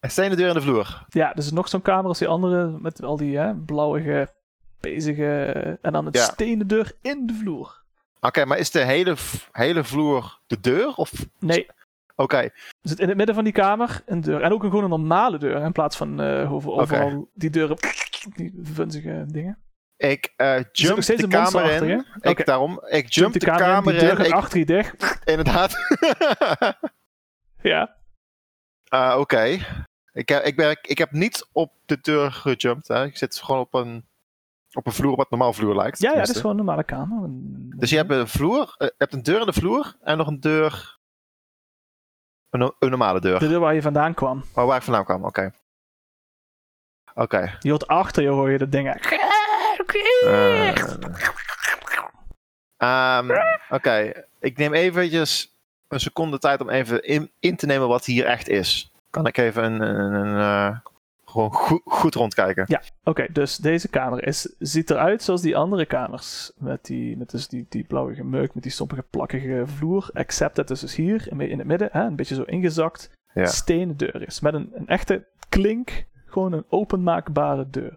Speaker 5: Er steen de deur in de vloer.
Speaker 2: Ja, dus nog zo'n kamer als die andere met al die hè, blauwige, bezige. En dan een
Speaker 5: Ja.
Speaker 2: stenen deur in de vloer.
Speaker 5: Oké, maar is de hele, v- hele vloer de deur? Of... Oké,
Speaker 2: Nee, dus in het midden van die kamer een deur. En ook een, gewoon een normale deur in plaats van eh, over,
Speaker 5: Oké.
Speaker 2: overal die deuren. Die vunzige dingen.
Speaker 5: ik eh,
Speaker 2: Er zit
Speaker 5: jump
Speaker 2: nog steeds
Speaker 5: de
Speaker 2: een monster
Speaker 5: kamer
Speaker 2: achter
Speaker 5: in.
Speaker 2: je.
Speaker 5: Ik,
Speaker 2: Oké.
Speaker 5: daarom,
Speaker 2: Jump
Speaker 5: ik jump de kamer
Speaker 2: die deur
Speaker 5: in.
Speaker 2: gaat
Speaker 5: Ik-
Speaker 2: achter je dicht.
Speaker 5: Inderdaad. [laughs]
Speaker 2: Ja.
Speaker 5: Eh, Oké. Ik, heb- ik, ben- ik heb niet op de deur gejumpt. Hè. Ik zit gewoon op een, op een vloer wat normaal vloer lijkt.
Speaker 2: Ja, ja, dat
Speaker 5: tenminste.
Speaker 2: is gewoon een normale kamer.
Speaker 5: Dus je hebt een vloer, eh, je hebt een deur in de vloer en nog een deur. Een, no- een normale deur.
Speaker 2: De deur waar je vandaan kwam.
Speaker 5: Maar waar ik vandaan kwam, oké. Oké.
Speaker 2: Je hoort achter je hoor je dat ding.
Speaker 5: eh, ehm, Oké, ik neem eventjes een seconde tijd om even in, in te nemen wat hier echt is. Kan ik even een, een, een, eh, gewoon goed, goed rondkijken?
Speaker 2: Oké, dus deze kamer is, ziet eruit zoals die andere kamers. Met, die, met dus die, die blauwe gemeuk, met die sompige plakkige vloer. Except dat dus hier in in het midden, hè, een beetje zo ingezakt,
Speaker 5: Ja.
Speaker 2: stenen deur is. Met een, een echte klink, gewoon een openmaakbare deur.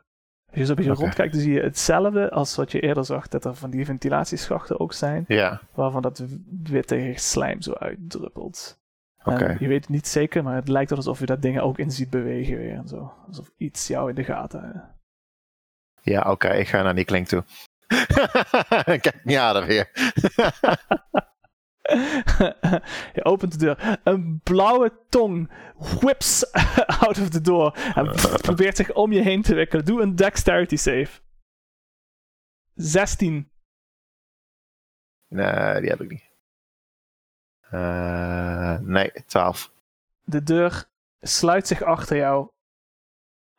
Speaker 2: Als je zo een beetje
Speaker 5: Oké.
Speaker 2: rondkijkt, dan zie je hetzelfde als wat je eerder zag. Dat er van die ventilatieschachten ook zijn,
Speaker 5: Ja,
Speaker 2: waarvan dat w- witte slijm zo uitdruppelt.
Speaker 5: oké.
Speaker 2: En je weet het niet zeker, maar het lijkt wel alsof je dat ding er ook in ziet bewegen weer en zo. Alsof iets jou in de gaten... eh,
Speaker 5: Ja, oké, ik ga naar die klink toe. [laughs] Kijk, ja, dat weer.
Speaker 2: [laughs] Je opent de deur. Een blauwe tong whips [laughs] out of the door. En [laughs] probeert zich om je heen te wikkelen. Doe een dexterity save. 16.
Speaker 5: nee, die heb ik niet. Eh, nee, 12.
Speaker 2: De deur sluit zich achter jou.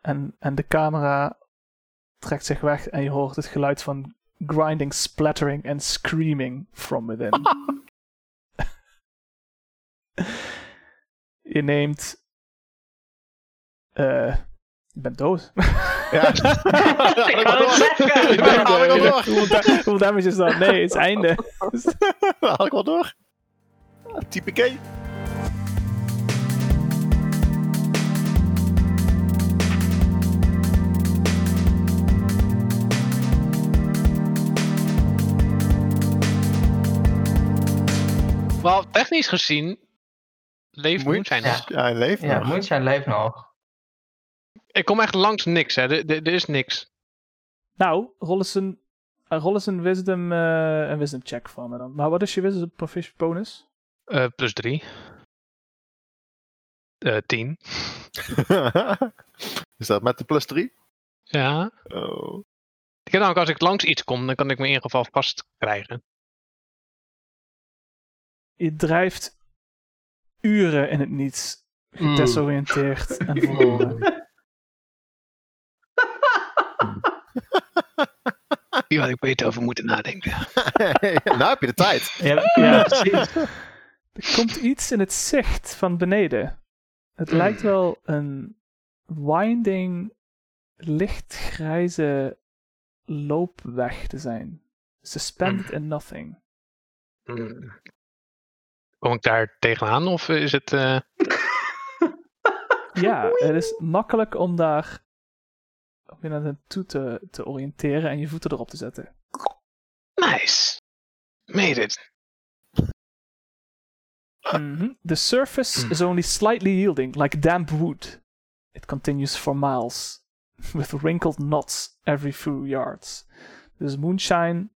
Speaker 2: En, en de camera trekt zich weg. En je hoort het geluid van grinding, splattering en screaming from within. Je neemt. eh je bent dood.
Speaker 5: Ja.
Speaker 4: Ik wou het zeggen.
Speaker 5: Ik ben al wel door.
Speaker 2: Hoeveel da- Hoeveel damage is dat? Nee, het is einde.
Speaker 5: Dat had ik wel door. Ah, Type K.
Speaker 3: Wel, technisch gezien leeft
Speaker 5: Moet-
Speaker 3: Moonshine nog.
Speaker 5: Ja, hij leeft
Speaker 1: Ja,
Speaker 5: nog.
Speaker 1: moet zijn leeft nog.
Speaker 3: Ik kom echt langs niks, hè. Er- Er er is niks.
Speaker 2: Nou, rol eens een, eh, rol eens een, wisdom, eh, een wisdom check van me dan. Maar wat is je wisdom proficiency bonus?
Speaker 3: Eh, plus drie. Eh, tien.
Speaker 5: Is dat met de plus 3?
Speaker 3: Ja.
Speaker 5: Oh.
Speaker 3: Ik heb namelijk, als ik langs iets kom, dan kan ik me in ieder geval vast krijgen.
Speaker 2: Je drijft uren in het niets.
Speaker 1: Hmm.
Speaker 3: Mm.
Speaker 2: Desoriënteerd en
Speaker 1: Mm.
Speaker 2: verloren.
Speaker 3: Hier had ik beter over moeten nadenken.
Speaker 5: nou heb je de tijd.
Speaker 1: Ja, ja precies.
Speaker 2: Er komt iets in het zicht van beneden. Het
Speaker 3: Mm.
Speaker 2: lijkt wel een winding, lichtgrijze loopweg te zijn. Suspended in nothing.
Speaker 3: Hmm. Kom ik daar tegenaan of is het... eh,
Speaker 2: Ja, het is makkelijk om daar om je naar naartoe te, te oriënteren en je voeten erop te zetten.
Speaker 3: Nice. Made it.
Speaker 2: Mhm. The surface
Speaker 3: Mm.
Speaker 2: is only slightly yielding, like damp wood. It continues for miles, [laughs] with wrinkled knots every few yards. Dus moonshine,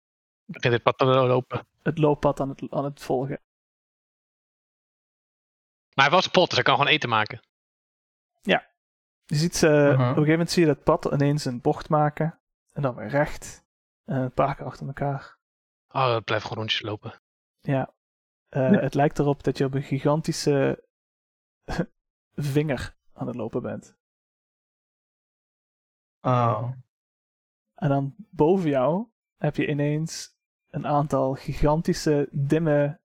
Speaker 3: Begint dit pad te lopen.
Speaker 2: het looppad aan het, aan het volgen.
Speaker 3: Maar hij was pot, dus hij kan gewoon eten maken.
Speaker 2: Je ziet, eh, op
Speaker 1: Mhm.
Speaker 2: een gegeven moment zie je dat pad ineens een bocht maken. En dan weer recht. En een paar keer achter elkaar.
Speaker 3: Oh, het blijft gewoon rondjes lopen.
Speaker 2: Ja. Eh, Het lijkt erop dat je op een gigantische [laughs] vinger aan het lopen bent.
Speaker 1: Oh.
Speaker 2: En dan boven jou heb je ineens een aantal gigantische dimme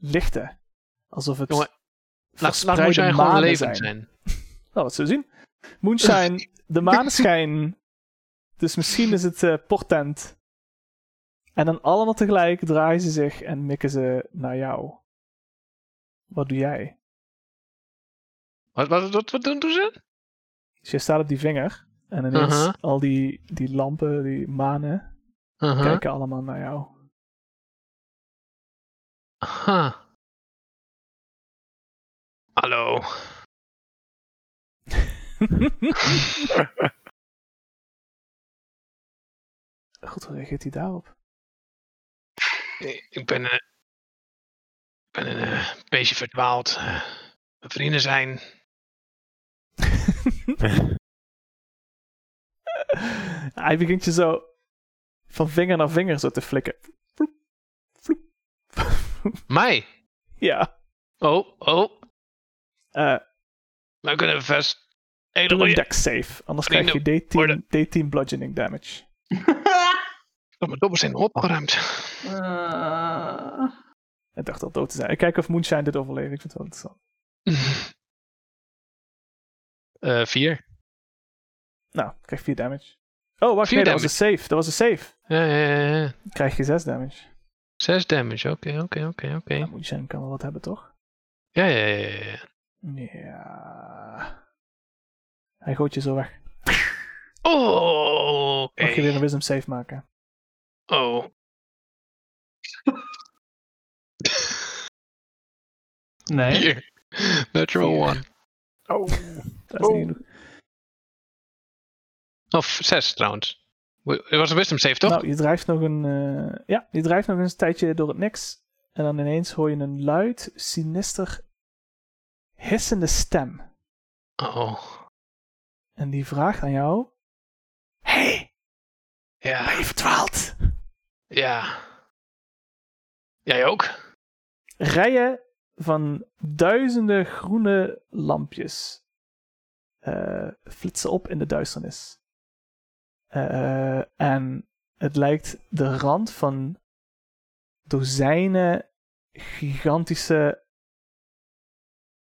Speaker 2: lichten. Alsof het
Speaker 3: Jongen, Laat, laat
Speaker 2: verspreide
Speaker 3: Moonshine gewoon
Speaker 2: manen
Speaker 3: levend zijn.
Speaker 2: Nou, dat zullen we zien.
Speaker 3: [laughs]
Speaker 2: Moonshine, de maneschijn. Dus misschien is het eh, portent. En dan allemaal tegelijk draaien ze zich en mikken ze naar jou. Wat doe jij?
Speaker 3: Wat, wat, wat, wat doen doen ze?
Speaker 2: Dus je staat op die vinger. En ineens
Speaker 3: Aha.
Speaker 2: al die, die lampen, die manen,
Speaker 3: Uh-huh.
Speaker 2: kijken allemaal naar jou.
Speaker 3: Aha. Hallo.
Speaker 2: [laughs] Goed, hoe reageert hij daarop?
Speaker 3: Ik ik ben, eh, ik ben een eh, beetje verdwaald. Eh, Mijn vrienden zijn.
Speaker 2: [laughs] hij begint je zo van vinger naar vinger zo te flikken. Vloep, vloep.
Speaker 3: Mij.
Speaker 2: ja.
Speaker 3: Oh, oh.
Speaker 2: Eh,
Speaker 3: Wij kunnen vast Hey,
Speaker 2: Doe een
Speaker 3: doei.
Speaker 2: deck save, anders
Speaker 3: Vrienden,
Speaker 2: krijg je
Speaker 3: worden.
Speaker 2: D10, D10 bludgeoning damage.
Speaker 3: Mijn dobbels zijn opgeruimd. [laughs]
Speaker 1: Eh,
Speaker 2: Ik dacht al dood te zijn. Ik kijk of Moonshine dit overleeft. Ik vind het wel interessant.
Speaker 3: Eh vier.
Speaker 2: Nou, ik krijg 4 damage. Oh, wacht,
Speaker 3: Vier
Speaker 2: nee, dat was een save. Dat was een save.
Speaker 3: Ja, ja, ja, ja.
Speaker 2: Dan krijg je 6 damage.
Speaker 3: Zes damage. Oké, oké, oké,
Speaker 2: Ja,
Speaker 3: oké.
Speaker 2: Moonshine kan wel wat hebben, toch?
Speaker 3: Ja, ja, ja, ja, ja.
Speaker 2: Ja. Hij gooit je zo weg.
Speaker 3: Oh, oké.
Speaker 2: Mag je weer een wisdom save maken.
Speaker 3: Oh.
Speaker 1: nee.
Speaker 3: Hier. Natural
Speaker 2: Vier.
Speaker 3: one.
Speaker 2: Dat is
Speaker 3: Oh.
Speaker 2: niet genoeg.
Speaker 3: Of zes trouwens. Het was een wisdom save, toch?
Speaker 2: Nou, je drijft nog een... eh, ja, je drijft nog eens een tijdje door het niks. En dan ineens hoor je een luid, sinister, hissende stem.
Speaker 3: Oh.
Speaker 2: En die vraagt aan jou... Hey, ben
Speaker 3: Ja.
Speaker 2: je verdwaald?
Speaker 3: Ja. Jij ook?
Speaker 2: rijen van duizenden groene lampjes eh, flitsen op in de duisternis. Eh, en het lijkt de rand van dozijnen gigantische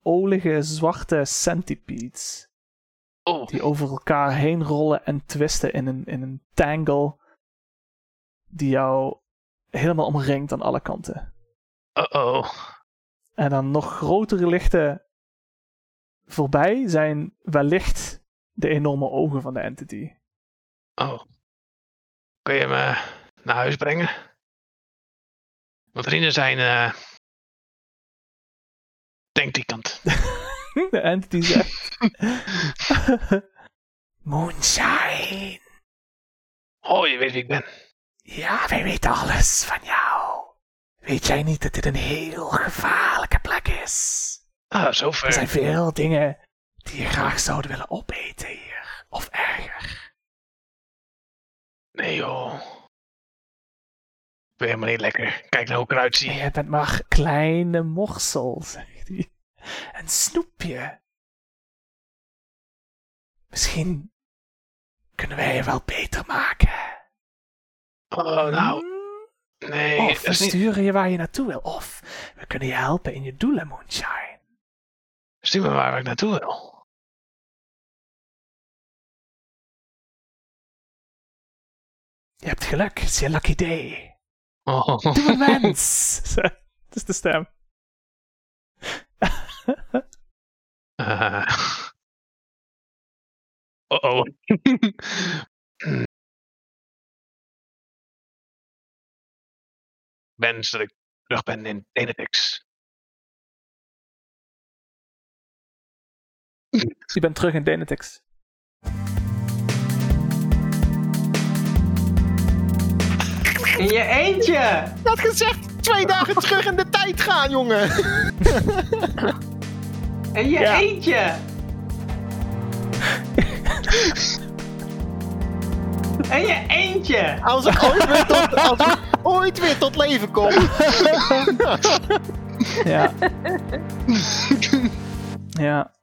Speaker 2: olige zwarte centipedes
Speaker 3: Oh.
Speaker 2: die over elkaar heen rollen en twisten in een, in een tangle die jou helemaal omringt aan alle kanten.
Speaker 3: Uh-oh.
Speaker 2: En dan nog grotere lichten voorbij zijn wellicht de enorme ogen van de entity. [laughs]
Speaker 3: Oh. Kun je hem eh, naar huis brengen? Mijn vrienden zijn. eh Denk die kant.
Speaker 2: De entity zegt: [laughs] Moonshine,
Speaker 3: Oh, je weet wie ik ben.
Speaker 2: ja, wij weten alles van jou. Weet jij niet dat dit een heel gevaarlijke plek is?
Speaker 3: Ah, zo
Speaker 2: Er zijn
Speaker 3: ver.
Speaker 2: veel dingen die je graag zouden willen opeten hier, of erger.
Speaker 3: Nee, joh. Ik ben helemaal niet lekker. Kijk nou hoe ik eruit
Speaker 2: En
Speaker 3: zie.
Speaker 2: je bent maar kleine morsel, zegt hij. Een snoepje. Misschien kunnen wij je wel beter maken.
Speaker 3: Oh, nou.
Speaker 2: Hmm?
Speaker 3: Nee,
Speaker 2: of
Speaker 3: dat
Speaker 2: we
Speaker 3: is niet.
Speaker 2: sturen je waar je naartoe wil. Of we kunnen je helpen in je doelen, Moonshine.
Speaker 3: Stuur me waar ik naartoe wil.
Speaker 2: Je hebt geluk, het is je lucky day.
Speaker 3: Oh.
Speaker 2: Doe
Speaker 3: [laughs]
Speaker 2: een wens. Het is de stem. [laughs]
Speaker 3: [laughs] Eh. Oh-oh. Wens dat ik terug ben in Denetix.
Speaker 2: Je bent terug in Denetix.
Speaker 1: In je eentje!
Speaker 5: Dat gezegd, twee dagen terug in de tijd gaan, jongen.
Speaker 1: In je
Speaker 2: Ja.
Speaker 1: eentje! In je eentje!
Speaker 5: Als ik ooit weer tot, als ik ooit weer tot leven kom.
Speaker 2: Ja. ja.